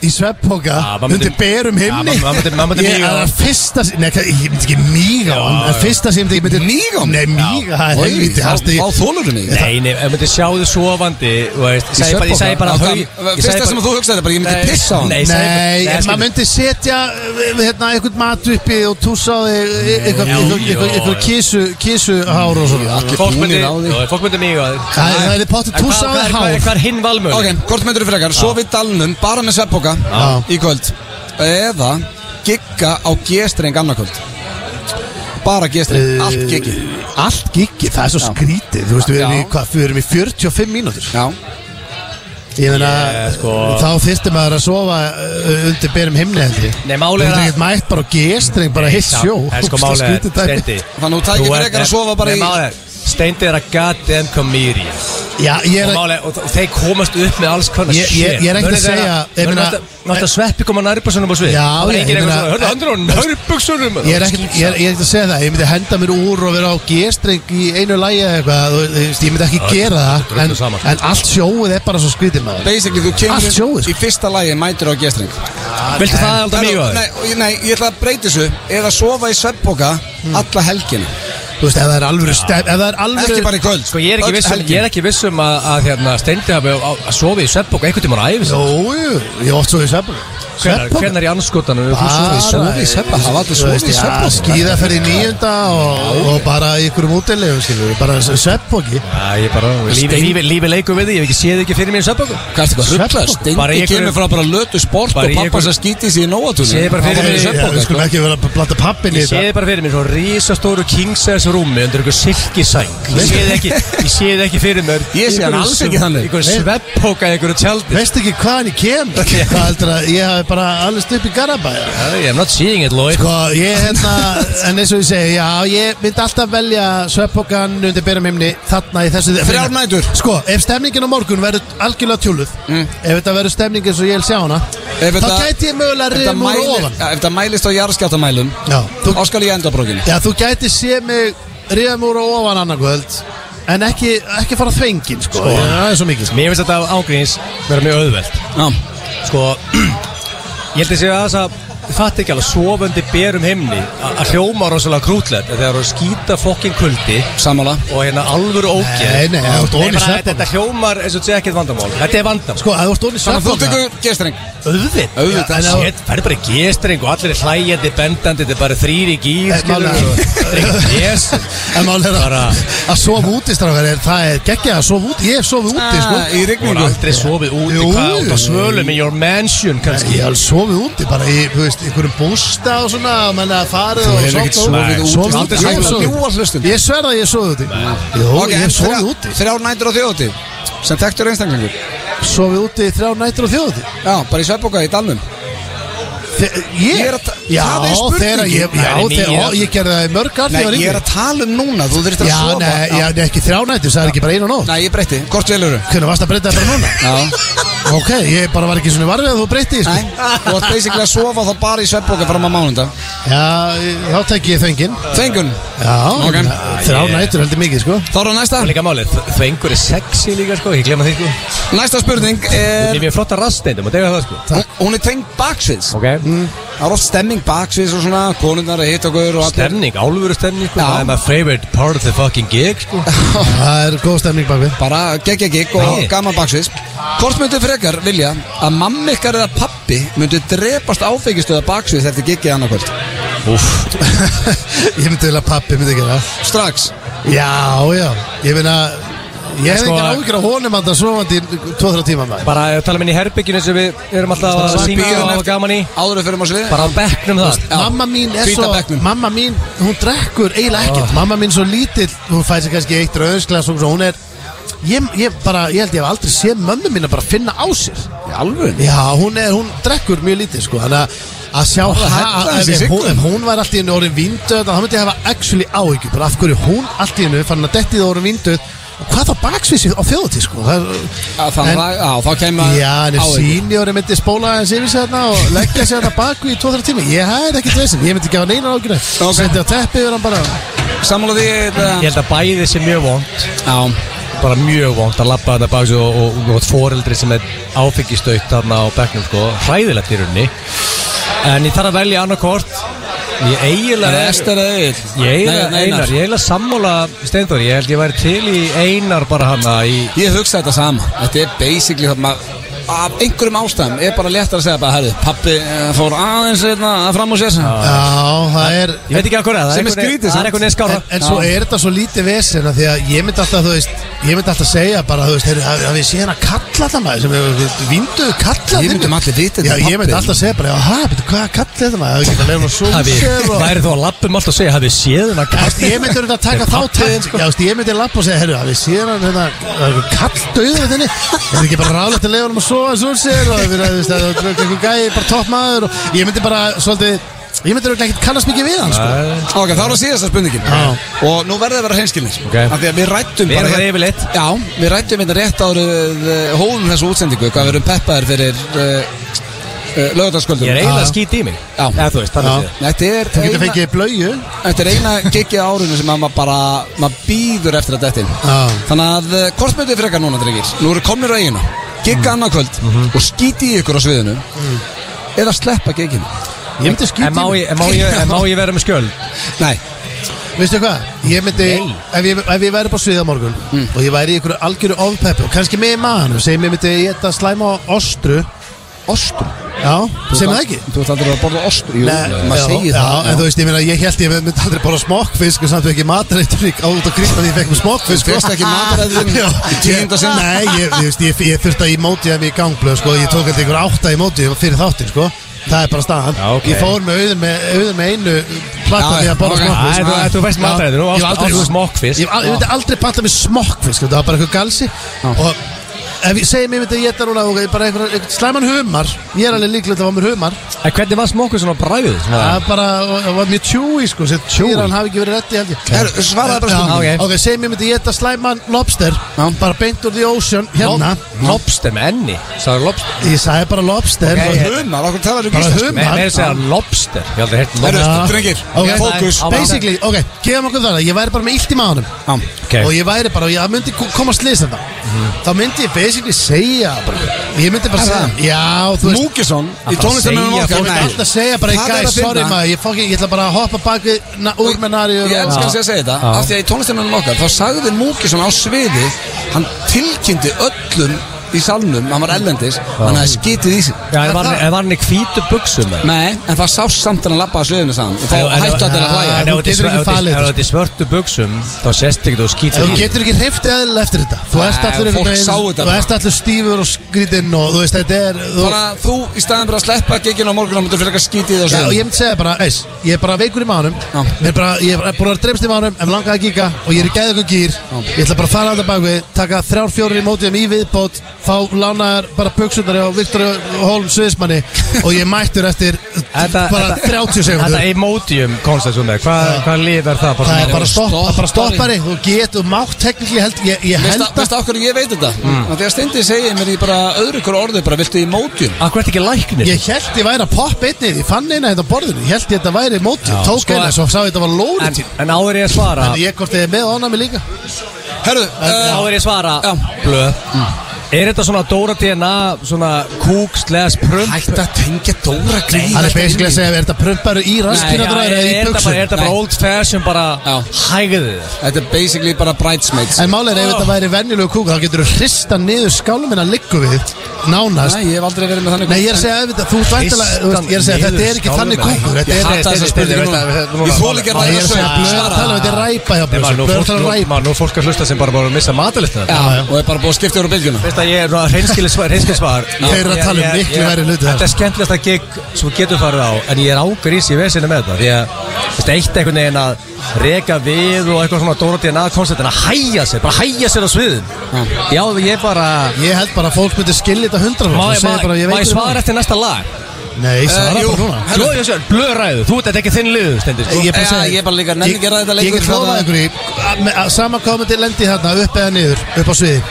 Speaker 2: í sveppoka
Speaker 3: Já, maður myndi-
Speaker 2: undir berum himni
Speaker 3: Já, maður- maður myndi- maður myndi
Speaker 2: ég
Speaker 3: míga á
Speaker 2: það
Speaker 3: hann.
Speaker 2: er fyrsta sem- nei, hvað- ég myndi ekki míga á
Speaker 3: Já,
Speaker 2: hann það er fyrsta sem ég myndi
Speaker 1: Míga á hann?
Speaker 2: nei míga það er helviti
Speaker 1: Þá
Speaker 2: hasti
Speaker 1: þá þolurðu mig
Speaker 3: Nei, nei, ef maður sjá þið sofandi þú veist, Ég segi bara, ég segi bara
Speaker 1: Svefnpoka?
Speaker 3: haug-
Speaker 1: Já,
Speaker 3: ég
Speaker 1: það-
Speaker 3: segi
Speaker 1: Fyrsta
Speaker 3: bara-
Speaker 1: sem þú hugsaði er bara ég myndi
Speaker 3: Nei.
Speaker 1: pissa á hann
Speaker 3: Nei,
Speaker 2: Nei,
Speaker 3: Nei,
Speaker 2: en
Speaker 3: skilur.
Speaker 2: maður myndi setja eh, hérna, eitthvað mat uppi og tússa á þig eh, eitthvað-
Speaker 3: Já,
Speaker 2: eitthvað-
Speaker 3: já,
Speaker 2: eitthvað eitthvað
Speaker 3: já.
Speaker 2: kísu, kísuhár og svona
Speaker 1: Allir
Speaker 3: Fólk myndi,
Speaker 1: búnir á því
Speaker 3: já, fólk myndi mig og
Speaker 2: Það er- það er pottur tússa á þig hár
Speaker 3: Hvað er hinn valmur?
Speaker 1: Ok, hvort myndur þú frekar? Sofi í dalnum bara með sveppoka í kvöld Eða gigga á G-streng annarkvöld Bara G-streng,
Speaker 2: Eh,
Speaker 1: allt giggi
Speaker 2: Allt giggi, það er svo
Speaker 1: Já.
Speaker 2: skrítið Þú veist, við erum, í,
Speaker 1: Já.
Speaker 2: hvað, við erum í 45 mínútur
Speaker 1: Já,
Speaker 2: Ég meina,
Speaker 3: Ég, sko.
Speaker 2: þá þyrfti maður að sofa uh, undir berum himni heldur
Speaker 3: Nei, málið er
Speaker 2: Þú
Speaker 3: að-
Speaker 2: getur mætt bara á gestring, bara heitt sjó
Speaker 3: En sko
Speaker 2: Ógeðslega
Speaker 3: málega
Speaker 2: skrítið dæmi.
Speaker 3: Steindi
Speaker 1: Þannig þú tækir frekar að sofa bara í-
Speaker 3: málega, Steindi er að goddamn komýri
Speaker 2: Já, ég
Speaker 3: Og
Speaker 2: er að
Speaker 3: málega, og, og þeir komast upp með alls konar
Speaker 2: Ég- ég- ég er ekkert að segja, ég meina-
Speaker 3: Náttúrulega sveppi koma nærbuksunum á svið
Speaker 2: Já,
Speaker 3: Það var
Speaker 2: ég-
Speaker 3: enginn
Speaker 2: ég
Speaker 3: eitthvað
Speaker 2: meina-
Speaker 3: svona, hörðu, andur á nærbuksunum
Speaker 2: Ég er ekkert ég er, ég er ekkert að segja það, ég myndi henda mér úr og vera á gestring í einu lægi eða eitthvað, þú veist, ég myndi ekki gera
Speaker 3: þetta er
Speaker 2: það en,
Speaker 3: drullu sama, sko.
Speaker 2: en allt sjóið er bara svo skrítið maður
Speaker 1: basically þú kemur
Speaker 2: Allt sjóið, sko.
Speaker 1: í fyrsta lagi mætur á G-streng
Speaker 2: Ah,
Speaker 3: Viltu það alltaf mjög á
Speaker 1: nei,
Speaker 3: þig?
Speaker 1: og- nei, ég ætla að breyti þessu Eða sofa í sveppoka
Speaker 2: Hmm.
Speaker 1: alla helgina
Speaker 2: Þú veist, ef það er alvöru stef, ef það er
Speaker 1: Ekki
Speaker 2: alvöru
Speaker 1: bara í kvöld
Speaker 3: Sko ég er ekki
Speaker 1: öll
Speaker 2: um-
Speaker 3: vissum,
Speaker 1: helgin.
Speaker 3: ég er ekki vissum að, að hérna, Steindi hafi á- að sofi í sveppbók einhvern tímann á æfi
Speaker 2: Jú, jú, ég oft svo í svefnum
Speaker 3: Hvernig er í anskotanum?
Speaker 1: sofið- sofið í svefnpoka? Hafa allir sofið í svefnpoka?
Speaker 2: Skíðaferð í nýjunda og, og bara í ykkurum útilegum, skilur við, bara svefnpóki
Speaker 3: Lífi lífi leikur við því, ég hef ekki séð ekki fyrir mér í sveppbóku
Speaker 1: Hvað er þetta rullast?
Speaker 3: Svefnpoka? Bara
Speaker 1: Steindi
Speaker 3: í einhverju-
Speaker 1: kemur frá bara lötu sport
Speaker 3: Bara
Speaker 1: og
Speaker 3: í
Speaker 1: pappa
Speaker 3: einhverju-
Speaker 1: sem skítið sér í nóatúni
Speaker 3: Segðu bara fyrir
Speaker 1: Það var í
Speaker 3: mig-
Speaker 1: svefnpoka,
Speaker 2: Við
Speaker 1: sko.
Speaker 2: skulum ekki vera að blanda pappin í
Speaker 3: Ég séð
Speaker 2: þetta
Speaker 3: þið bara fyrir mér svo risastóru kingsize rúmi undir einhver silki sæng Ég séð þið ekki, ég séð þið ekki fyrir mér
Speaker 1: Ég sé hann
Speaker 3: einhverju
Speaker 1: alls
Speaker 3: sv-
Speaker 1: ekki þannig.
Speaker 3: Einhver svepphóka í einhverju tjaldi
Speaker 2: Veist ekki hvaðan ég kem? Hvað heldur að ég hafi bara alveg stupp í Garabæja?
Speaker 3: I'm not seeing it, Lloyd
Speaker 2: Sko, ég hérna, en eins og ég segi, já, ég myndi alltaf velja sveppokan undir berum himni þarna í þessu
Speaker 1: Þrjár nætur. Mm.
Speaker 2: Sko, ef stemningin á morgun verður algjörlega tjúluð, ef þetta verður stemningin svo ég vil sjá hana,
Speaker 1: Ef
Speaker 2: þá
Speaker 1: þetta-
Speaker 2: gæti ég mögulega
Speaker 1: Ef
Speaker 2: reyðum úr
Speaker 1: mælir-
Speaker 2: ofan.
Speaker 1: Ef það mælist á jarðskjáttamælum
Speaker 2: Já, þú,
Speaker 1: Þá skal ég enda á brókinu
Speaker 2: já, þú gæti sé mig reyðum úr ofan annarkvöld, en ekki, ekki fara þvengin, sko. sko. Já, það er svo mikið, sko.
Speaker 3: Mér finnst þetta ángríns vera mjög auðvelt
Speaker 1: Já,
Speaker 3: Sko, ég held að segja aðeins að Ég fatt ekki alveg sofandi berum himni að að hljóma rosalega krútlegt þegar þú skýta fokkin kuldi
Speaker 1: sammála
Speaker 3: og hérna alvöru ógeð
Speaker 2: Nei, nei, þú ert ofan í
Speaker 3: bara
Speaker 2: svefnpoka.
Speaker 3: þetta- Þetta hljómar eins og þetta sé ekkert vandamál Þetta er vandamál
Speaker 2: Sko, að þú ert onni
Speaker 1: Þannig að þú
Speaker 2: sveppokan,
Speaker 1: tekur gestreng
Speaker 3: Auðvitt
Speaker 1: Auðvitað.
Speaker 3: En það færði bara í gestring og allir er hlægjandi, bendandi Þetta er bara þrýri gýr
Speaker 2: Eh,
Speaker 3: skilur
Speaker 2: málega.
Speaker 3: Yes
Speaker 2: En mál er að,
Speaker 3: Bara-
Speaker 2: að sofa úti, strákar, er- það er geggjað að sofa úti, ég hef sofið úti, sko.
Speaker 1: Ah, Í
Speaker 3: Þú er
Speaker 1: rigningu
Speaker 3: aldrei sofið úti
Speaker 2: Jú.
Speaker 3: Hvað út á svölum í your mansion kannski
Speaker 2: Ég hef alveg sofið úti bara í, þú veist, einhverjum bústa og svona, menn að farið og
Speaker 1: hefur ekkert sofið
Speaker 2: sofnað. Nei,
Speaker 1: úti.
Speaker 2: sofið
Speaker 1: Aldrei
Speaker 2: úti.
Speaker 1: hægt
Speaker 2: Ég hef
Speaker 1: að
Speaker 2: sofið
Speaker 1: ljúga hlustendum.
Speaker 2: Ég sverða að ég hef sofið úti. Jú,
Speaker 1: Ok,
Speaker 2: ég
Speaker 1: en
Speaker 2: hef sofið
Speaker 1: þrjá-
Speaker 2: úti.
Speaker 1: Þrjár nætur á þjóðuti Sem þekktur einstaklingur
Speaker 2: Sofið úti í þrjá nættur og þjóði.
Speaker 1: Já, bara í sveppoka í dalnum Ég er
Speaker 2: Ég?
Speaker 1: að ta-
Speaker 2: Já,
Speaker 1: það er spurningin.
Speaker 2: þegar ég, já,
Speaker 3: Nei, nei,
Speaker 2: þegar,
Speaker 3: ég-
Speaker 2: ó, ég gerði það í mörg allir
Speaker 1: Nei,
Speaker 2: var
Speaker 1: ég er
Speaker 2: yngri.
Speaker 1: að tala um núna Þú þurft að
Speaker 2: Já,
Speaker 1: sofa
Speaker 2: nei, já, nei, ekki þrjá nættur, það er ekki bara einu nótt.
Speaker 1: Nei, ég breytti Hvort veluru?
Speaker 2: Hvernig varst að breyta það bara núna?
Speaker 1: Já
Speaker 2: Ok, ég bara var ekki svona varfið að þú breytti,
Speaker 1: Nei,
Speaker 2: sko.
Speaker 1: þú ert basically að sofa þá bara í sveppoka fram á mánundag
Speaker 2: Já, þá tek ég þöngin.
Speaker 1: Þengun
Speaker 2: Já,
Speaker 1: Ok.
Speaker 2: þrjá nættur heldur mikið, sko.
Speaker 1: Þá er á næsta
Speaker 3: Og Líka málið, þvengur er sexy líka sko Ég glemma því sko Ég
Speaker 1: Næsta spurning er
Speaker 3: er mjög flotta rastneindum og degja það sko
Speaker 1: Hún- Hún er tengd baksviðs Mm.
Speaker 3: Ok
Speaker 1: Það er oft stemming baksviðs og svona Konundar að hitt okkur og allir
Speaker 3: Stemning, álfuru stemning sko
Speaker 1: Já.
Speaker 3: Það er my favorite part of the fucking gig sko
Speaker 2: Það er góð stemning bakvið.
Speaker 1: bara geggja gigg og
Speaker 3: Nei.
Speaker 1: gaman baksviðs Hvort myndu frekar vilja að mamma ykkar eða pappi myndu drepast áfengistöða baksviðs eftir giggið annarkvöld
Speaker 3: Úff
Speaker 2: ég myndi vilja að pappi myndi gera það.
Speaker 1: strax
Speaker 2: Já, já, ég meina Ég hef
Speaker 3: Sko-
Speaker 2: engar áhyggjur á honum að það svovandi í 2-3 tíma maður
Speaker 3: Bara ef við tala minn í herbygginu sem við erum alltaf að
Speaker 1: Strax
Speaker 3: syngja
Speaker 1: bíðum
Speaker 3: og hafa
Speaker 1: eftir-
Speaker 3: gaman í
Speaker 1: áður en fyrir maður svið
Speaker 3: Bara á bekknum þar
Speaker 1: Já.
Speaker 2: Mamma mín er
Speaker 1: Hvíta
Speaker 2: svo,
Speaker 1: bekknum. Ah.
Speaker 2: mamma mín, hún drekkur eiginlega ekkert Mamma mín svo lítill, hún fæði sér kannski eitt rauðsglas og svo hún er Ég, ég, bara, ég held ég hef aldrei séð mömmu mín að bara finna á sér
Speaker 1: í alveg
Speaker 2: Já, hún, er, hún drekkur mjög lítið sko Þannig að- að sjá
Speaker 1: hella
Speaker 2: ha- ef,
Speaker 1: þessi
Speaker 2: ef, hún-
Speaker 1: siglum.
Speaker 2: ef hún var allt í hennu orðin vinduð þá myndi ég hafa actually áhyggjur bara af hverju hún allt í hennu fann að dettið orðin vinduð og hvað þá baksvísi á þjóðutíð sko það,
Speaker 1: þannig
Speaker 2: En-
Speaker 1: að já, þá kemur
Speaker 2: Já, en ef
Speaker 1: áður
Speaker 2: seniori myndi spóla hans yfir sér þarna og leggja sér þarna baku í 2-3 tími Ég hafði ekkert vesinn, ég myndi ekki hafa neina ágjörðu
Speaker 1: Ok.
Speaker 2: Sendi á teppi yfir hann bara
Speaker 1: sammála því
Speaker 3: Ég
Speaker 1: þetta-
Speaker 3: held að bæði sé mjög vond
Speaker 1: já
Speaker 3: bara mjög vond að lappa þarna baki og, og, og, og foreldri sem er áfengistaut þarna á bekknum sko, hræðilegt í rauninni en ég þarf að velja annarkort ég eiginlega
Speaker 1: Ester eða Egil
Speaker 3: Ég eiginlega,
Speaker 1: Nei, Einar.
Speaker 3: einar, ég eiginlega sammála Steindóri, ég held ég væri til í einar bara hana í
Speaker 1: Ég hugsa þetta sama Þetta er basically það maður af einhverjum ástæðum er bara léttar að segja bara herru, pappi eh, fór aðeins hérna, fram úr sér
Speaker 2: Já, það er
Speaker 3: Ég veit ekki að hverja, það
Speaker 1: Sem er
Speaker 3: einhvern veginn-
Speaker 1: skrítið,
Speaker 3: Það
Speaker 1: samt.
Speaker 3: er einhvern veginn
Speaker 2: En,
Speaker 3: skára
Speaker 2: en svo er þetta svo lítið vesen að Því að ég myndi alltaf, þú veist Ég myndi alltaf segja bara, þú veist heyrðu, að, að við sé hérna kalla þetta maður sem við vinduðu kalla
Speaker 1: Við myndum um allir vita
Speaker 2: Já,
Speaker 1: þetta er
Speaker 2: ég myndi
Speaker 1: pabbi.
Speaker 2: alltaf segja bara, já, hæ, betur hvað kalla þetta maður Það er ekki að leiða hún svo
Speaker 3: Hafi, væri þú að lappum allt og segja, hafið séð hennar
Speaker 2: Já,
Speaker 3: kall
Speaker 2: veist, ég myndi verið að taka þá teginn sko. Já, veist, ég myndi lappa og segja, herru, að við séum hann hérna, það er einhver kall döður þenni það er ekki bara ráðlegt að leiða hann að sofa svo sér og við veist, það er einhver gæi, bara topp maður og ég myndi bara, svolítið, ég myndi verið ekkert kannast mikið við hann, sko
Speaker 1: Ok, þá er það síðasta spurningin
Speaker 2: Já.
Speaker 1: Og nú verður það að vera hreinskilnir
Speaker 3: Ok.
Speaker 1: Af því að við rættum
Speaker 3: Við erum það yfirleitt.
Speaker 1: Já, við rættum hérna rétt árið Hóðum þessu útsendingu Hvað við erum peppaðir fyrir uh, uh,
Speaker 3: Ég
Speaker 1: Lögðarskvöldum
Speaker 3: er eiginlega skít í mig
Speaker 1: Já.
Speaker 3: Eða þú veist,
Speaker 2: Já.
Speaker 3: þannig séð
Speaker 1: Ah, Þetta er
Speaker 2: Þú getur
Speaker 1: eina-
Speaker 2: fengið blöju
Speaker 1: Þetta er eina gigið á árinu sem að maður bara maður býður eftir að dettin
Speaker 2: Já.
Speaker 1: Þannig að eh, hvort myndið þið frekar núna drengir Nú eru komnir á eiginu Gigga mm. annarkvöld
Speaker 2: Mhm.
Speaker 1: og skíti í ykkur á sviðinu Eða sleppa giginu
Speaker 2: Ég myndi
Speaker 3: En má
Speaker 2: skýta í
Speaker 3: ég- en má ég- en má ég vera með skjöld?
Speaker 1: Nei,
Speaker 2: Veistu hvað, ég myndi
Speaker 3: Nei. Mm.
Speaker 2: ef ég, ef ég væri bara sviða morgun og ég væri í einhverju algjöru ofpeppi og kannski með í maðanum segjum ég myndi ég þetta slæma á ostru
Speaker 1: ostur
Speaker 2: Já, segjum það ekki
Speaker 1: Þú ert aldrei að borða ostur Jú,
Speaker 2: Nei,
Speaker 1: maður
Speaker 2: já,
Speaker 1: segir
Speaker 2: já,
Speaker 1: það
Speaker 2: en þú veist, ég meina, ég held ég myndi aldrei bara smokkfisk og samt ekki matrætturík á út á kristna því ég fekk mér smokkfisk sko.
Speaker 1: Þú fékkst ekki matarætturinn
Speaker 2: Já,
Speaker 1: í tíunda
Speaker 2: ég-
Speaker 1: sinn?
Speaker 2: Nei, ég, ég, veist, ég, ég þurfti að ég móti þeim í gangblöð, sko, ég tók alltaf ykkur átta í móti fyrir þáttin, sko Það er bara staðan
Speaker 3: Já, ok.
Speaker 2: Ég fór með auðun með, auðun með einu platta
Speaker 1: Já,
Speaker 2: því að borða
Speaker 1: ok.
Speaker 2: smokkfisk
Speaker 3: Æ, þú- Þú veist
Speaker 2: Já.
Speaker 3: matræðinu,
Speaker 2: Ég hef aldrei-
Speaker 3: ástu smokkfisk
Speaker 2: Ég, hef al- ég myndi aldrei panta mér smokkfisk þetta var bara eitthvað galsi og ef ég segi mér myndi ég þetta núna ok, bara einhver, einhver slæman humar ég er alveg líklegt að það var mér humar
Speaker 3: En hvernig var smokkur svona bræðið?
Speaker 2: það er bara, og- það var mjög tjúi sko sem tjúi hann hafi ekki verið rétti held ég
Speaker 1: Herru, svaraðu bara
Speaker 2: Já,
Speaker 1: spurningunni.
Speaker 2: ok, segi mér myndi ég þetta slæman lobster
Speaker 1: Já.
Speaker 2: bara beint úr the ocean hérna
Speaker 3: Lobster með enni Sæður lobster
Speaker 2: ég sagði bara lobster
Speaker 3: Ok,
Speaker 2: og-
Speaker 3: ég-
Speaker 1: Humar, okkur talar um
Speaker 2: Bara
Speaker 1: íslensku
Speaker 2: humar.
Speaker 3: Með með að segja lobster Ég aldrei hert
Speaker 1: Herru,
Speaker 3: lobster
Speaker 2: Já.
Speaker 1: drengir,
Speaker 2: Ok.
Speaker 1: fókus
Speaker 3: Á-
Speaker 2: basically, ok, gefum okkur það ég væri bara með illt í maðanum
Speaker 1: Já.
Speaker 3: Ok.
Speaker 2: og ég væri bara, og ég það myndi ko- koma slýs þetta þá myndi ég basically segja bara, ég myndi bara
Speaker 1: Er
Speaker 2: segja
Speaker 1: það?
Speaker 2: já, þú veist,
Speaker 1: Múkisson í
Speaker 3: bara
Speaker 1: tónlistamennum
Speaker 3: segja
Speaker 1: okkar
Speaker 2: ég myndi alltaf segja bara
Speaker 1: Það er
Speaker 2: guys,
Speaker 1: að finna.
Speaker 2: sorry maður, ég, fokki, ég ætla bara að hoppa bak við na, úr með nari
Speaker 1: Ég elskar að segja segja þetta
Speaker 3: Já.
Speaker 1: Af því að í tónlistamennum okkar Þá sagði Múkisson á sviði Hann tilkynnti öllum í salnum Hann var ellendis Hann hafði skitið í sig
Speaker 3: Já, en var hann- en var hann í hvítu buksum eða?
Speaker 1: Nei, en það sást samt en að lappa að sviðinu saman Og þá
Speaker 3: En- en-
Speaker 1: hættu allir að
Speaker 3: en
Speaker 1: hlæja
Speaker 3: ef
Speaker 2: þú
Speaker 3: þetta er
Speaker 2: getur
Speaker 3: svör-
Speaker 2: ekki
Speaker 3: ef þetta er-
Speaker 2: falið
Speaker 3: ef
Speaker 2: þetta, sko.
Speaker 3: þetta er svörtu buksum þá sést ekki þú skýtur
Speaker 2: þú getur ekki hreift eðlilega eftir þetta þú ert
Speaker 1: Nei,
Speaker 2: allur
Speaker 1: fólk
Speaker 2: einhvern
Speaker 1: sá
Speaker 2: veginn-
Speaker 1: þetta
Speaker 2: þú
Speaker 1: bara.
Speaker 2: ert allur stífur og skrítinn og þú veist, þetta er þú,
Speaker 1: Þannig að þú í staðin bara að sleppa gekkin á morgun og myndir fyrir eitthvað skítið á
Speaker 2: Já, og
Speaker 1: sviðinu
Speaker 2: ég myndi segja bara, eis, ég er bara veikur í mánum
Speaker 1: Já.
Speaker 2: Mér er bara, ég er bara dreifst í mánum Ef langaði að gíka og ég er í gæða ykkur gýr Ég ætla bara að fara að þetta bakvið Taka þrjár fjórir í mótiðum í viðbót Fá lánaðar bara buksundar á Viktor Holm Sviðismanni Og ég er mættur eftir bara 30
Speaker 3: Þetta
Speaker 2: sekundur
Speaker 3: emotium konstantum
Speaker 2: Já.
Speaker 3: Hvað hva lið er það? Bara
Speaker 2: Það
Speaker 3: svona-
Speaker 2: er bara, stopp,
Speaker 1: stoppari.
Speaker 2: það er bara stoppari Þú getur mátt teknikli held Ég, ég held
Speaker 1: Veist
Speaker 2: að
Speaker 1: það okkur ég veit þetta? Mm. Þegar Steindi segir mér í bara öðru ykkur orði bara viltu í mótjum
Speaker 3: Akkur ert ekki læknir?
Speaker 2: Ég held ég væri að poppa einnið, ég fann eina þetta á borðinu, ég held ég þetta væri mótið,
Speaker 3: Já.
Speaker 2: tók
Speaker 3: Sko-
Speaker 2: eina svo sá ég þetta var
Speaker 3: En,
Speaker 2: lóritín.
Speaker 3: en áður ég að svara
Speaker 2: En ég hvort ég er með og ánæmi líka.
Speaker 1: Herru, uh,
Speaker 3: Áður ég að svara
Speaker 1: Já.
Speaker 3: Blöð Er þetta svona Dóra DNA Svona kúk sles prump
Speaker 1: hættu að tengja Dóra grín
Speaker 2: Hann er basically að segja, er þetta prumparu í
Speaker 3: já,
Speaker 2: raskinadraður
Speaker 3: er,
Speaker 2: eða í
Speaker 3: er, þetta bara- er
Speaker 2: buksum?
Speaker 3: þetta bara
Speaker 1: Nei.
Speaker 3: old fashion bara
Speaker 1: Já.
Speaker 3: hægðið þér
Speaker 1: Þetta er basically bara bridesmaids
Speaker 2: En málega er, ef þetta væri venjulegu kúka, þá getur þú hrista niður skálum en að liggu við, nánast.
Speaker 1: Nei, ég hef aldrei verið með þannig
Speaker 2: Nei, ég er að segja, ef þetta, þú ert væntanlega, þú veist, ég er að segja, þetta er ekki þannig kúkur, þetta
Speaker 1: Ég
Speaker 2: er...
Speaker 1: hata þessa spurningu núna Ég þól ekki að
Speaker 2: Nei, ég
Speaker 1: ræða
Speaker 2: er að segja, blöð er að tala um þetta er ræpa hjá
Speaker 3: Nei, maður,
Speaker 2: blöð,
Speaker 3: nú
Speaker 2: blöð
Speaker 3: fólk-
Speaker 2: er að tala um
Speaker 3: nú-
Speaker 2: ræpa.
Speaker 3: maður, Nú er fólk að hlusta sem bara bara að missa matalistina
Speaker 1: Já, og er bara búið að skipta yfir á bylgjuna
Speaker 3: Veist að ég er svona reynskili svar, reynskili svar
Speaker 2: Þeir eru að tala um
Speaker 3: Ég- ég-
Speaker 2: miklu
Speaker 3: ég-
Speaker 2: verri hluti
Speaker 3: Þetta
Speaker 2: þarna.
Speaker 3: er skemmtilegsta gig sem við getum farið á En ég er águr í sér vesinu með þetta Því að, veist, eitt einhvern veginn að reka við og eitthvað svona Dóra DNA koncept En að hæja sér, bara hæja sér á sviðin Já, ég bara
Speaker 2: Ég held bara að fólk myndi skilja þetta hundra
Speaker 3: Má
Speaker 2: og
Speaker 3: ég, má,
Speaker 2: segja bara, ég
Speaker 3: má
Speaker 2: veit
Speaker 3: ég
Speaker 2: þetta
Speaker 3: svara
Speaker 2: núna.
Speaker 3: eftir næsta lag?
Speaker 2: Nei, svara
Speaker 1: Eh, jú.
Speaker 2: bara núna.
Speaker 1: Herru.
Speaker 3: Jó, ég sér, blöðræðu, þú ert þetta ekki þinn liðu, stendur sko.
Speaker 2: er bara að
Speaker 1: Já,
Speaker 2: segja-
Speaker 1: ég er bara líka nenni ekki að ræða þetta lengur,
Speaker 2: Ég get hlóðað
Speaker 1: það-
Speaker 2: ykkur í að- með- að Sama hvað myndi lendi þarna upp eða niður Upp á sviði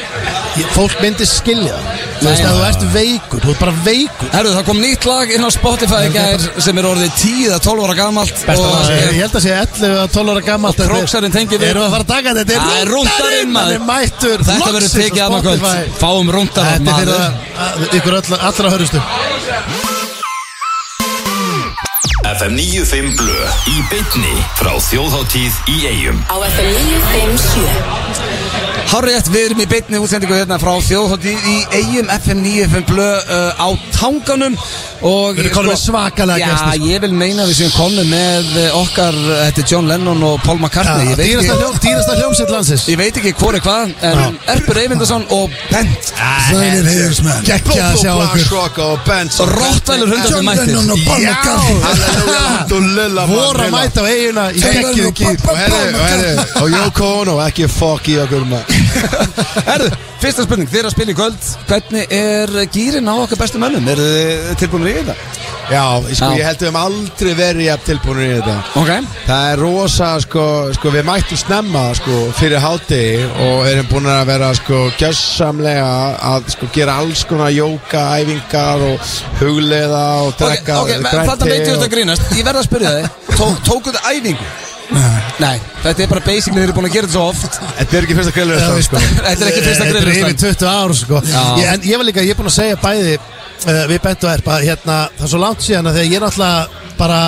Speaker 2: Ég- Fólk myndi skilja það Þú veist, að þú ert veikur, þú ert bara veikur
Speaker 1: Herru, það kom nýtt lag inn á Spotify í gær sem er orðið 10 að 12 ára gamalt
Speaker 3: Besta
Speaker 1: og-
Speaker 3: lag.
Speaker 2: Ég held að sé 11 eða 12 ára gammalt
Speaker 1: Og króksarinn tengir við.
Speaker 2: við Erum við að fara að taka
Speaker 1: Það
Speaker 2: þetta?
Speaker 1: er
Speaker 2: Þetta er
Speaker 1: rúndarinn,
Speaker 2: rúndarinn,
Speaker 1: maður.
Speaker 2: hann er mættur
Speaker 1: Þetta verður
Speaker 2: loksins á
Speaker 1: tekið annað kvöld
Speaker 2: Spotify.
Speaker 1: Fáum rúndarar
Speaker 2: Þetta er fyrir
Speaker 1: maður
Speaker 2: að- að- ykkur öll- allra hörustu
Speaker 4: FM 95 Blö í bytni frá þjóðháttíð í eigum
Speaker 5: Á FM 957
Speaker 1: Hárétt, við erum í beinni útsendingu hérna frá þjóðhótti í eigum FM 95 blö uh, á tanganum og
Speaker 2: Við erum komin með svakalega
Speaker 1: Já,
Speaker 2: gesti, sko.
Speaker 1: ég vil meina að við séum komin með uh, okkar, uh, þetta er John Lennon og Paul McCartney ég, veit
Speaker 2: Dýrasta
Speaker 1: ekki,
Speaker 2: hljóm- dýrasta hljómsett landsins
Speaker 1: ég veit ekki hvor er hvað en Erpur Eyvindarsson og Bent
Speaker 2: Sælir heiðursmenn Gekki að sjá okkur
Speaker 6: Blokk og Benz
Speaker 1: Rottælur hundar
Speaker 6: John
Speaker 1: mættir
Speaker 6: Lennon og Paul
Speaker 2: Já.
Speaker 6: McCartney. Halleluja, Abdulillah,
Speaker 2: Voru að
Speaker 6: Mandela.
Speaker 2: mæta á eiguna í
Speaker 6: Taylor
Speaker 2: gekkið
Speaker 6: og Paul- Paul- Paul- Og herri, og Jóko Ono, ekki fokk í okkur maður
Speaker 1: Herðu, fyrsta spurning, þið er að spila í kvöld Hvernig er gýrin á okkar bestu mönnum? Er þið tilbúinir í þetta?
Speaker 6: Já, sko,
Speaker 1: Já.
Speaker 6: ég held við hefum aldrei verið jafn tilbúinir í þetta
Speaker 1: Ok
Speaker 6: Það er rosa, sko, sko við mættum snemma, sko, fyrir hátegi og erum búin að vera, sko, gjössamlega að, sko, gera alls konar jóka, æfingar og hugleiða og
Speaker 1: Ok,
Speaker 6: drekka
Speaker 1: ok,
Speaker 6: grænt
Speaker 1: þarna
Speaker 6: te
Speaker 1: veit ég
Speaker 6: og-
Speaker 1: þetta að grínast Ég verð að spyrja þig Tó, Tókuð þið æfingu? Nei Nei, þetta er bara basic Þið eru búin að gera þetta svo oft
Speaker 6: Þetta er ekki fyrsta grillurastan, sko
Speaker 1: Þetta er ekki fyrsta
Speaker 2: Þetta er
Speaker 1: grillurastan.
Speaker 2: yfir 20 ár sko.
Speaker 1: Já.
Speaker 2: ég, En ég var líka, ég er búin að segja bæði uh, Við Bent og Erpa hérna, Það er svo langt síðan að þegar ég er alltaf bara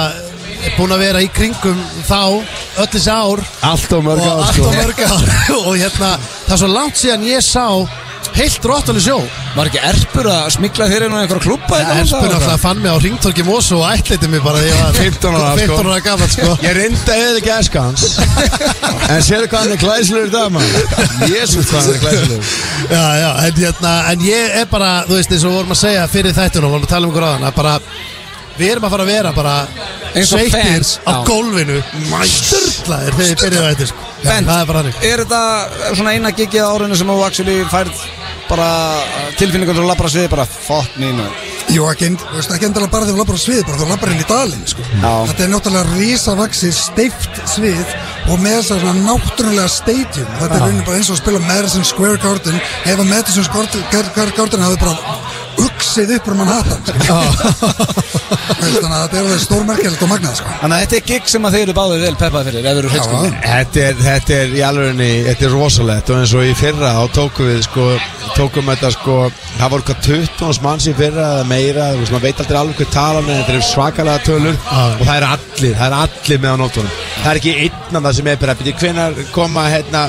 Speaker 2: búin að vera í kringum þá öll þessi ár
Speaker 6: Allt og mörg
Speaker 2: og
Speaker 6: ár,
Speaker 2: allt
Speaker 6: sko
Speaker 2: og mörg ár og hérna, það er svo langt síðan ég sá heilt róttalega sjó
Speaker 1: Var ekki erpur að smikla þér inn á einhverja klubba hérna
Speaker 2: Það er spurning alltaf að fann mig á ringtorki Mós og ætleiti mig bara þegar ég var
Speaker 6: 15 ára, sko.
Speaker 2: 15 ára gammal sko
Speaker 6: Ég reynda eða ekki æska hans En sérðu hvað hann er glæsilegur í dag maður Jésús hvað hann er glæsilegur
Speaker 2: Já, já, en, hérna, en ég er bara, þú veist, eins og við vorum að segja fyrir þættunum, vorum að tala um ykkur áðan, að bara, við erum að fara að vera bara
Speaker 1: Eins og
Speaker 2: sveittir
Speaker 1: fans,
Speaker 2: á
Speaker 1: já.
Speaker 2: gólfinu, störtlaðir þegar þið byrjuðu þetta, sko. Já,
Speaker 1: Bent,
Speaker 2: Það er bara hannig.
Speaker 1: er þetta svona eina gigið á árinu sem þú actually færð bara tilfinningar og labbar að sviði bara fuck mínu
Speaker 7: Jó, ekki, en- þú veist, ekki endilega bara þegar þú labbar á svið, bara þú labbar inn í dalinn, sko.
Speaker 1: Já.
Speaker 7: Þetta er náttúrulega risavaxið, steift svið og með þess að svona náttúrulega stadium. Þetta er raunin bara eins og að spila á Madison Square Garden, ef að Madison Square Gar- Gar- Garden hafði bara uksið upp úr mann hattan, sko. Veist, Þannig að þetta er alveg stórmerkilegt og magnað, sko.
Speaker 1: Þannig að þetta er gig sem að þeir eru báðið vel peppað fyrir ef þeir eru
Speaker 7: Já.
Speaker 1: hreinskundin
Speaker 6: Þetta er, þetta er í alvegurinni, þetta er rosalegt Og eins og í fyrra þá tókum við sko Tókum þetta sko, það voru hvað 20 manns í fyrra eða meira Þú veist, maður veit aldrei alveg hvað talan er Þetta er svakalega tölur Og það er allir, það er allir með á nótunum Það er ekki einn af það sem er bara Býtti, hvenar koma hérna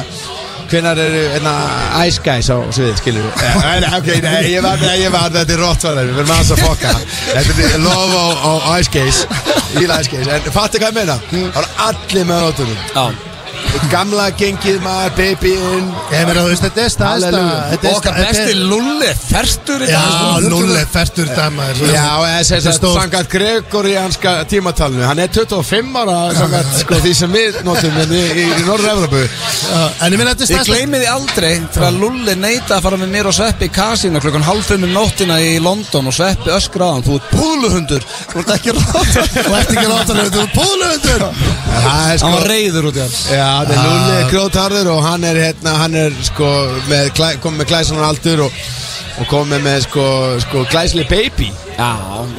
Speaker 6: Hvenær eru, hérna, Ice Guys á sviðið, skilur við? Nei, nei, ok, nei, ég var, nei, ég var, þetta er rottvæðar, við verðum aðeins að fokka. Þetta er love á, á Ice Guys, fíla Ice Guys, en fattu hvað ég meina? Það var allir með notunum.
Speaker 1: Já
Speaker 6: Gamla gengið maður, babyin
Speaker 2: Ég meina, þú veist, þetta er staðsta.
Speaker 6: Halleluja.
Speaker 2: þetta er
Speaker 1: Okkar
Speaker 2: sta- þetta
Speaker 1: besti
Speaker 2: er-
Speaker 1: lulli fertur í
Speaker 2: Já,
Speaker 1: dag, sko.
Speaker 2: lúlega, fertur dæmaður. þú veist.
Speaker 6: Já, eða sem
Speaker 2: Þetta er
Speaker 6: sagt
Speaker 2: stórt.
Speaker 6: Sangat Gregorianska tímatalinu Hann er 25 ára Sangat sko, því sem við notum En í, í, í Norður-Evropu
Speaker 2: Já, En ég meina, þetta
Speaker 1: Ég
Speaker 2: er staðsta.
Speaker 1: gleymi því aldrei þegar Lulli neita að fara með mér og Sveppi í kasinu klukkan halvfum um nóttina í London og Sveppi öskraðan, þú ert púluhundur þú ert ekki rátt
Speaker 2: Þú ert ekki róttalega, þú er pólöfundur.
Speaker 6: Það er
Speaker 1: Hann
Speaker 6: sko
Speaker 1: var reyður út í hann
Speaker 6: Já, þetta er Lulli Grótarður Og hann er hérna Hann er sko með, glæ- Komið með glæsanar aldur Og, og komið með sko, sko Glæsli baby
Speaker 1: Já,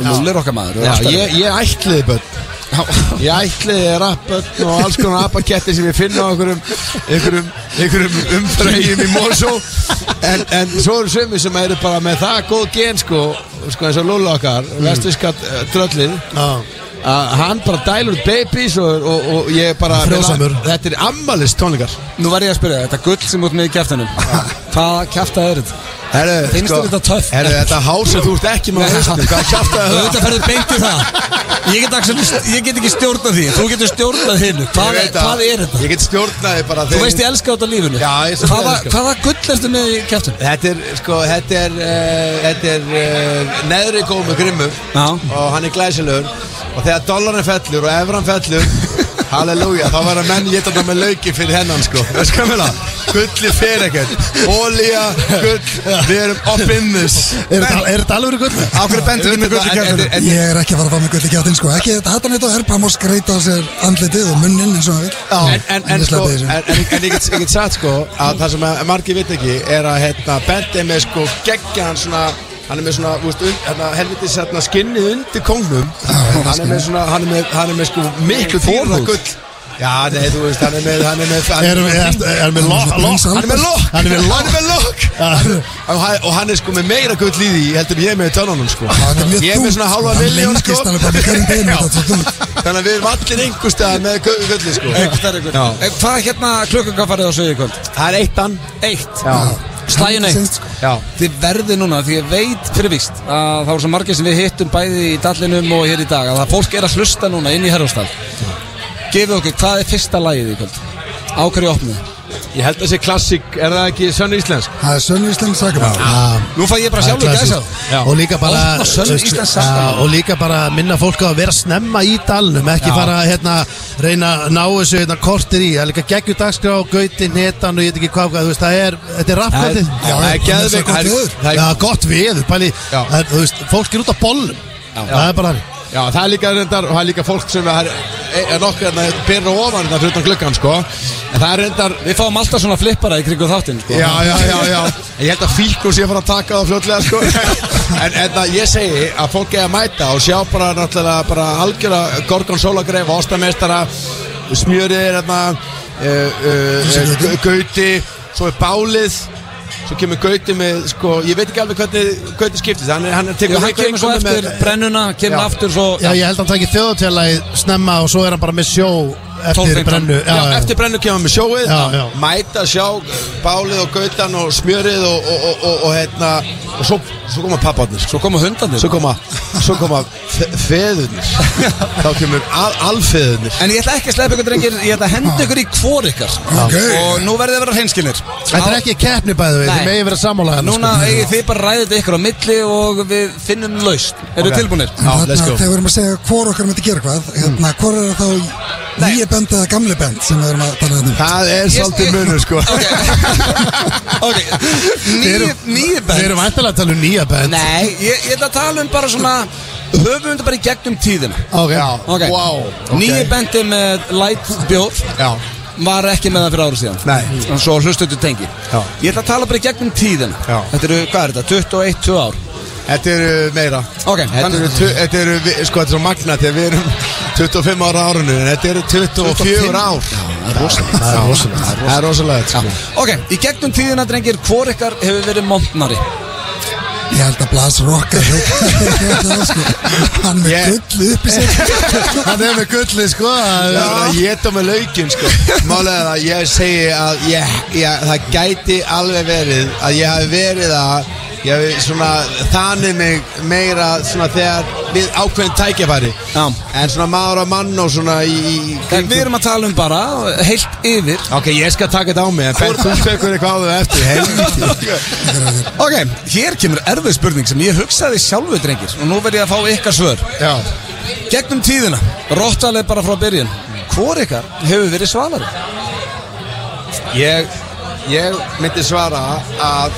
Speaker 1: Lulli er okkar maður
Speaker 6: Já, ég, ég ætliði börn Ég ætliði rappötn og alls konar apaketti sem ég finna á einhverjum einhverjum, einhverjum umfrægjum í Mosó en, en svo eru sömu sem eru bara með það góð gen sko, sko eins og Lúla okkar vestuðska dröllin að hann bara dælur út babies og, og, og ég bara
Speaker 2: Frjósamur.
Speaker 6: Þetta er ammalist tónleikar
Speaker 1: Nú verð ég að spyrja, þetta gull sem út með í kæftanum Hvað kæfta er þetta?
Speaker 6: Heru,
Speaker 1: Finnst þér þetta töff?
Speaker 6: Heru, sko, þetta hásið, þú ert ekki með á hausnum Hvað kjáftaði það?
Speaker 1: Auðvitað ferðu beint í það Ég get, actually- ég get ekki stjórnað því, þú getur stjórnað hinn
Speaker 6: Ég
Speaker 1: hvað,
Speaker 6: veit að-
Speaker 1: hvað er þetta?
Speaker 6: Ég get stjórnaði bara
Speaker 1: Þú
Speaker 6: þeim-
Speaker 1: veist ég elska þetta lífinu
Speaker 6: Já, ég sem
Speaker 1: Hvaða,
Speaker 6: elska.
Speaker 1: hvaða gull ertu með í kæftanum?
Speaker 6: Þetta er, sko, þetta er, uh, þetta er uh, neðri gómi grimmur
Speaker 1: Já.
Speaker 6: og hann er glæsilegur og þegar dollarinn fellur og evran fellur halleluja, þá verða menn getað með lauki fyrir hennan, sko veist hvað meina? Gulli fer ekkert Ólía, gull, við erum up in this
Speaker 2: Er þetta- er þetta alveg gull?
Speaker 1: Ákveður bendur
Speaker 6: Þetta-
Speaker 1: við gullu
Speaker 6: þetta-
Speaker 1: kjærfinu
Speaker 6: þetta-
Speaker 7: Ég er ekki að fara að fá mig gull í kjáttin sko Ekki þetta hattan eitt á herpa Má skreita á sér andlitið og munnin eins og hann vil
Speaker 6: En, en, en,
Speaker 7: Ég
Speaker 6: sko,
Speaker 7: sleppi
Speaker 6: en,
Speaker 7: þessu.
Speaker 6: en, en ég get, ég get sagt sko að það sem að margir veit ekki er að hérna, Bent er með sko geggja hann svona hann er með svona þú veist, und, hérna, helvitis hérna, skinnið undir kongnum
Speaker 7: hérna
Speaker 6: hann er með
Speaker 7: skinnið.
Speaker 6: svona hann er með, hann er með sko miklu dýrra
Speaker 2: Forhúð.
Speaker 6: gull já nei þú veist hann er með hann er með hann er
Speaker 2: Erum við, er- erum við lokk?
Speaker 7: Prins
Speaker 6: hann er með lokk
Speaker 2: Hann er með lokk.
Speaker 6: hann er með lokk og hann, og hann er sko með meira gull í því heldur en ég er með í tönunum sko
Speaker 7: Þetta er mjög
Speaker 6: ég er með svona halva
Speaker 7: Hann
Speaker 6: miljón sko
Speaker 7: lengist alveg bara með hverjum beinu Þetta er dúnt
Speaker 6: þannig að við erum allir einhverstað með gu- gullið sko Já.
Speaker 1: Eh, Hvað er hérna klukkungafarið á sögðu í kvöld?
Speaker 6: það er eittan
Speaker 1: Eitt
Speaker 6: já
Speaker 1: Slæjun eitt
Speaker 7: Sýnst, sko.
Speaker 6: Já,
Speaker 1: Þið verði núna, því ég veit fyrirvíst að það voru svo margir sem við hittum bæði í dallinum og hér í dag að það fólk er að hlusta núna inn í Herjóstall Gefið okkur, hvað er fyrsta lagið í kvöld? Á hverju opnið?
Speaker 6: ég held að sé klassik, er það ekki sönn íslensk?
Speaker 7: Það er sönnvísling sakamál
Speaker 1: Nú fæ ég bara sjálfur gæsa
Speaker 2: Já. Og líka bara
Speaker 1: Opna sönn
Speaker 2: veist,
Speaker 1: Íslands
Speaker 2: já,
Speaker 1: sakamál.
Speaker 2: Og líka bara minna fólk á að vera snemma í dalnum Ekki fara að hérna, reyna að ná þessu hérna, kortir í Það er líka geggjur dagskrá, gauti, netan og ég veit ekki hvað, hvað þú veist, Það er, þetta er rappkvæði
Speaker 7: Já,
Speaker 6: það er
Speaker 7: en
Speaker 6: geðveikt,
Speaker 7: það er svo
Speaker 6: það
Speaker 7: gott
Speaker 6: er-
Speaker 2: Já, gott við
Speaker 6: það er-
Speaker 7: veður.
Speaker 2: pæli,
Speaker 6: Já.
Speaker 2: það er, þú veist, Fólk er út á bollum Það er bara þannig
Speaker 6: Já, það er líka reyndar, og það er líka fólk sem er, er nokkur en það byrja ofan þetta hlutan gluggan, sko En það er reyndar,
Speaker 1: Við fáum alltaf svona flippara í kringu þáttinn sko.
Speaker 6: já, já, já, já En ég held að fíkur sé að fara að taka það fljótlega, sko En, en það, ég segi að fólk er að mæta og sjá bara náttúrulega bara algjöra Gorgon Sólagreif, Ástameistara, Smjörið er hérna, uh, uh, uh, Gauti, svo er Bálið Svo kemur Gauti með, sko, ég veit ekki alveg hvernig Gauti skiptist Hann er, hann er
Speaker 1: Jú,
Speaker 6: tekur
Speaker 1: Hann kemur svo
Speaker 6: komið
Speaker 1: eftir brennuna, kemur
Speaker 6: Já.
Speaker 1: aftur svo
Speaker 2: Já, ég held að hann taki þjóðatélagið snemma og svo er hann bara með sjó eftir
Speaker 1: 12-15.
Speaker 2: brennu
Speaker 6: Já, eftir brennu kemur með sjóið
Speaker 2: Já, já.
Speaker 6: Mæta sjá bálið og gautan og smjörið og, og, og, og, og hérna Og svo, svo koma papparnir sko.
Speaker 1: Svo koma hundarnir
Speaker 6: Svo koma, svo koma fe- feðurnir Þá kemur al, alfeðurnir
Speaker 1: En ég ætla ekki að sleppa ykkur drengir, ég ætla að henda ykkur í hvor ykkar
Speaker 7: Ok.
Speaker 1: Og nú verðið að vera hreinskilir
Speaker 2: Þetta er ekki keppni bæðu við,
Speaker 1: Nei.
Speaker 2: þið megið vera sammála hérna,
Speaker 1: Núna
Speaker 2: sko.
Speaker 1: eigið þið bara ræðið ykkur á milli og við finnum laust Eru
Speaker 6: Ok.
Speaker 1: okay. tilbúinir?
Speaker 7: En
Speaker 6: Já,
Speaker 7: þarna,
Speaker 6: let's go. Mm.
Speaker 7: þegar við erum að segja hvor okkar myndi gera hvað hérna, Hvor er það þá nýja bend eða gamli bend sem við erum að tala um
Speaker 6: Það er
Speaker 1: Ég-
Speaker 6: svolítið munur sko
Speaker 1: Ok, okay. Nýju, nýju
Speaker 2: Við
Speaker 1: band
Speaker 2: erum ættilega að tala um nýja band
Speaker 1: Nei, ég, ég ætla að tala um bara svona Höfum þetta bara í gegnum tíðina
Speaker 2: Ok.
Speaker 1: okay.
Speaker 6: Wow, ok.
Speaker 1: Nýju bendi með light bjór
Speaker 6: Já.
Speaker 1: Var ekki með það fyrir ára síðan
Speaker 6: Nei.
Speaker 1: En Svo hlustuðu tengi
Speaker 6: Já.
Speaker 1: Ég ætla að tala bara í gegnum tíðina
Speaker 6: Já.
Speaker 1: Þetta eru, hvað er þetta, 21-2 ár
Speaker 6: Þetta eru meira
Speaker 1: Ok,
Speaker 6: Þetta eru,
Speaker 1: þannig-
Speaker 6: tu- þetta eru vi- sko þetta er svo magna Þegar við erum 25 ára á árinu En þetta eru 24 ár
Speaker 1: Það er rosalega
Speaker 2: Það er rosalegt
Speaker 6: Það er rosalega sko.
Speaker 1: Ok, í gegnum tíðina, drengir, hvor ykkar hefur verið montnari?
Speaker 7: Ég held að Blas Rock er ekki að það sko Hann með
Speaker 6: Ég-
Speaker 7: yeah. gull upp í sér
Speaker 2: Það er með gullið sko að-
Speaker 6: Það er að geta með laukinn sko Málega það að ég segi að ég, ég, það gæti alveg verið að ég hafi verið að ég hafi svona þanið mig meira svona þegar við ákveðin tækjafæri
Speaker 1: Já.
Speaker 6: en svona maður að mann og svona í, í
Speaker 1: En við erum að tala um bara, heilt yfir
Speaker 6: Ok, ég skal taka þetta á mig en fenn þú tekur eitthvað á þau eftir helviti
Speaker 1: Ok, hér kemur erfið spurning sem ég hugsaði sjálfu, drengir Og nú verð ég að fá ykkar svör
Speaker 6: Já
Speaker 1: Gegnum tíðina, rottaleg bara frá byrjun Hvor ykkar hefur verið svalari?
Speaker 6: Ég, ég myndi svara að að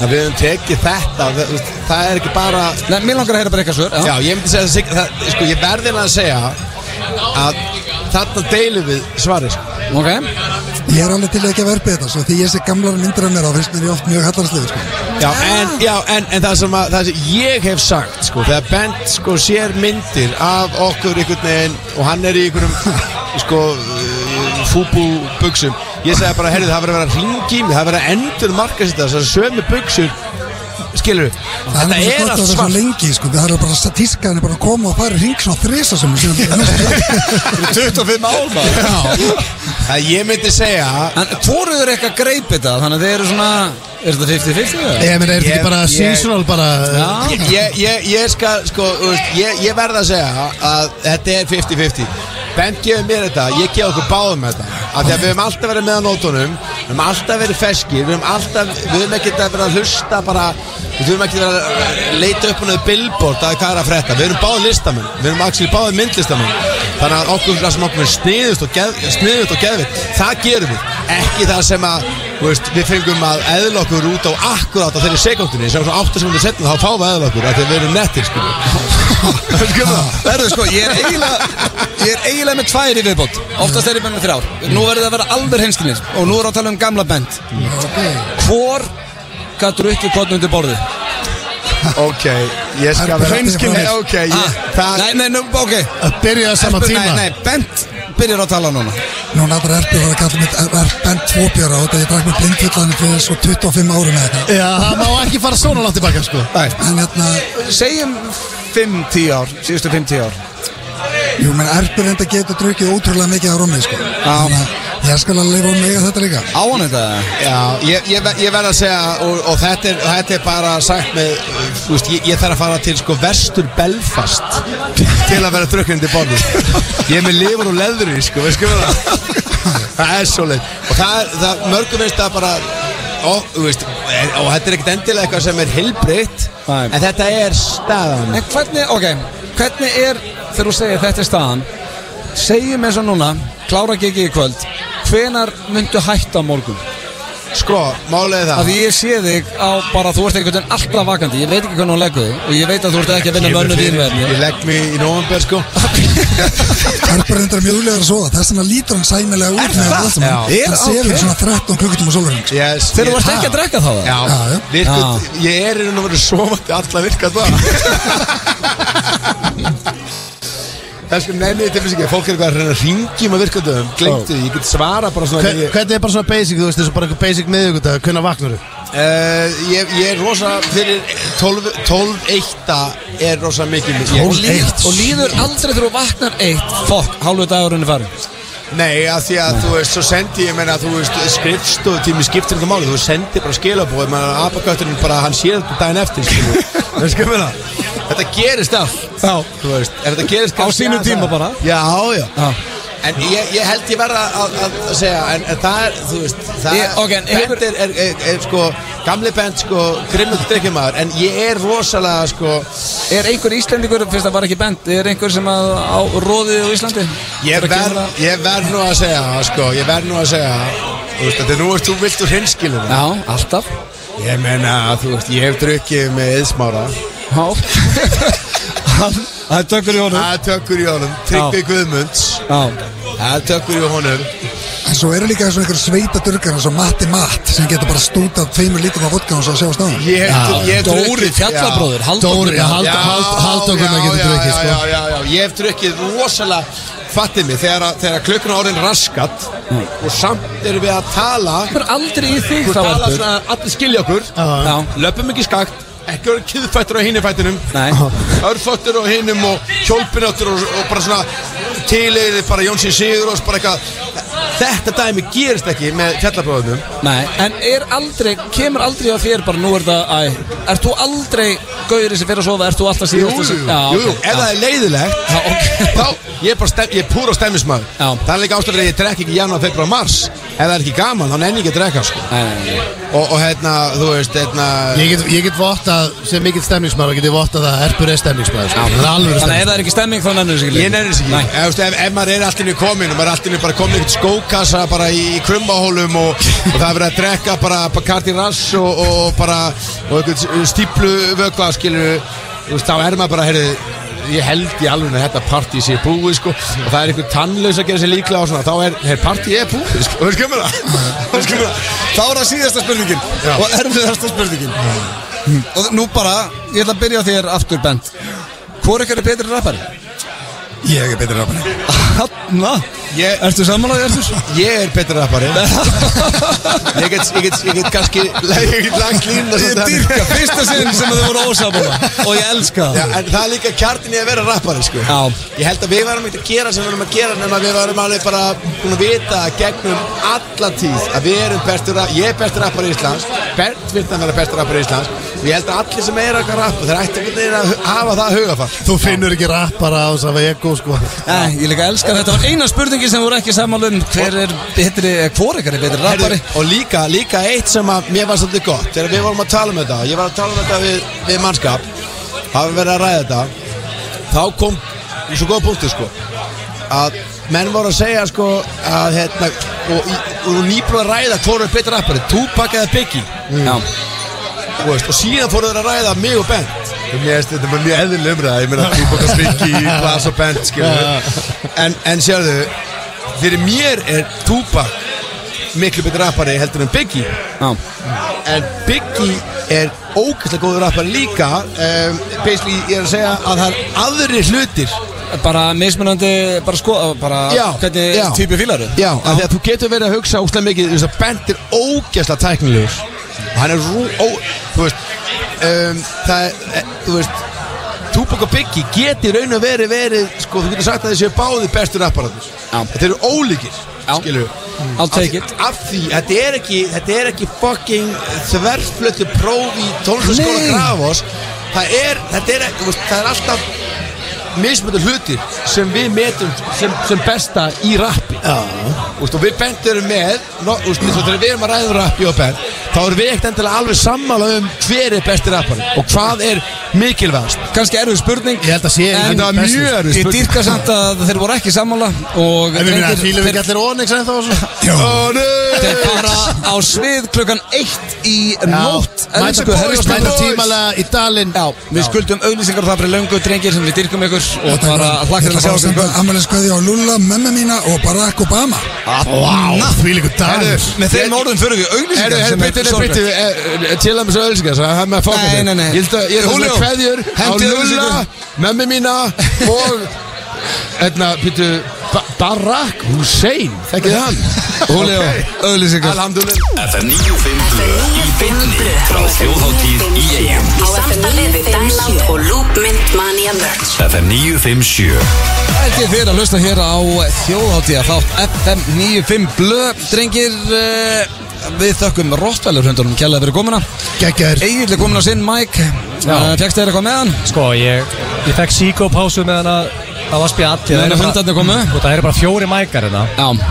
Speaker 6: við höfum tekið þetta það, það er ekki bara
Speaker 1: Nei, mér langar að heyra bara ykkar svör
Speaker 6: Já, ég myndi segja að Siggi- það, sko, ég verðin að segja að þarna deilum við svarið sko.
Speaker 1: Ok,
Speaker 7: Ég er alveg til ekki að verpa þetta svo Því ég sé gamlar myndir af mér á finnst mér ég oft mjög hallarsliður sko
Speaker 6: Já, en, já, en, en það, sem að, það sem ég hef sagt, sko, þegar Bent sko, sér myndir af okkur einhvern veginn og hann er í einhverjum sko, fúbú buksum, ég segja bara, herrið, það verður að vera hringi í mig, það verður að endur marka sér þessar sömu buksur, skilur við,
Speaker 7: Það
Speaker 6: þetta er
Speaker 7: er alveg gott
Speaker 6: allt
Speaker 7: að það er svo
Speaker 6: svart.
Speaker 7: lengi sko Það er bara tískaðan er bara að koma og fara í hring svona þrisa sem Ég
Speaker 1: 25 ál maður
Speaker 6: Það ég myndi segja
Speaker 1: En hvoruður eitthvað greip þetta? Þannig að þið eru svona, er þetta 50-50? eða?
Speaker 2: Ég meina, Eh, er þetta ekki
Speaker 6: Ég-
Speaker 2: bara
Speaker 6: ég-
Speaker 2: seasonal bara eh,
Speaker 1: Já,
Speaker 6: Ég- ég, ég, ég skal sko þú veist, ég, ég verð að segja að þetta er 50-50 Bent gefur mér þetta, ég gef okkur báðum þetta af því að við höfum alltaf verið með á nótunum við höfum alltaf verið feskir við höfum alltaf, við höfum ekkert að vera að hlusta bara, við höfum ekkert að vera að leita upp húnnaðu billboard að hvað er að frétta við höfum báðum listamenn, við höfum axil báðum myndlistamenn þannig að okkur það sem okkur er sniðust og, geð, sniðust og geðvitt það gerum við, ekki það sem að þú veist, við fengum að eðla okkur út á akkurát á þeirri sekundinni sem svo 8 sekundir setna þá fáum við eðla okkur af því að við erum nettir sko skum það
Speaker 1: Verður sko, ég er eiginlega Ég er eiginlega með tvær í viðbót Oftast er ég með með þrjár Nú verður það að vera alveg heimskinir Og nú er að tala um gamla band Hvor Gattur ekki kvotn undir borði
Speaker 6: ok, ég
Speaker 7: skal vera- Hreinskilni-
Speaker 6: ok, ég, það
Speaker 1: Ah, Nei, nei, nú, ok
Speaker 2: Að byrja á sama
Speaker 1: Nei,
Speaker 2: tíma
Speaker 1: nei, band byrjar að tala núna
Speaker 7: Núna allra erfið var að kalla mitt er, er bent tvóbjörra og þetta ég drakk með blindfullanir fyrir svo 25 árum eða eitthvað.
Speaker 2: Já, það má ekki fara svona langt tilbaka sko
Speaker 7: En hérna,
Speaker 1: Segjum 5-10 ár Síðustu 5-10 ár
Speaker 7: jú, menn erfið reynda getur drukkið ótrúlega mikið á rommi, sko. Þannig að ég skal alveg leifa um mig að þetta líka.
Speaker 1: Á hann þetta
Speaker 6: Já, ég, ég, ver- ég verð að segja og, og þetta, er, þetta er bara sagt með þú veist, ég, ég þarf að fara til sko vestur Belfast til að vera drukknandi borðu ég er með lifur og leðri sko, við skoðum það það er svo leið og það, er- það mörgum veist það bara og, þú veist, og þetta er ekkert endilega eitthvað sem er hilbritt
Speaker 1: Nei.
Speaker 6: en þetta er staðan
Speaker 1: En hvernig, ok Hvernig er Þegar þú segir þetta er staðan Segjum eins og núna Klára gigi í kvöld Hvenar myndu hætta á morgun?
Speaker 6: sko, málið er
Speaker 1: Af
Speaker 6: það
Speaker 1: því ég sé þig á bara Þú ert einhvern veginn alltaf vakandi Ég veit ekki hvernig hún leggur þig Og ég veit að þú ert ekki að vinna mönnu þín verðni
Speaker 6: ég legg mig í nóvambér sko
Speaker 7: Erfið reynda er mjög ulegar að sofa, þess vegna lítur hann sæmilega út með það sem hann.
Speaker 1: Já.
Speaker 7: Hann sefur svona 13 klukkutum á sólurinn, sko.
Speaker 6: yes,
Speaker 1: Þegar
Speaker 6: ég-
Speaker 1: þú ert ekki að drekka þá það
Speaker 6: Já,
Speaker 7: Já, já.
Speaker 6: virkut, ég er einhvern veginn svovandi alla virka það Það sko nefnir þetta fyrir sig ekki Fólk er eitthvað að reyna að ringjum að virka döðum Glemtu því, ég get svara bara svona
Speaker 2: Hver-
Speaker 6: Hver,
Speaker 2: Hvernig er bara svona basic, þú veist, þessu bara eitthvað basic miðugudag, hvernig vaknar þú?
Speaker 6: Eh, ég, ég er rosa fyrir 12, 12 eitt er rosa mikið mikið
Speaker 1: Og, líð,
Speaker 2: Eitt.
Speaker 1: og líður aldrei þegar þú vaknar eitt Fokk, hálfu dagurinn er farin
Speaker 6: Nei, að því að þú veist, svo sendi ég meina, þú veist, skrifstofutími skiptir ekki máli, þú sendir bara skilabóð, menn að apakötturinn bara, hann sér þetta daginn eftir, skilu. Þú veist, hvað ég meina? Þetta gerist allt. Já. Þú veist, ef þetta gerist
Speaker 1: Á sínum tíma bara.
Speaker 6: Já, já.
Speaker 1: Já.
Speaker 6: En ég, ég held ég verða að, að, að segja, en, en það er, þú veist, það
Speaker 1: Ég- ok, en hefur-
Speaker 6: band er, er, er, er, sko, gamli band, sko, grimmur drikkjumæður, en ég er rosalega, sko,
Speaker 1: Er einhver íslendingur, fyrst það var ekki bent Er einhver sem að á róðið á Íslandi?
Speaker 6: Ég
Speaker 1: Þegar
Speaker 6: verð
Speaker 1: kemur að-
Speaker 6: ég verð nú að segja það, sko, ég verð nú að segja það. Þú veist, þetta er nú ert þú vilt úr hinskilinu
Speaker 1: Já, alltaf
Speaker 6: Ég meina, þú veist, ég hef drukkið með eðsmára
Speaker 1: Já Hann- Það er tökur í honum
Speaker 6: Það er tökur í honum, Tryggvi Guðmunds
Speaker 1: Já
Speaker 6: Það er tökur í honum
Speaker 7: En svo eru líka svona einhver sveita durgar eins og Matti Matt sem getur bara stútað tveimur lítum af vodka og svo að sjá staðan.
Speaker 6: Ég hef, ég hef
Speaker 1: Dóri fjallabróður, Halldór
Speaker 2: Dóri, já,
Speaker 1: Hald-
Speaker 6: Já,
Speaker 2: Hald- Halldór Gunnar
Speaker 6: já,
Speaker 2: getur
Speaker 6: já,
Speaker 2: drukkið,
Speaker 6: já,
Speaker 2: sko.
Speaker 6: Já, já, já, ég hef drukkið rosalega Fattið mig, þegar, að- þegar klukkan orðin raskat
Speaker 2: Mm.
Speaker 6: Og samt erum við að tala
Speaker 1: Hver aldrei í þig
Speaker 6: Þú
Speaker 1: þá
Speaker 6: tala
Speaker 1: ertur
Speaker 6: svona að allir skilja okkur
Speaker 1: Já
Speaker 6: Löpum ekki skakt Ekki verið kýðfættur á hinni fættinum
Speaker 1: Nei.
Speaker 6: Örfóttur á hinnum og hjólpináttur og, og bara svona Tilegði bara Jónsson Sigur og bara eitthvað Þetta dæmi gerist ekki með fjallabróðunum
Speaker 1: Nei, en er aldrei, kemur aldrei að þér bara nú er það, æ, ert þú aldrei gaurið sem fyrir að sofa, ert þú alltaf
Speaker 6: Jú,
Speaker 1: síðast
Speaker 6: jú,
Speaker 1: sem,
Speaker 6: jú, jú, ef það er leiðilegt
Speaker 1: Já, ok.
Speaker 6: Þá, ég er bara stem, ég er púra stemmismæður
Speaker 1: Já.
Speaker 6: Það er líka ástæður að ég drekk ekki janúar, februar, mars Ef það er ekki gaman, þá nenni ég ekki að drekka sko.
Speaker 1: Nei, nei, nei, nei.
Speaker 6: og, og hérna, þú veist, hérna
Speaker 2: Ég get, ég get vottað, sem mikill stemningsmæður, get ég vottað að Erpur er stemningsmæður, sko. Það er alveg
Speaker 1: Þannig að ef það
Speaker 2: stemningsmæður.
Speaker 1: er ekki stemming þá nennir þessu ekki
Speaker 6: Ég nefnir þess ekki
Speaker 1: Nei.
Speaker 6: ef, veist, ef, ef maður er allt inni komin og maður er allt inni bara komin í einhvern skókassa bara í, í krummahólum og, og það er verið að drekka bara Bacardi Rass og, og, og bara og einhvern stíplu vökva skilur þú veist, þá er maður bara heyrðu ég held í alveg að þetta partí sé búið sko, og það er einhver tannlaus að gera sér líklega og svona, þá er, er partí er búið sko, veist kemur það, veist kemur það
Speaker 1: Þá er það síðasta spurningin
Speaker 6: Já.
Speaker 1: og erfiðasta spurningin Og nú bara, ég ætla að byrja á þér aftur bent Hvor ekkert er betri rappari?
Speaker 7: Ég er betri rafni.
Speaker 1: Hanna,
Speaker 6: Ég-
Speaker 1: ertu samanlæði Ertur?
Speaker 6: Ég er betur rappari Ég get, ég get, ég get kannski Ég get langt línuna
Speaker 1: Ég
Speaker 6: svolítið þannig.
Speaker 1: dýrka, fyrsta sinn sem þau voru ósamála og ég elska
Speaker 6: Já,
Speaker 1: það
Speaker 6: en það er líka kjartin í að vera rappari sko.
Speaker 1: Já.
Speaker 6: Ég held að við varum ekkert að gera sem við varum að gera nema við varum alveg bara búin að vita gegnum alla tíð að við erum bestur ra- ég er bestur rappari í Íslands Bernd vilt að vera bestur rappari í Íslands og ég held að allir sem er að rappa þeir ættu einhvern veginn að hu- hafa það hugafall
Speaker 2: Þú finnur ekki rappara á þess að ego, sko.
Speaker 1: Nei, ég líka elska þetta var eina spurningin sem voru ekki sammála um hver er betri, eh, hvor ekkert er betri rappari
Speaker 6: Heyrðu, Og líka, líka eitt sem að mér var svolítið gott Þegar við vorum að tala um þetta Ég var að tala um þetta við, við mannskap Hafum verið að ræða þetta Þá kom í svo góða punktu sko Að menn voru að segja sko að, hérna, og, í, þú er nýbúin að ræða hvort er betur rappari Tupac eða Biggie
Speaker 1: Já.
Speaker 6: Þú veist, og síðan fóruður að ræða mig og Bent Mér veist, þetta er bara mjög eðlileg umræða Ég meina, Tupac og Biggie, Glass og Bent skilur. En, en sérðu Fyrir mér er Tupac miklu betur rappari heldur en Biggie
Speaker 1: Já.
Speaker 6: En Biggie er ógæslega góður rappari líka um, Basically, ég er að segja að það er aðri hlutir
Speaker 1: Bara mismunandi, bara sko, bara
Speaker 6: Já,
Speaker 1: hvernig
Speaker 6: já.
Speaker 1: típi fílar þau?
Speaker 6: Já, af því að þú getur verið að hugsa úslega mikið Þú veist að Bent er ógæslega tæknilegur Hann er rú, ó, þú veist um, Það er, e, þú veist Tupac og Biggie geti í raun og verið verið Sko, þú getur sagt að þessi er báði bestur apparatus
Speaker 1: Já.
Speaker 6: Þetta eru ólíkir,
Speaker 1: Já.
Speaker 6: skilur
Speaker 1: I'll take it.
Speaker 6: Af því, þetta er ekki, þetta er ekki fucking þverflötu próf í tónlistaskóla
Speaker 1: Nei.
Speaker 6: Grafos Það er, þetta er, þú veist, það er alltaf mismöndu hlutir sem við metum sem, sem besta í rappi Úst, og við bent erum með no, úst, eins og þegar við erum að ræða um rappi og bent þá erum við ekkert endilega alveg sammála um hver er besti rappari og hvað er mikilvægast
Speaker 1: Kanski erfið spurning
Speaker 2: Ég held að sé
Speaker 1: En
Speaker 2: engin
Speaker 1: það var
Speaker 2: besti.
Speaker 1: mjög erfið spurning Ég dýrka samt að þeir voru ekki sammála Og
Speaker 2: En við minna,
Speaker 1: drengir,
Speaker 2: fílum við
Speaker 1: þeir-
Speaker 2: ekki allir Onyx ennþá og svo
Speaker 6: Ó,
Speaker 1: Þeir
Speaker 6: nei!
Speaker 1: fara á svið klukkan eitt í nótt
Speaker 2: Mæta
Speaker 1: Elsku
Speaker 2: boys,
Speaker 1: herristúlkur.
Speaker 2: mæta tímalega í dalinn
Speaker 1: Já, við skuldum auðlýsingar og það fyrir löngu drengir sem við dyrkum ykkur og bara hlakkar að sjá okkur
Speaker 7: Amalískveði á Lulla, mömmu mína og Barack Obama
Speaker 2: Vá, því líkur dagur
Speaker 1: Með þeim orðum fyrir við
Speaker 6: Herru,
Speaker 1: auðlýsingar
Speaker 6: herru,
Speaker 1: sem er
Speaker 6: byttu,
Speaker 1: sorglegt.
Speaker 6: byttu,
Speaker 2: eh,
Speaker 6: til að með svo ölsingar, svo það er með að fóka
Speaker 1: Nei, nei, nei.
Speaker 6: Ég held að, ég held
Speaker 1: Julio,
Speaker 6: að kveðjur á
Speaker 1: hendið
Speaker 6: Lulla,
Speaker 1: auglýsingum.
Speaker 6: mömmu mína og, hérna, byttu, ba Barack Hussein, þekkið þið hann?
Speaker 1: Húljó, auðlýsingar
Speaker 6: Alhamdulillah.
Speaker 4: FM 95 Blöð í bytni frá þjóðháttíð í eigum
Speaker 5: Í samstarfi við Dæland og Loopmynd Mania Merch
Speaker 4: FM 957
Speaker 1: Þetta er þér að hlusta hér á þjóðháttíða þátt FM 95 blö Drengir, eh, við þökkum Rottvelur hundunum kjærlega fyrir komuna
Speaker 2: Gekkjaður
Speaker 1: Egil er komin á sinn, Mike Fjækst þeir eitthvað með hann?
Speaker 3: Sko, ég, ég fekk síkópásu meðan að það var spjall
Speaker 1: Meðan að hundarnir komu?
Speaker 3: Og það eru bara fjóri mækar hérna
Speaker 1: Já,
Speaker 3: um,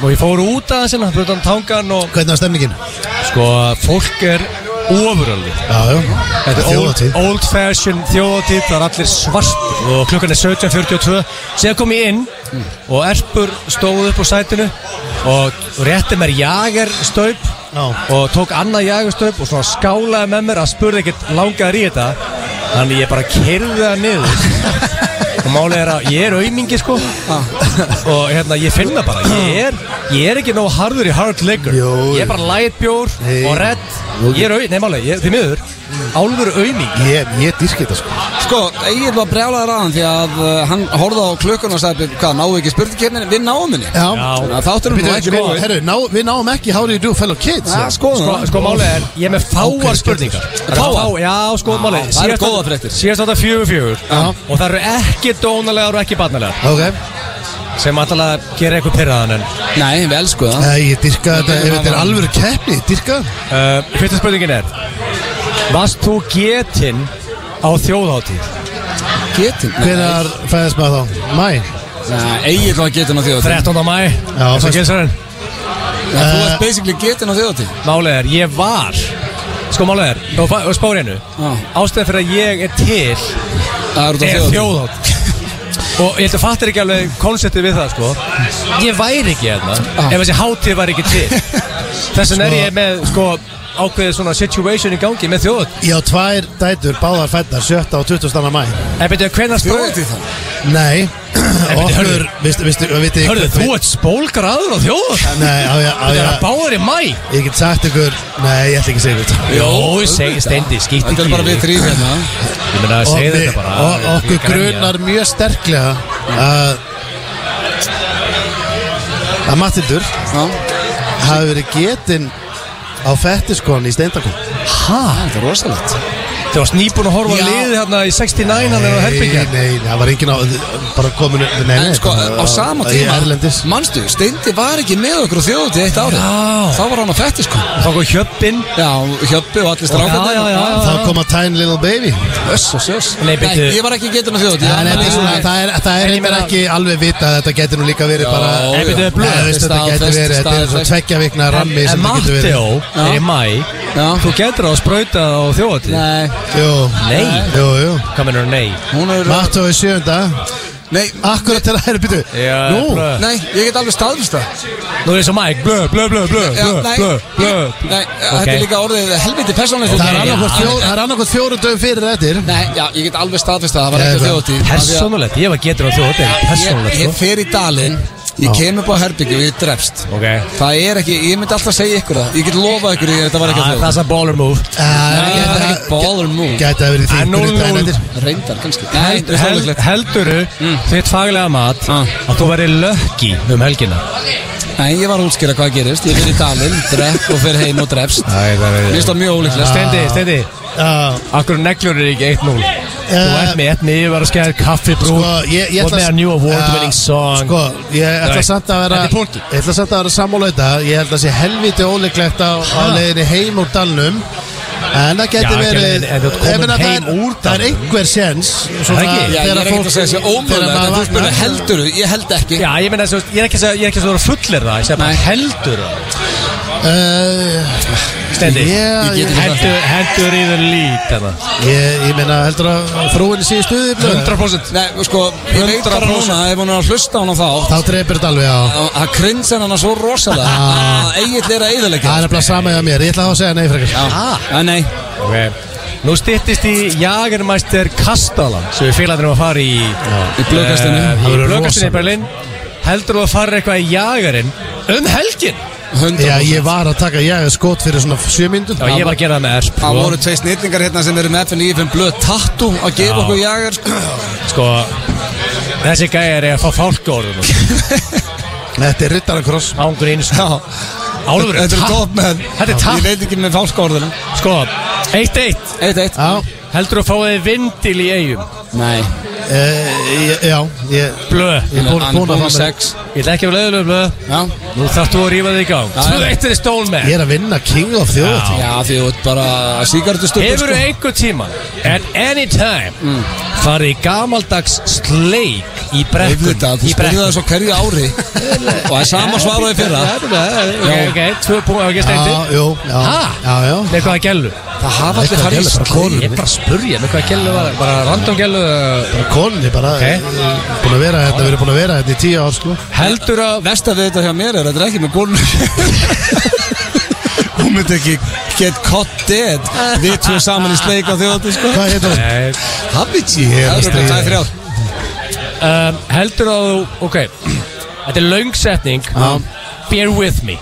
Speaker 3: Og ég fór út aðeins hérna, brutan tangan og
Speaker 2: Hvernig var stemningin?
Speaker 3: Sko, fólk er ofurölu
Speaker 2: Já, já Þetta
Speaker 3: Þetta
Speaker 2: er
Speaker 3: er old,
Speaker 2: þjóðatíð
Speaker 3: old fashion þjóðatíð, það er allir svart og klukkan er 17.42 síðan kom ég inn og Erpur stóð upp á sætinu og rétti mér jagerstaup
Speaker 2: Já.
Speaker 3: og tók annað jagerstaup og svona skálaði með mér að spurði ekkert langaður í þetta þannig ég bara kerði það niður og málið er að ég er aumingi sko og hérna ég finna bara ég er, ég er ekki nóg harður í hard liquor
Speaker 2: Jú.
Speaker 3: ég er bara light bjór
Speaker 2: Nei.
Speaker 3: og redd ég er au, nei máli, ég, því miður álfur auðning
Speaker 2: Ég, ég dýrki þetta sko
Speaker 1: sko, Egil var brjálaður aðan því að eh, hann horfði á klukkuna og sagði Hvað, náðu ekki spurningkefnin? Við náum henni
Speaker 2: Já
Speaker 1: Þannig að Þátturum nú ekki
Speaker 2: Býtum,
Speaker 1: búið
Speaker 2: sko, herru, ná, við náum ekki How do you do fellow kids
Speaker 1: Já, skoðum
Speaker 3: sko,
Speaker 1: það.
Speaker 3: sko málið er, ég er með
Speaker 2: Ókei,
Speaker 3: fáar
Speaker 2: skemmtilegt.
Speaker 3: spurningar Fáar? Já, sko
Speaker 1: Já,
Speaker 3: málið
Speaker 1: það eru
Speaker 3: síðast-
Speaker 1: góðar fréttir.
Speaker 3: Síðast átta fjögur fjögur
Speaker 2: Já.
Speaker 3: Og það eru ekki dónalegar og ekki barnalegar
Speaker 2: Ok
Speaker 3: Sem alltaf gera eitthvað pyrraðan en
Speaker 1: Nei, við elskuðum það
Speaker 2: Æ, ég dýrka þetta Ef þetta er alvöru keppni, ég dýrka
Speaker 3: uh, Fyrsta spurningin er Varst þú getinn á þjóðháttíð?
Speaker 1: Getin?
Speaker 2: Hvenar fæðast maður þá? Mæ?
Speaker 1: Nei, Egil var getin á þjóðatíð
Speaker 3: 13. mæ eins
Speaker 2: Já,
Speaker 3: og
Speaker 2: fyrst-
Speaker 3: gilsarinn.
Speaker 1: Þú ert basically getin á þjóðatíð
Speaker 3: Málið er, ég var Sko málið er, og, fa- og spári hennu
Speaker 1: Já.
Speaker 3: Ástæðan fyrir að ég er til
Speaker 1: Það er út á
Speaker 3: er
Speaker 1: þjóðatíð
Speaker 3: þjóðhátt og ég held að fattir ekki alveg konseptið við það sko ég væri ekki hérna
Speaker 2: Ah.
Speaker 3: ef þessi hátíð væri ekki til þess vegna er ég með sko ákveðið svona situation í gangi með þjóðhátt
Speaker 2: Ég á tvær dætur, báðar fættar, 7. og 20. mæ
Speaker 3: en betur hvernig spóð
Speaker 1: Þjóðatíð það
Speaker 2: Nei,
Speaker 3: bíddu,
Speaker 2: okkur,
Speaker 3: hörðu.
Speaker 2: veistu, veistu, veistu
Speaker 3: hörðu þú ert spólgraður á þjóðhátt
Speaker 2: Nei, á ég, á
Speaker 3: það
Speaker 2: ég,
Speaker 3: er að báður í mæ
Speaker 2: ég get sagt ykkur Nei, ég ætla ekki að segja þetta
Speaker 3: Jó, segi stendi, skýtt
Speaker 1: Þetta
Speaker 3: ekki
Speaker 1: er bara við þrýr hérna
Speaker 3: Ég meina,
Speaker 2: Og,
Speaker 3: segi
Speaker 2: við,
Speaker 3: þetta bara
Speaker 2: og okkur
Speaker 3: Ég grenja.
Speaker 2: grunar mjög sterklega að að Matildur
Speaker 1: Já.
Speaker 2: hafi verið getinn á fettiskon í steindakum
Speaker 3: Ha?
Speaker 1: Þetta er rosalegt
Speaker 3: Þú varst nýbúin að horfa
Speaker 2: Já.
Speaker 3: að liði hérna í 69 hann er á herbyggja
Speaker 2: nei, það var engin á bara komin nei, nei,
Speaker 1: En sko,
Speaker 2: bara
Speaker 1: á sama
Speaker 2: í
Speaker 1: tíma
Speaker 2: Erlendis
Speaker 1: Manstu, Steindi var ekki með okkur á þjóðatíð eitt árið
Speaker 3: Já.
Speaker 1: Þá var hann á fætti sko
Speaker 3: Þá kom hjöppin
Speaker 1: Já, Hjöppi og allir strákarnir
Speaker 3: Já, já, já, já.
Speaker 2: þá kom að Tiny Little Baby
Speaker 1: Öss og sjöss
Speaker 3: Nei, bíddu.
Speaker 1: Ég var ekki getur á þjóðatíð
Speaker 2: Já, en þetta er svona,
Speaker 1: Nei.
Speaker 2: það er, það er
Speaker 3: En ég
Speaker 2: reyndar
Speaker 3: meina-
Speaker 2: ekki alveg vita að þetta getur nú líka verið
Speaker 1: Já,
Speaker 2: bara
Speaker 1: já.
Speaker 3: Nei, bíddu, þetta er blöð.
Speaker 2: Nei, veist, þetta getur
Speaker 1: Staðfest,
Speaker 2: verið, þetta er svo
Speaker 1: staðfest.
Speaker 2: tveggja vikna rammi
Speaker 3: En
Speaker 2: sem þetta getur verið
Speaker 3: Matteo er í
Speaker 1: Já.
Speaker 3: mæ
Speaker 1: Já.
Speaker 3: Þú getur að sprauta á þjóðatíð
Speaker 1: Nei,
Speaker 2: Jú,
Speaker 3: Nei
Speaker 2: jú, jú
Speaker 3: Hvað mennur nei?
Speaker 1: hún er
Speaker 2: Matteo er sjönda
Speaker 1: Nei,
Speaker 2: Akkurat til að hæra byrju
Speaker 3: Já,
Speaker 2: Nú,
Speaker 3: blöð.
Speaker 1: nei, ég get alveg staðfist það
Speaker 3: Nú er ég svo mæk, blö, blö, blö, blö,
Speaker 1: Já,
Speaker 3: blö,
Speaker 1: nei,
Speaker 3: blö,
Speaker 1: ég-
Speaker 3: blö
Speaker 1: nei, þetta er líka orðið helviti persónlegt
Speaker 2: það er
Speaker 3: Já,
Speaker 2: annarkvort
Speaker 3: hann-
Speaker 2: fjóru, það er annarkvort fjóru dögum fyrir eða eftir
Speaker 1: Nei, já, ég get alveg staðfist það, það var ekki
Speaker 2: Ég-
Speaker 1: á þjóðatíð
Speaker 3: Persónulegt, ég var getur á þjóðin
Speaker 1: Ég, ég
Speaker 3: Persónulegt, sko
Speaker 1: fer í dalinn, ég kem upp á herbyggi og ég drefst
Speaker 3: Ok Það
Speaker 1: Það er ekki, ég myndi alltaf segja ykkur það Ég get lofað ykkur því að þetta var ekki á
Speaker 3: er
Speaker 1: þjóðatíð
Speaker 3: þess að Ah, baller move
Speaker 2: Ah,
Speaker 1: Nei, það er ekki baller move
Speaker 2: Gæti að verið því
Speaker 3: Ah, núll,
Speaker 2: fyrir daginn
Speaker 3: núll.
Speaker 2: eftir
Speaker 1: Reyndar, kannski Nei,
Speaker 3: Held,
Speaker 1: þetta er
Speaker 3: held,
Speaker 1: stórleiklegt.
Speaker 3: helduru þitt faglega mat
Speaker 1: Ah.
Speaker 3: að þú væri lökki um helgina
Speaker 1: Nei, ég var að útskýra hvað gerist Ég fer í dalinn, dref og fer heim og drefst Mér
Speaker 3: Æ, Ah. það er
Speaker 1: finnst það mjög ólíklegt
Speaker 3: Stendi, Stendi,
Speaker 2: Já,
Speaker 3: akkur neglur er ekki 1-0 Þú
Speaker 2: Eh,
Speaker 3: ert með 1-0, ég var að skæða kaffibrú
Speaker 2: Sko, ég, ég
Speaker 3: Og með a new award
Speaker 1: Eh,
Speaker 3: winning song
Speaker 2: Sko, ég ætla
Speaker 3: Nei.
Speaker 2: samt að vera
Speaker 3: Þetta er punktur.
Speaker 2: Ég ætla samt að vera sammála í þetta Ég held að sé helviti óleiklegt á, á leiðinni heim úr dalnum En það
Speaker 3: Já,
Speaker 2: geti
Speaker 3: ekki,
Speaker 2: verið
Speaker 3: en- en þú ert
Speaker 2: Ég meina,
Speaker 3: komin
Speaker 2: það er-
Speaker 3: heim úr
Speaker 2: Það er
Speaker 3: dalnum.
Speaker 2: einhver séns
Speaker 3: Það ekki?
Speaker 1: Já, ég er ekkert að segja þessi ómöðulegt En þú spurði heldur ég held ekki
Speaker 3: Já, ég meina, þú veist, ég er ekki að segja- ég er ekki að vera fullir það Ég segi bara
Speaker 1: Nei.
Speaker 3: heldur það
Speaker 2: heldur
Speaker 3: Stendi,
Speaker 2: Ég
Speaker 1: get ekki
Speaker 3: hendur, hendur í það lít hérna. þarna.
Speaker 2: Eh, Ég, ég meina, heldur að frúin sé í stuði blöð?
Speaker 3: 100%
Speaker 1: Nei, sko, ég veit bara núna Ef hún er að hlusta hún á þá
Speaker 2: Þá dreipir þetta alveg á
Speaker 1: að krinsen hann svo rosalega að eigill er að
Speaker 2: Það
Speaker 1: eiðalega
Speaker 2: er nefnilega sama eða mér, ég ætla þá að segja nei frekar
Speaker 1: Já, Ah, nei,
Speaker 3: Ok Nú styttist í Jagermeister Kastalan sem við félagarnir um að fara í
Speaker 1: í blöðkastinu.
Speaker 3: Eh,
Speaker 2: Það
Speaker 3: Í
Speaker 2: verður
Speaker 3: blöðkastinu í
Speaker 2: rosalegt.
Speaker 3: Berlin Heldur þú að fara eitthvað í Jagerinn um helgin?
Speaker 2: Já,
Speaker 1: 100%
Speaker 2: ég var að taka ég skot fyrir svona 7 myndum
Speaker 3: Já, ég var að gera það með ERP
Speaker 1: Það
Speaker 3: sko.
Speaker 1: voru tvei snillingar hérna sem eru með FNI fyrir blöð tattu að gefa
Speaker 3: Já.
Speaker 1: okkur jagar sko.
Speaker 3: Sko, þessi gæjar er að fá fálkóður
Speaker 2: Þetta er rittarakross
Speaker 3: Ángur eins Álfur,
Speaker 1: Þetta er
Speaker 3: takk.
Speaker 1: top menn
Speaker 3: Þetta er
Speaker 1: Ég
Speaker 3: takk
Speaker 1: veit ekki með fálskóðurinn
Speaker 3: Sko, 1-1
Speaker 1: Eitt, eitt
Speaker 2: Já,
Speaker 3: Heldur þú að fá þið vindil í eigum?
Speaker 1: Nei,
Speaker 2: e, ég- já, ég
Speaker 3: Blöð
Speaker 2: Ég búin
Speaker 1: hann er
Speaker 2: búin
Speaker 1: búin með
Speaker 2: að fá mig
Speaker 1: sex
Speaker 3: Ég ætla ekki að vera leiðilegur, blöð
Speaker 1: Já,
Speaker 3: Nú þarf þú að rífa þig í gang
Speaker 1: Já, já.
Speaker 3: 2-1 er stól með
Speaker 2: Ég er að vinna King of Þjóðatíð
Speaker 1: já því þú ert bara sígartustöpur
Speaker 3: Hefur þú einhver tíma At any time Farið í gamaldags sleik Í brekkun
Speaker 1: Þetta, þú
Speaker 3: Í
Speaker 1: spyrir það svo hverju ári Og það er sama svar og í fyrra
Speaker 3: Ok, ok, tvö punkt Ok,
Speaker 2: Já,
Speaker 3: steindir
Speaker 2: jú, já,
Speaker 3: Ha?
Speaker 2: já, já
Speaker 3: Með hvaða gellu
Speaker 1: Það hafa allir
Speaker 2: Eitthvað
Speaker 1: farið
Speaker 2: gerðist bara konur.
Speaker 3: Ég er bara að spurja Með hvaða gellu var Bara random gellu uh,
Speaker 2: Konni bara
Speaker 3: Ok.
Speaker 2: okay. Búin að vera hérna, við erum búin að vera hérna í 10 ár sko
Speaker 3: Heldur að
Speaker 1: Vesta við þetta hjá mér er að þetta er ekki með konur Hún myndi ekki get caught dead Við tvo saman í sleik á þjóðatíð sko
Speaker 2: Hvað heitir það?
Speaker 3: Nei
Speaker 1: Habichi Það er bara þrjár
Speaker 3: um, Heldur að þú Ok Þetta er löngsetning Bear with me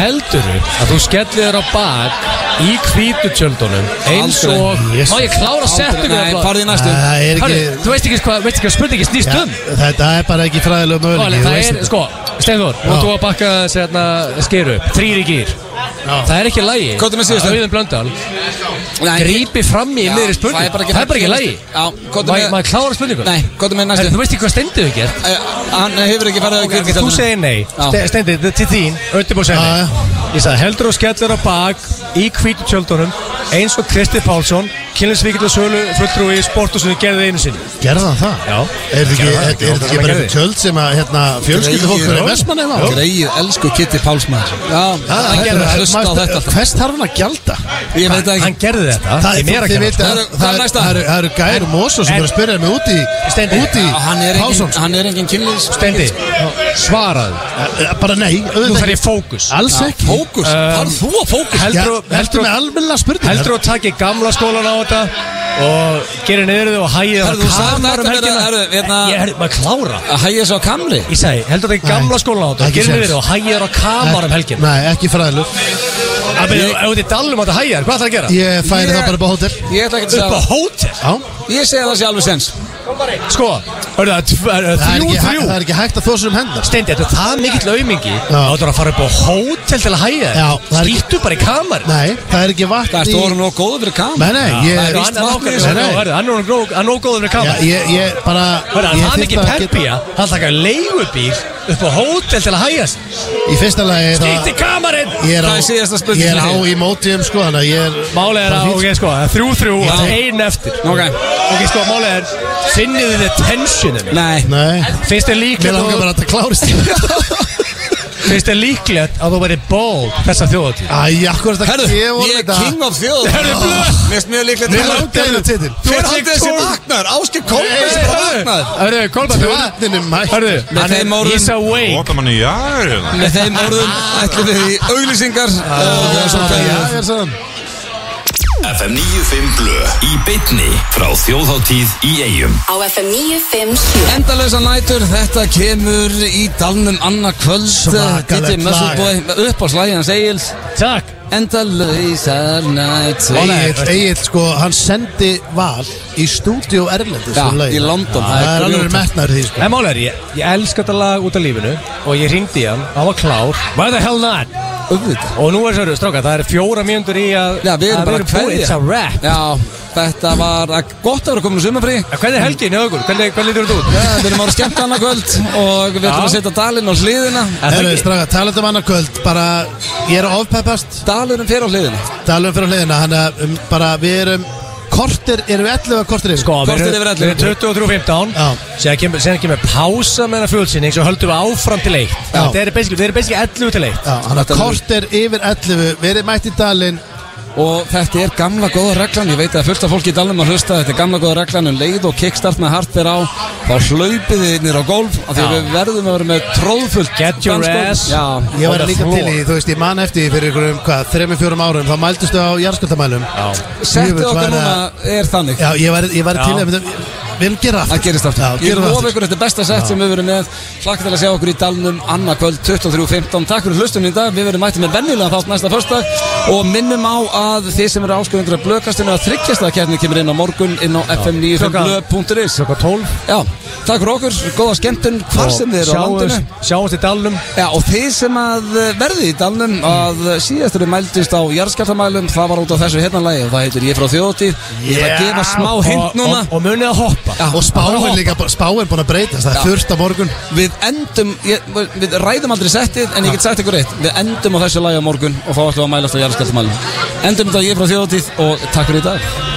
Speaker 3: Heldur að þú skellir þér á bak Í hvítu tjöldunum Eins
Speaker 1: Aldrei.
Speaker 3: og
Speaker 2: Jesus.
Speaker 3: Má ég klára að setja
Speaker 1: Nei, farði í næstu
Speaker 2: Það er
Speaker 3: Harri,
Speaker 2: ekki
Speaker 3: þú veist ekki hvað, veist ekki hvað spurningi snýst
Speaker 2: Já,
Speaker 3: um
Speaker 2: Þetta er bara ekki fræðilega
Speaker 3: Óli,
Speaker 2: möguleiki þú
Speaker 3: Það
Speaker 2: veist
Speaker 3: er,
Speaker 2: þetta.
Speaker 3: sko, Steinfór, nú þú að bakka sérna skeru, þrýri gýr Það er ekki lægi
Speaker 1: Hvað er með síðustu?
Speaker 3: Auðun Blöndal,
Speaker 1: Nei,
Speaker 3: grípi fram í
Speaker 1: Já, það
Speaker 3: miðri
Speaker 1: er
Speaker 3: spurning
Speaker 1: bara ekki-
Speaker 3: Það er bara ekki lægi
Speaker 1: Já, hvað er með-
Speaker 3: Maður klára spurningu
Speaker 1: Nei, hvað er með
Speaker 3: Herri,
Speaker 1: næstu
Speaker 3: Þú veist ekki hvað Steindi hefur gert
Speaker 1: Eh, Hann hefur ekki farið á
Speaker 3: Ok, Þú
Speaker 1: kvikmyndatöfluna.
Speaker 3: segir nei Ste- Steindi, þetta er til þín Öttibó segir
Speaker 2: Já,
Speaker 3: nei Ég sagði heldur og skellur á bak Í hvítu tjöldunum Eins og Kristi Pálsson Kynlinsvíkild og sölu fulltrúi í sportu sem þið gerði einu sinni
Speaker 2: Gerða það?
Speaker 3: Já.
Speaker 2: Er þetta ekki,
Speaker 3: Gerði það, já,
Speaker 2: er, er þetta ekki
Speaker 3: það
Speaker 2: bara
Speaker 3: gerði.
Speaker 2: eitthvað tjöld sem að hérna, fjölskyldufólkur er vestmanni á?
Speaker 1: Greið, elsku Kitty Pálsmaður Já, hann gerði að hlusta á þetta alltaf.
Speaker 2: Hvers þarf hann að gjalda?
Speaker 1: Ég veit það
Speaker 3: Hann
Speaker 1: ekki
Speaker 3: gerði þetta
Speaker 2: Það
Speaker 3: Ég
Speaker 2: er,
Speaker 3: mér að
Speaker 2: þið
Speaker 3: kenna,
Speaker 2: veit
Speaker 3: sko.
Speaker 1: Það eru- hvað
Speaker 2: að
Speaker 1: er
Speaker 2: það eru-
Speaker 1: næsta?
Speaker 2: það eru- það eru Gæri Mósó sem
Speaker 3: En-
Speaker 2: er að spyrja mig út í
Speaker 3: Steindi.
Speaker 2: út í
Speaker 1: Já, Hann er engin-
Speaker 2: Pálsson
Speaker 1: hann er engin kynlýs
Speaker 3: Stendi, svaraðu
Speaker 2: Eh, Bara nei,
Speaker 3: Nú
Speaker 2: auðvitað
Speaker 3: þarf ég
Speaker 2: ekki
Speaker 3: fókus
Speaker 2: Alls ekki
Speaker 1: Fókus,
Speaker 3: Ehm.
Speaker 1: þarf þú að fókus
Speaker 2: Já,
Speaker 3: Heldur þú-
Speaker 2: Heldur með almenna spurningar
Speaker 3: Heldur að taki gamla skólan á þetta Og gerir niður þau og hægir
Speaker 1: Herðu, þú sagði þetta verið- herðu, hérna-
Speaker 3: Ég er maður klára
Speaker 1: Að hægja svo á kamri
Speaker 3: Ég segi, heldur að taki gamla skólan á þetta
Speaker 2: Ekki
Speaker 3: og Gerir niður
Speaker 2: séns.
Speaker 3: þau og hægir á kamar um helgin
Speaker 2: Eh, Nei, ekki fræðileg
Speaker 3: Það er auðvitað í dalum á þetta hægir Hvað það að gera?
Speaker 2: Ég Eh, færi
Speaker 1: Ég-
Speaker 2: það bara upp á hótel
Speaker 1: Ég ætla ekki að
Speaker 3: Upp á
Speaker 1: segja
Speaker 3: hótel
Speaker 2: Já
Speaker 1: það Ég segja það sé alveg sens
Speaker 3: Sko, hörðu það, tv- er- er
Speaker 2: Það er
Speaker 3: þrjú,
Speaker 2: ekki hæ-
Speaker 3: þrjú
Speaker 2: það er ekki hægt að þósa um hendar
Speaker 3: Steindi, þetta er það mikill aumingi Það áttur að fara upp á hótel til að hægja
Speaker 2: Já, það er ekki-
Speaker 3: Skýttu bara í kamar
Speaker 2: Nei, það er ekki
Speaker 1: Það er
Speaker 2: vatn í
Speaker 1: stórum og góður fyrir kamri
Speaker 2: Nei, nei, ég
Speaker 1: það er víst vatn í þessu.
Speaker 2: Nei, nei.
Speaker 3: Hann er ógóður með
Speaker 2: Já,
Speaker 3: kamar
Speaker 2: ég, ég bara
Speaker 3: Hörru,
Speaker 2: ég
Speaker 3: hann er
Speaker 2: þyrfti
Speaker 3: ekki
Speaker 2: að geta-
Speaker 3: peppja, hann takkar leigubíl upp á hótel til að hægja sig.
Speaker 2: Í fyrsta lagi þá-
Speaker 3: Skýtti kamarinn!
Speaker 2: Ég er á,
Speaker 1: Það er síðasta spurningin
Speaker 2: ég er á
Speaker 1: þín.
Speaker 2: í mótiðum sko Þannig að ég er
Speaker 3: Málið er
Speaker 2: bara
Speaker 3: að,
Speaker 2: fínt.
Speaker 3: ok, sko, það er þrjú, þrjú,
Speaker 1: Já.
Speaker 3: það er ein eftir.
Speaker 1: Ok.
Speaker 3: Ok, sko, málið er, finnið þið tensioninu?
Speaker 1: Nei,
Speaker 2: Nei
Speaker 3: Finnst þið
Speaker 2: Mér
Speaker 3: líklegt,
Speaker 2: langar
Speaker 3: að-
Speaker 2: bara að það klárist
Speaker 3: finnst þið líklegt að þú væri bold þessa þjóðatíð?
Speaker 2: Æ, akkur þetta
Speaker 1: herðu,
Speaker 2: gefur
Speaker 1: ég er
Speaker 2: þetta.
Speaker 1: king of þjóð
Speaker 3: Herðu, blöð.
Speaker 1: Mér er mjög líklegt
Speaker 2: Mér langar þetta titil
Speaker 1: Hver haldið þessi vaknar? Áskip Kolbens
Speaker 3: Nei,
Speaker 1: bara
Speaker 3: nei,
Speaker 1: maður.
Speaker 3: Hörru, Kolbætt, hvað?
Speaker 2: Börninum
Speaker 3: Hörru,
Speaker 1: Með
Speaker 3: hann
Speaker 1: þeim
Speaker 3: er,
Speaker 1: orðum-
Speaker 3: he's awake
Speaker 8: Óta manni, já, er það
Speaker 1: Með þeim orðum ætlum við í auglýsingar og það er svo
Speaker 2: Já,
Speaker 1: kveðið.
Speaker 2: ég er sann
Speaker 4: FM 95 Blö í bytni frá þjóðháttíð í eigum
Speaker 5: Á FM 957
Speaker 1: Endalösa nætur, þetta kemur í dalnum annað kvöld Eh,
Speaker 2: Svakalegt
Speaker 1: Diddy Muscle
Speaker 2: lag.
Speaker 1: Boy, upp á slæðan segils
Speaker 3: Takk
Speaker 1: Endalösa nætur
Speaker 2: Egil, Egil, sko, hann sendi val í stúdíu Erlendis
Speaker 1: Já,
Speaker 2: um lagið.
Speaker 1: í London, það er
Speaker 2: Það er alveg
Speaker 1: grjótart.
Speaker 2: metnaður í því, sko
Speaker 3: En mál er, ég, ég elska þetta lag út af lífinu Og ég ringdi hann, hann var klár Why the hell not?
Speaker 1: Auðvitað
Speaker 3: Og nú er sérðu, stráka, það er fjóra mínútur í að
Speaker 1: Já, við
Speaker 3: að
Speaker 1: erum bara
Speaker 3: búin. It's a wrap
Speaker 1: Já, þetta var að- gott að vera komin úr sumafrí
Speaker 3: En Hvernig er helgin, Haugur? Hvernig, hvernig lítur þetta út?
Speaker 1: Já, Við erum ára skemmt annað kvöld og við ætlum
Speaker 3: Já.
Speaker 1: að setja dalinn á hliðina
Speaker 3: Er það
Speaker 2: Herru,
Speaker 3: ekki?
Speaker 2: strafa, talandi um annað kvöld Bara, ég er að ofpeppast
Speaker 1: Dalurinn fyrir á hliðina
Speaker 2: Talum fyrir hliðina, hann að um, bara, við erum Kortir, erum við 11 kortir yfir
Speaker 3: Sko, við
Speaker 1: Kortir yfir
Speaker 3: erum
Speaker 1: ellefu.
Speaker 3: við erum 23.15
Speaker 2: Já.
Speaker 3: Sér kemur, sér kemur pása með hana fjölsynning Svo höldum við áfram til eitt
Speaker 2: Já.
Speaker 3: Þetta er basically, við erum basically 11 til eitt
Speaker 2: Já, hann að
Speaker 1: Þetta er-
Speaker 2: kortir yfir 11 Verið mætt í dalinn
Speaker 1: Og þetta er gamla góða reglan, ég veit að fullt af fólki í dalnum að hlusta Þetta er gamla góða reglan um leið og kickstart með hart fyrir á Þá hlaupið þið nýr á gólf af því
Speaker 3: Já.
Speaker 1: við verðum að vera með tróðfullt
Speaker 3: Get your
Speaker 1: dansgólf.
Speaker 3: ass.
Speaker 1: Já,
Speaker 2: Ég
Speaker 3: On
Speaker 2: var
Speaker 3: the
Speaker 2: líka
Speaker 3: floor.
Speaker 2: til í, þú veist, ég man eftir því fyrir einhverjum, hvað, þremur, fjórum árum Þá mældustu á jarðskjöldamælum
Speaker 1: Settið okkur núna er þannig
Speaker 2: Já, ég var, ég var
Speaker 3: Já.
Speaker 2: til að við viljum gera aftur
Speaker 1: Það gerist aftur
Speaker 2: Já,
Speaker 1: Ég
Speaker 2: gerum það
Speaker 1: lofa
Speaker 2: aftur
Speaker 1: ykkur þetta er besta sett sem við verum með Hlakka til að sjá okkur í dalnum annað kvöld 23.15 Takk fyrir hlustunum í dag Við verum mættið með venjulega þátt næsta fyrsta Og minnum á að þið sem eru ásköfundur af blökastinu að þryggjasta kemni kemur inn á morgun inn á fm95blö.is
Speaker 3: Klokka 12
Speaker 1: Já, takk fyrir okkur, góða skemmtun hvar sem þið eru á
Speaker 3: Sjáumst-
Speaker 1: landinu
Speaker 3: Sjáumst í dalnum
Speaker 1: Já, og þið sem að eh, verðið í dalnum
Speaker 3: Mm.
Speaker 1: að síðastur mæltist á jarðskjartamælum það var út á þessu hérnalagi og það heitir Ég frá þjóðtíð Ég ætla að gefa smá
Speaker 3: Og-
Speaker 1: hint núna
Speaker 3: Og, og munið að hoppa
Speaker 1: Já,
Speaker 2: Og
Speaker 1: bara
Speaker 2: spáin
Speaker 1: hoppa.
Speaker 2: líka, spáin búin að breytast Það
Speaker 1: Já.
Speaker 2: er þurft á morgun
Speaker 1: Við endum, ég, við ræðum aldrei settið en ég get sagt ykkur eitt Við endum á þessu lagi á morgun og þá ætlum við að mælast á jarðskjaldamælum Endum þetta á ég frá þjóðatíð og takk fyrir í dag